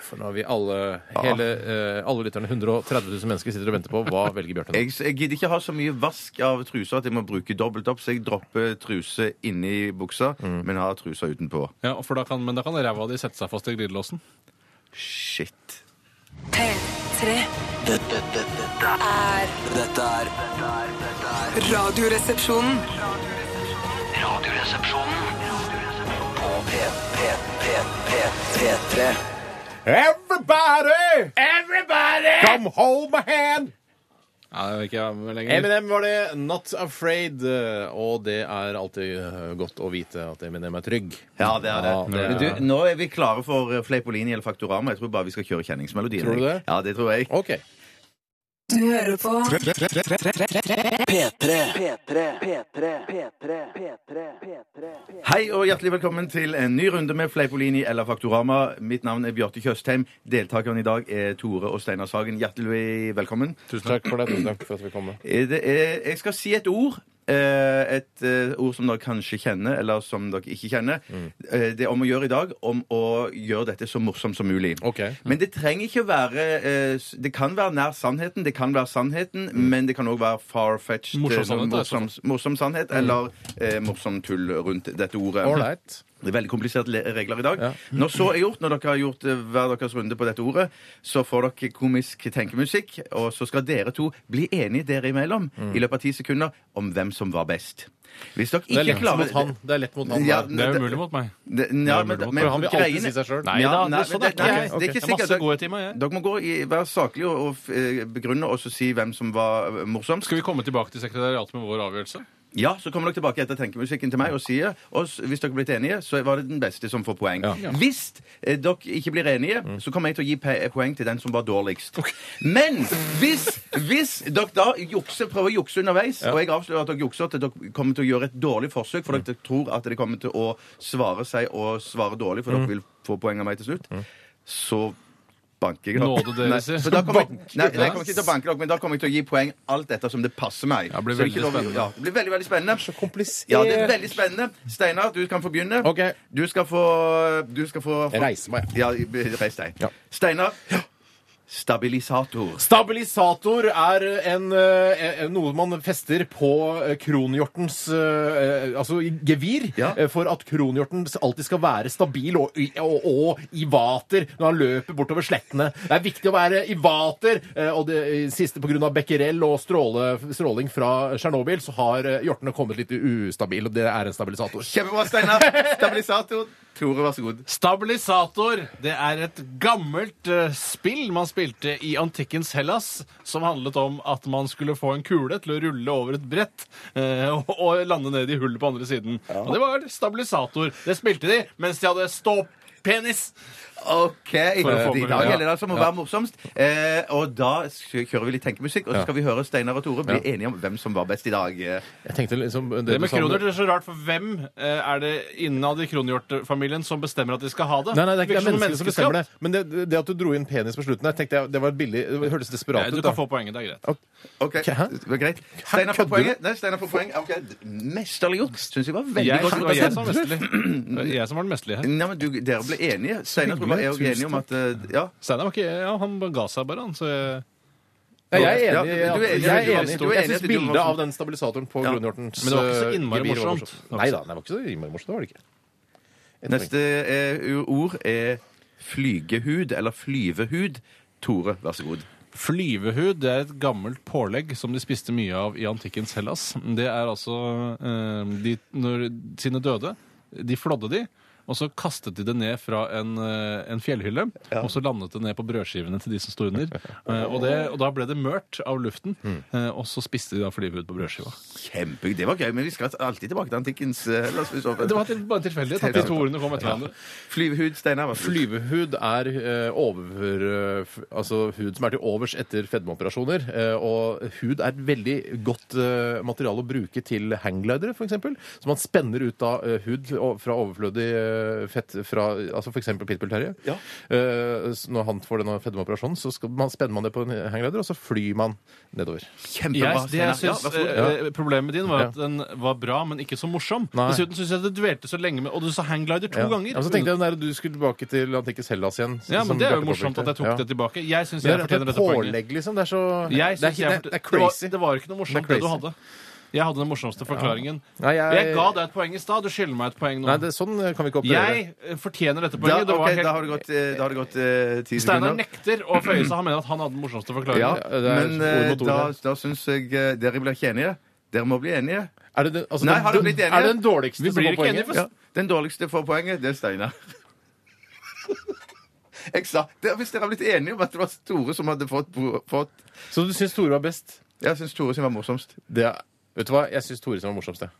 Speaker 3: For nå har vi alle, hele, eh, alle lytterne, 130 000 mennesker, sitter og venter på hva velger Bjarte nå.
Speaker 4: Jeg, jeg gidder ikke ha så mye vask av truser at jeg må bruke dobbelt opp, så jeg dropper truse inni buksa, men har trusa utenpå.
Speaker 5: Ja, for da kan, men da kan ræva di sette seg fast i glidelåsen.
Speaker 4: Shit.
Speaker 6: P3
Speaker 2: Dette, dette, dette
Speaker 6: er
Speaker 2: er Dette er dette er
Speaker 6: Radioresepsjonen.
Speaker 2: Radioresepsjonen På P, P, P, P, P3
Speaker 3: Everybody! Everybody! Come hold my hand!
Speaker 5: Nei, det vil ikke jeg være med lenger.
Speaker 3: Eminem var det. Not Afraid. eh, Og det er alltid eh, godt å vite at Eminem er trygg.
Speaker 4: Ja, det er det.
Speaker 3: Ja, det er
Speaker 4: Men
Speaker 3: det.
Speaker 4: du, nå er vi klare for eh, Fleipolini eller Faktorama. Jeg tror bare vi skal kjøre kjenningsmelodien.
Speaker 3: Tror du
Speaker 4: jeg.
Speaker 3: det?
Speaker 4: Ja, det tror jeg.
Speaker 3: OK.
Speaker 6: Du hører på
Speaker 2: P3 P3 P3 P3 P3 P3
Speaker 4: Hei og hjertelig velkommen til en ny runde med Fleipolini eller Faktorama. Mitt navn er Bjarte Tjøstheim. Deltakerne i dag er Tore og Steinar Sagen. Hjertelig velkommen.
Speaker 3: Tusen takk for det. Tusen takk for at vi kom. med.
Speaker 4: Eh, Det er, jeg skal si et ord. eh, Et eh, ord som dere kanskje kjenner, eller som dere ikke kjenner.
Speaker 5: Mm.
Speaker 4: Eh, Det er om å gjøre i dag om å gjøre dette så morsomt som mulig.
Speaker 3: Ok.
Speaker 4: Men det trenger ikke å være eh, s- Det kan være nær sannheten, det kan være sannheten, men det kan òg være far-fetched.
Speaker 5: Mm. Morsom
Speaker 4: eh,
Speaker 5: sannhet, altså. Mm. da, i så fall.
Speaker 4: morsom, morsom sannhet, eller eh, morsom tull rundt dette ordet.
Speaker 3: Ålreit.
Speaker 4: Det er veldig kompliserte le- regler i dag. Når så er gjort, når dere har gjort eh, hver deres runde på dette ordet, så får dere komisk tenkemusikk, og så skal dere to bli enige dere imellom
Speaker 5: Mm.
Speaker 4: i løpet av ti sekunder om hvem som var best. Hvis dere
Speaker 3: Det er
Speaker 4: ikke
Speaker 3: lett
Speaker 4: klarer
Speaker 3: mot han. Det er lett mot han.
Speaker 4: Ja,
Speaker 3: der.
Speaker 5: det er jo umulig mot meg.
Speaker 4: Det, ja,
Speaker 5: er
Speaker 4: men,
Speaker 5: mulig mot-
Speaker 4: men
Speaker 5: for han vil alltid
Speaker 4: greiene-
Speaker 5: si seg selv.
Speaker 4: Nei,
Speaker 5: Nei,
Speaker 4: da,
Speaker 5: det-
Speaker 4: nei, det,
Speaker 5: sånn er det
Speaker 4: nei,
Speaker 5: ikke.
Speaker 4: det er
Speaker 5: Jeg
Speaker 4: ikke
Speaker 5: har
Speaker 4: sikkert.
Speaker 5: masse gode timer, jeg.
Speaker 4: Dere må gå i, være saklige og, og eh, begrunne, og så si hvem som var eh, morsomst.
Speaker 5: Skal vi komme tilbake til sekretariatet med vår avgjørelse?
Speaker 4: Ja, så kommer dere tilbake etter tenkemusikken til meg og sier og s- hvis dere er blitt enige, så var det den beste som får poeng. Hvis eh, dere ikke blir enige, så kommer jeg til å gi pe- poeng til den som var dårligst. Men hvis, hvis dere da jukser, prøver å jukse underveis, og jeg avslører at dere jukser, at dere kommer til å gjøre et dårlig forsøk, for dere tror at dere kommer til å svare seg og svare dårlig, for dere vil få poeng av meg til slutt, så banker jeg dere.
Speaker 5: Nåde dere,
Speaker 4: Nei,
Speaker 5: sier.
Speaker 4: for da kommer jeg-
Speaker 5: Banker
Speaker 4: Nei, nei, jeg kommer ikke til å banke dere, men da kommer jeg til å gi poeng alt etter som det passer meg.
Speaker 5: det blir
Speaker 4: Så ikke
Speaker 5: veldig
Speaker 4: lov å-
Speaker 5: spennende.
Speaker 4: Ja, det blir veldig, veldig spennende.
Speaker 3: Så komplisert.
Speaker 4: Ja, det er veldig spennende. Steinar, du kan få begynne.
Speaker 3: Ok.
Speaker 4: Du skal få, du skal få, få
Speaker 3: Jeg reiser meg.
Speaker 4: Ja, reis deg.
Speaker 3: Ja.
Speaker 4: Steinar. Stabilisator.
Speaker 3: Stabilisator er en, eh, eh, noe man fester på eh, kronhjortens eh, eh, altså i gevir,
Speaker 4: Ja.
Speaker 3: eh, for at kronhjorten alltid skal være stabil og, i- og, og i vater når han løper bortover slettene. Det er viktig å være i vater, eh, og det i siste pga. becquerel og stråle, stråling fra Tsjernobyl, så har eh, hjortene kommet litt ustabil, og det er en stabilisator.
Speaker 4: Kjempebra, Steinar. Stabilisator. Tore, vær så god.
Speaker 5: Stabilisator det er et gammelt eh, spill man spilte i antikkens Hellas, som handlet om at man skulle få en kule til å rulle over et brett eh, og, og lande ned i hullet på andre siden. Og det var stabilisator. Det spilte de mens de hadde ståpenis.
Speaker 4: OK. I
Speaker 5: For å få med-
Speaker 4: dag
Speaker 5: ja.
Speaker 4: gjelder det altså om å være morsomst. Eh, og da kjører vi litt tenkemusikk, og så skal vi høre Steinar og Tore bli enige om hvem som var best i dag. Eh,
Speaker 3: Jeg tenkte liksom det,
Speaker 5: Det
Speaker 3: du
Speaker 5: med
Speaker 3: sa om-
Speaker 5: kronhjort er så rart, for hvem eh, er det innad i kronhjortfamilien som bestemmer at de skal ha det?
Speaker 3: Nei, nei, det er ikke det
Speaker 5: Virker
Speaker 3: er
Speaker 5: som
Speaker 3: mennesker som
Speaker 5: menneskeskatt.
Speaker 3: bestemmer det. Men det, det at du dro inn penis på slutten der, tenkte jeg det var billig. Det hørtes desperat
Speaker 5: Nei,
Speaker 3: ut.
Speaker 5: du
Speaker 3: da.
Speaker 5: kan få poenget. Det er greit.
Speaker 4: OK.
Speaker 3: Hæ?
Speaker 4: Det var greit. Steinar får
Speaker 3: kødder
Speaker 4: poenget. Nei, Steinar får poeng. Okay. Mesterlig gjort. Syns jeg var veldig
Speaker 5: Jeg,
Speaker 4: godt.
Speaker 5: det var jeg som var mesterlig. Det var Jeg som var den mesterlige her.
Speaker 4: Nei, men du, Dere ble enige. Steinar tror jeg er
Speaker 3: hyggelig.
Speaker 4: også enig om at eh, Ja.
Speaker 5: Steinar var ikke Ja, han ga seg bare, han. Så jeg,
Speaker 3: Ja, jeg er enig. i
Speaker 4: Ja,
Speaker 3: at-
Speaker 4: du er enig,
Speaker 3: jeg
Speaker 4: du er
Speaker 3: er enig.
Speaker 4: enig, du er
Speaker 3: Jeg syns
Speaker 4: enig at det var
Speaker 3: bildet
Speaker 4: morsomt.
Speaker 3: av den stabilisatoren på
Speaker 4: Ja.
Speaker 3: Grunhjortens
Speaker 5: Men det var ikke så
Speaker 3: eh,
Speaker 5: innmari
Speaker 3: gevir var
Speaker 5: morsomt.
Speaker 3: morsomt. Nei da, det var ikke så innmari morsomt. Det var det ikke. Et poeng.
Speaker 4: Neste eh, u- ord er flygehud, eller flyvehud. Tore, vær så god.
Speaker 5: Flyvehud det er et gammelt pålegg som de spiste mye av i antikkens Hellas. Det er altså eh, de, Når sine døde, de flådde de, og så kastet de det ned fra en, eh, en fjellhylle. Og så landet det ned på brødskivene til de som sto under. Eh, og, det, og da ble det mørt av luften, eh, og så spiste de da flyvehud på brødskiva.
Speaker 4: Kjempegøy. Det var gøy, men vi skal alltid tilbake til antikkens eh, Hellas. hvis vi så-
Speaker 5: Det var til, bare en tilfeldighet at de to ordene kom etter hverandre.
Speaker 4: Flyvehud, Steinar. vær så god.
Speaker 3: Flyvehud er eh, over, eh, f- altså hud som er til overs etter fedmeoperasjoner. eh, og hud er et veldig godt eh, materiale å bruke til hangglidere, f.eks. Så man spenner ut da eh, hud o- fra overflødig eh, fett fra altså f.eks. Pitbull Terje. Eh, s- når han får denne fedmeoperasjonen, så skal man, spenner man det på en hangglider, og så flyr man nedover.
Speaker 4: Kjempebra.
Speaker 5: Jeg, det
Speaker 4: Steinar. Ja,
Speaker 5: jeg synes,
Speaker 4: vær så god.
Speaker 5: eh, eh, Problemet din var at den var bra, men ikke så morsom.
Speaker 3: Nei.
Speaker 5: Dessuten syns jeg det dvelte så lenge med Og du sa hangglider to
Speaker 3: Ja.
Speaker 5: ganger.
Speaker 3: Ja, så tenkte jeg den der, du skulle tilbake til antikkens Hellas igjen.
Speaker 5: Ja,
Speaker 3: som
Speaker 5: men Det er jo
Speaker 3: Bjarte
Speaker 5: morsomt
Speaker 3: påpekte.
Speaker 5: at jeg
Speaker 3: Ja.
Speaker 5: tok det tilbake. Jeg syns
Speaker 3: Det
Speaker 5: jeg
Speaker 3: er et
Speaker 5: fortjener dette poenget.
Speaker 3: pålegg, liksom. Det er så
Speaker 5: Jeg
Speaker 3: det, er,
Speaker 5: synes jeg
Speaker 3: det, er, det er
Speaker 5: fortjente-
Speaker 3: crazy.
Speaker 5: Det var, det var ikke noe morsomt,
Speaker 3: Det er
Speaker 5: det, du
Speaker 3: crazy.
Speaker 5: hadde. Jeg hadde den morsomste forklaringen.
Speaker 3: Nei, jeg-
Speaker 5: jeg... ga deg et poeng i stad. Du skylder meg et poeng nå.
Speaker 3: Nei, det, sånn kan vi ikke operere.
Speaker 5: jeg eh, fortjener
Speaker 4: Da,
Speaker 5: dette poenget. Det var
Speaker 4: ok,
Speaker 5: helt-
Speaker 4: da har det gått, eh, da har det gått eh, ti
Speaker 5: Steinar
Speaker 4: sekunder.
Speaker 5: nekter å føye seg. Han mener at han hadde den morsomste
Speaker 4: Ja,
Speaker 5: forklaringen.
Speaker 3: det er
Speaker 4: men
Speaker 3: ord
Speaker 4: eh,
Speaker 3: mot ord
Speaker 4: da,
Speaker 3: her.
Speaker 4: da syns jeg eh, Dere blir ikke enige. Dere må bli enige.
Speaker 3: Er det, den- altså,
Speaker 4: Nei,
Speaker 3: den-
Speaker 4: har du blitt enige?
Speaker 3: Er det den dårligste
Speaker 5: Vi
Speaker 3: som
Speaker 5: blir
Speaker 3: får
Speaker 5: ikke enige,
Speaker 3: poenget?
Speaker 5: for
Speaker 4: Ja. Den dårligste får poenget. Det er Steinar. Jeg sa, det, hvis dere har blitt enige om at det var Tore som hadde fått, fått
Speaker 3: Så du syns Tore var best?
Speaker 4: Jeg syns Tore sin var morsomst.
Speaker 3: Det er, vet du hva? Jeg syns Tore som var morsomst, jeg.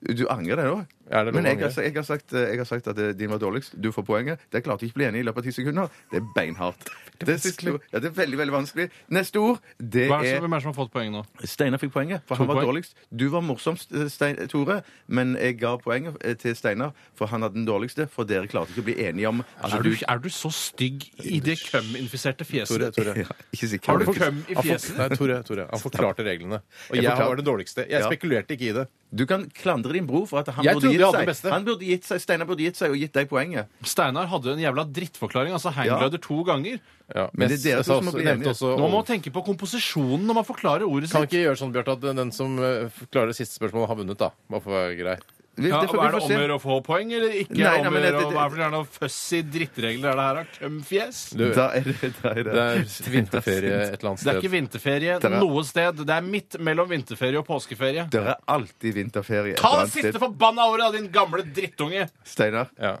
Speaker 4: Du angrer deg nå?
Speaker 3: Er det noe
Speaker 4: Men jeg,
Speaker 3: å
Speaker 4: har
Speaker 3: angre?
Speaker 4: sa- jeg, har sagt, jeg har sagt at eh, din var dårligst. Du får poenget. Det klarte jeg ikke å bli enig i løpet av ti sekunder. Det er beinhardt. Det er, siste, ord. ja, det er veldig veldig vanskelig. Neste ord, det
Speaker 5: Hva er det som-
Speaker 4: er
Speaker 5: Hvem er det som har fått poeng nå?
Speaker 4: Steinar fikk poenget, for
Speaker 5: To
Speaker 4: han var
Speaker 5: poeng.
Speaker 4: dårligst. Du var morsomst, eh, Stein, Tore, men jeg ga poenget eh, til Steinar, for han hadde den dårligste. For dere klarte ikke å bli enige om
Speaker 3: Altså,
Speaker 4: at
Speaker 5: Er Altså, du, er du så stygg i det køm-infiserte fjeset?
Speaker 3: Tore, Tore.
Speaker 4: Ja, ikke si
Speaker 5: Har du
Speaker 4: hva du-
Speaker 5: køm i
Speaker 3: Han, for,
Speaker 5: fjeset?
Speaker 3: nei, Tore, Tore. Han forklarte reglene. Og
Speaker 4: Jeg
Speaker 3: jeg
Speaker 4: forklarte-
Speaker 3: var den dårligste. Jeg
Speaker 4: Ja.
Speaker 3: spekulerte ikke i det.
Speaker 4: Du kan klandre din bror for at han
Speaker 3: Jeg
Speaker 4: burde
Speaker 3: trodde jeg
Speaker 4: gitt
Speaker 3: hadde det
Speaker 4: seg.
Speaker 3: beste.
Speaker 4: Han burde gitt seg. Steinar burde gitt seg og gitt deg poenget.
Speaker 5: Steinar hadde en jævla drittforklaring. Altså hangglider to ganger.
Speaker 3: Ja,
Speaker 4: Men det er dere
Speaker 3: jeg
Speaker 4: to
Speaker 3: sa
Speaker 4: som må
Speaker 3: også-
Speaker 4: bli
Speaker 3: nevnte
Speaker 4: enige.
Speaker 3: også-
Speaker 5: Nå må man tenke på komposisjonen når man forklarer ordet
Speaker 3: Kan
Speaker 5: sitt.
Speaker 3: ikke gjøre sånn, Bjarte, at den som eh, klarer det siste spørsmålet, har vunnet, da. Bare for å være grei.
Speaker 4: Vi,
Speaker 5: Ja,
Speaker 4: det får- vi
Speaker 5: er det
Speaker 4: får
Speaker 5: om å
Speaker 4: se.
Speaker 5: gjøre å få poeng, eller ikke?
Speaker 4: Nei, nei,
Speaker 5: om å
Speaker 4: men det-
Speaker 5: gjøre å-
Speaker 4: det-
Speaker 5: Hva er det for noe fussy drittregler er det her? da? Kømfjes?
Speaker 3: Du,
Speaker 4: Da er det, da er det.
Speaker 3: det er vinterferie et eller annet
Speaker 5: Det er
Speaker 3: sted.
Speaker 5: ikke vinterferie
Speaker 4: er-
Speaker 5: noe sted. Det er midt mellom vinterferie og påskeferie.
Speaker 4: Det er alltid vinterferie. et
Speaker 5: Ta
Speaker 4: eller
Speaker 5: det
Speaker 4: annet
Speaker 5: siste
Speaker 4: sted.
Speaker 5: forbanna året, da, din gamle drittunge!
Speaker 4: Steinar.
Speaker 3: Ja.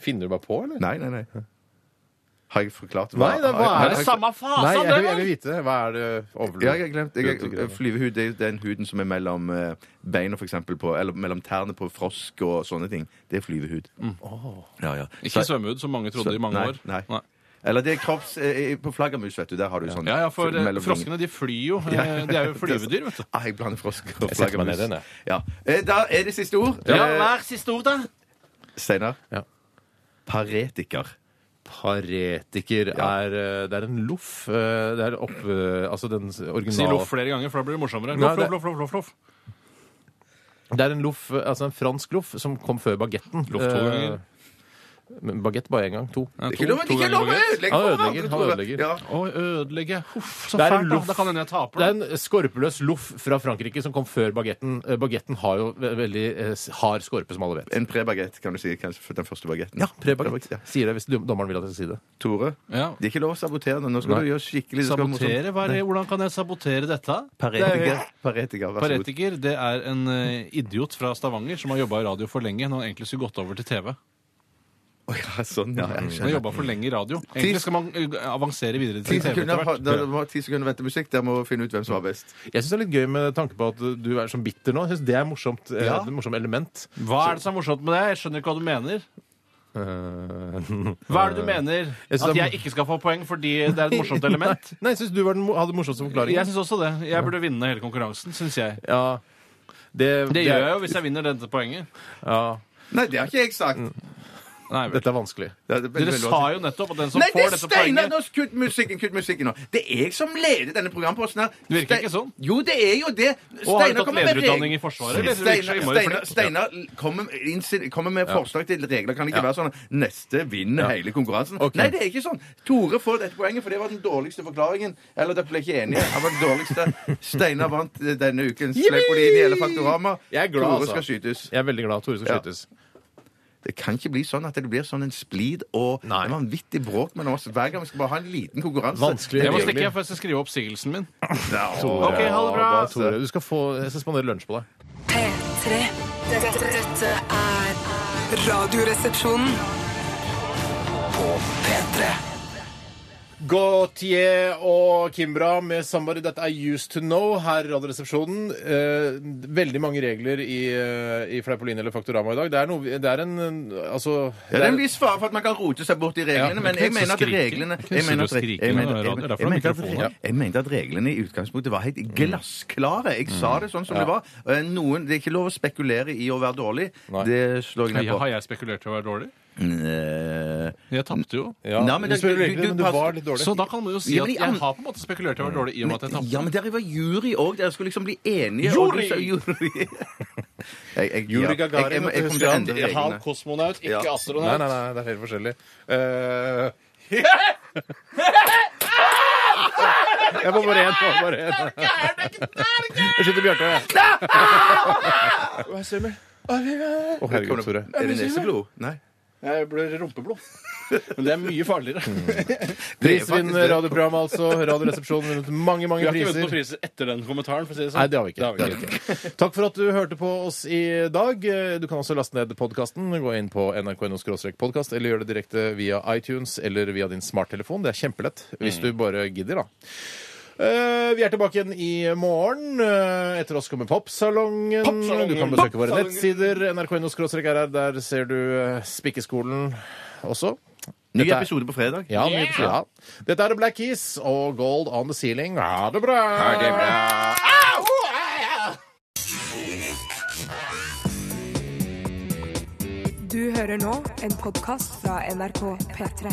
Speaker 3: Finner du bare på, eller?
Speaker 4: Nei, nei, nei. Har jeg forklart
Speaker 3: Nei, det er- hva
Speaker 4: har jeg-
Speaker 5: Det er samme
Speaker 3: Nei,
Speaker 5: fasen,
Speaker 3: jeg vil
Speaker 5: det!
Speaker 3: jeg vil
Speaker 5: vel?
Speaker 3: vite. Hva er det overløp?
Speaker 4: Ja, jeg har glemt. Jeg,
Speaker 3: Glemte greiene.
Speaker 4: flyvehud det er jo den huden som er mellom eh, beina, for eksempel, på, eller mellom tærne på frosk og sånne ting. Det er flyvehud. Ja, ja.
Speaker 5: Mm. Ikke
Speaker 4: Så-
Speaker 5: svømmehud, som mange trodde i mange
Speaker 4: nei,
Speaker 5: år.
Speaker 4: Nei. Eller det er kropps... eh, På flaggermus, vet du, der har du sånn
Speaker 5: Ja, ja, for eh,
Speaker 4: mellom-
Speaker 5: froskene de flyr jo. eh,
Speaker 4: Ja.
Speaker 5: De er jo flyvedyr, vet du.
Speaker 4: Ah, jeg blander frosk og
Speaker 3: Jeg setter meg ned
Speaker 4: flaggermus.
Speaker 3: igjen, jeg.
Speaker 4: Ja. Eh, Da er det siste ord.
Speaker 5: Ja,
Speaker 4: Eh,
Speaker 5: hver siste ord, da.
Speaker 4: Steinar.
Speaker 3: Ja.
Speaker 4: Paretiker.
Speaker 3: Paretiker
Speaker 4: Ja.
Speaker 3: er eh, Det er en loff. eh, Det er opp... eh, Altså den s-
Speaker 5: Si
Speaker 3: originale
Speaker 5: loff flere ganger, for da blir det morsommere.
Speaker 3: Nei,
Speaker 5: Loff,
Speaker 3: det-
Speaker 5: loff, loff, loff, loff, loff.
Speaker 3: Det er en loff, eh, altså en fransk loff, som kom før bagetten. eh,
Speaker 5: Loff Eh, to ganger.
Speaker 3: Men bagett bare én gang. To.
Speaker 5: Ja,
Speaker 4: Ikke
Speaker 5: to-
Speaker 4: lov
Speaker 5: to
Speaker 4: ikke
Speaker 5: ganger
Speaker 4: lov å
Speaker 5: baguette.
Speaker 3: Han
Speaker 4: ødelegge for
Speaker 3: ødelegger,
Speaker 4: hverandre,
Speaker 3: han
Speaker 4: Tore.
Speaker 3: ødelegger.
Speaker 4: Ja.
Speaker 5: Å ødelegge. Huff, så
Speaker 3: Det er en
Speaker 5: fælt. da.
Speaker 3: loff.
Speaker 5: Da kan hende jeg taper.
Speaker 3: Det
Speaker 5: da.
Speaker 3: er en skorpeløs loff fra Frankrike som kom før bagetten. Bagetten har jo ve- veldig eh, s- hard skorpe, som alle vet.
Speaker 4: En prebagett, kan du si. Kanskje for den første bagetten.
Speaker 3: Ja, prebagett.
Speaker 4: Ja.
Speaker 3: Sier det hvis dom- dommeren vil at jeg skal si det.
Speaker 4: Tore,
Speaker 5: Ja.
Speaker 4: det er ikke lov å sabotere det. Nå skal
Speaker 3: Nei.
Speaker 4: du gjøre skikkelig det skal være morsomt.
Speaker 5: Sabotere? Hva er det? Hvordan kan jeg sabotere dette? Det er-
Speaker 4: Paretiker. Paretiker, vær så god.
Speaker 5: Paretiker det er en eh, idiot fra Stavanger som har jobba i radio for lenge. Når han egentlig skulle gått over til TV.
Speaker 4: Å ja, sånn, ja. Jeg
Speaker 5: Han har
Speaker 4: skjønner.
Speaker 5: jobbet for lenge i radio. Egentlig skal man eh, avansere videre
Speaker 4: Ti
Speaker 5: til TV
Speaker 4: sekunder,
Speaker 5: etter
Speaker 4: ha-
Speaker 5: hvert.
Speaker 4: da, må- ti sekunder vente musikk. Dere må finne ut hvem som var best.
Speaker 3: Jeg syns det er litt gøy med tanke på at du er sånn bitter nå. Jeg synes Det er morsomt, eh,
Speaker 4: Ja.
Speaker 3: et morsomt element.
Speaker 5: Hva er det som er morsomt med det? Jeg skjønner ikke hva du mener.
Speaker 3: Eh,
Speaker 5: Hva er det du mener?
Speaker 3: synes
Speaker 5: At
Speaker 3: det er-
Speaker 5: jeg ikke skal få poeng fordi det er et morsomt element?
Speaker 3: Nei, jeg syns du var den, mo- hadde den morsomste forklaringen.
Speaker 5: Jeg syns også det. Jeg burde vinne hele konkurransen, syns jeg.
Speaker 3: Ja, det,
Speaker 5: Det gjør jeg jo hvis jeg vinner dette poenget.
Speaker 3: Ja. Mm.
Speaker 4: Nei, det har ikke jeg sagt.
Speaker 5: Nei, vel.
Speaker 3: Dette er vanskelig.
Speaker 4: Det er veldig,
Speaker 5: Dere
Speaker 4: veldig
Speaker 5: sa
Speaker 4: vanskelig.
Speaker 5: jo nettopp at den som
Speaker 4: Nei, det
Speaker 5: får
Speaker 4: er
Speaker 5: dette
Speaker 4: Steinar!
Speaker 5: poenget
Speaker 4: nå, Kutt musikken, kutt musikken nå. Det er jeg som leder denne programposten her.
Speaker 5: Det virker
Speaker 4: Ste-
Speaker 5: ikke sånn.
Speaker 4: Jo, det er jo det.
Speaker 5: Og har du
Speaker 4: kommer
Speaker 5: tatt
Speaker 4: med
Speaker 5: lederutdanning
Speaker 4: reg-
Speaker 5: i Forsvaret? Det virker så
Speaker 4: Steinar,
Speaker 5: innmari
Speaker 4: Steinar,
Speaker 5: flink.
Speaker 4: Steinar kommer, med innsi- kommer med forslag til regler. Kan det ikke være sånn at neste vinner hele konkurransen?
Speaker 3: Ok.
Speaker 4: Nei, det er ikke sånn. Tore får dette poenget, for det var den dårligste forklaringen. Eller dere ble ikke enige. Han var den dårligste. Steinar vant eh, denne ukens Sleipolini eller Faktorama.
Speaker 3: Jeg er glad,
Speaker 4: Tore
Speaker 3: altså.
Speaker 4: skal skytes.
Speaker 3: Jeg er veldig glad Tore skal
Speaker 4: Ja.
Speaker 3: skytes.
Speaker 4: Det kan ikke bli sånn at det blir sånn en splid og
Speaker 3: Nei.
Speaker 4: en vanvittig bråk mellom oss hver gang vi skal bare ha en liten konkurranse.
Speaker 3: Vanskelig.
Speaker 5: Jeg må stikke, jeg får skrive opp sigelsen min.
Speaker 4: Tore.
Speaker 5: Ok, ha det bra.
Speaker 3: Tore, du skal få, jeg skal spandere lunsj på deg.
Speaker 6: P3. Dette, dette er Radioresepsjonen.
Speaker 3: Gautier og Kimbra med 'Somebody That I Used To Know' her i Radioresepsjonen. Eh, veldig mange regler i, eh, i Fleipolin eller Faktorama i dag. Det er, noe, vi- det er en en- Altså
Speaker 4: Ja, det er en
Speaker 3: det er-
Speaker 4: viss fare for at man kan rote seg bort i reglene,
Speaker 5: Ja,
Speaker 4: men
Speaker 5: det er
Speaker 4: jeg
Speaker 5: ikke
Speaker 4: mener
Speaker 5: så
Speaker 4: at
Speaker 5: skriking.
Speaker 4: reglene
Speaker 5: Det er ikke
Speaker 4: jeg
Speaker 5: så
Speaker 4: mener at,
Speaker 5: skriking
Speaker 4: jeg mener,
Speaker 5: når det er radio. Det er derfor
Speaker 4: jeg,
Speaker 5: det Mm. er
Speaker 4: mener at,
Speaker 5: mikrofoner.
Speaker 4: ja, jeg mente at reglene i utgangspunktet var helt glassklare. Jeg sa
Speaker 5: Mm.
Speaker 4: det sånn som det var. Eh, Noen, det er ikke lov å spekulere i å være dårlig.
Speaker 3: Nei.
Speaker 4: Det slår jeg ned
Speaker 5: Ja,
Speaker 4: på.
Speaker 5: Har jeg spekulert til å være dårlig?
Speaker 4: Eh,
Speaker 5: Jeg tapte jo.
Speaker 3: ja,
Speaker 4: Nei, men
Speaker 3: du
Speaker 4: det-
Speaker 3: spiller
Speaker 4: du-
Speaker 3: regler,
Speaker 4: du
Speaker 3: men du
Speaker 4: passer-
Speaker 3: var litt dårlig.
Speaker 5: Så da kan man jo si
Speaker 4: Ja,
Speaker 5: at
Speaker 4: men i
Speaker 5: jeg
Speaker 4: an-
Speaker 5: har på en måte spekulert til å være dårlig i og med at jeg tapte.
Speaker 4: Ja, men dere var jury òg. Dere skulle liksom bli enige. og
Speaker 5: Jury!
Speaker 4: du sa Jury! Jeg- jeg- ja.
Speaker 3: Yuri Gagarin.
Speaker 4: Jeg-
Speaker 3: vet du,
Speaker 4: jeg- jeg kommer
Speaker 3: husker
Speaker 4: til å
Speaker 3: han?
Speaker 4: endre
Speaker 5: Han
Speaker 4: reglene.
Speaker 5: kosmonaut, ikke
Speaker 4: Ja.
Speaker 3: Nei,
Speaker 5: astronaut.
Speaker 3: nei, nei, det er helt forskjellig. Eh, jeg får bare én. jeg får Bare én. Jeg skyter Bjarte. jeg. Hva ser du? Å, herregud, Tore.
Speaker 4: Er det neseblod? Nei.
Speaker 5: Jeg blir rumpeblod. Men det er mye farligere.
Speaker 4: Det er faktisk
Speaker 3: Prisvinn
Speaker 4: det.
Speaker 3: radioprogram, altså. Radioresepsjonen vunnet mange,
Speaker 5: Vi
Speaker 3: mange
Speaker 5: har ikke vunnet noen
Speaker 3: priser.
Speaker 5: priser etter den kommentaren. for å si det sånn.
Speaker 3: Nei, det har vi ikke.
Speaker 5: Det har vi
Speaker 3: Det har vi ikke. Takk for at du hørte på oss i dag. Du kan også laste ned podkasten. Gå inn på nrk.no-podkast, eller gjør det direkte via iTunes eller via din smarttelefon. Det er kjempelett, hvis du bare gidder, da. Eh, vi er tilbake igjen i morgen. Eh, etter oss kommer Popsalongen.
Speaker 5: Popsalongen.
Speaker 3: Du kan besøke våre
Speaker 5: Popsalongen.
Speaker 3: nettsider. nrk.no-rr. Der ser du eh, Spikkeskolen også.
Speaker 4: Ny
Speaker 3: Dette er-
Speaker 4: episode på fredag.
Speaker 3: Ja, mye betyr- ja. Dette er The Black Keys og Gold on the Ceiling. Ha det bra!
Speaker 1: Du hører nå en podkast fra NRK P3.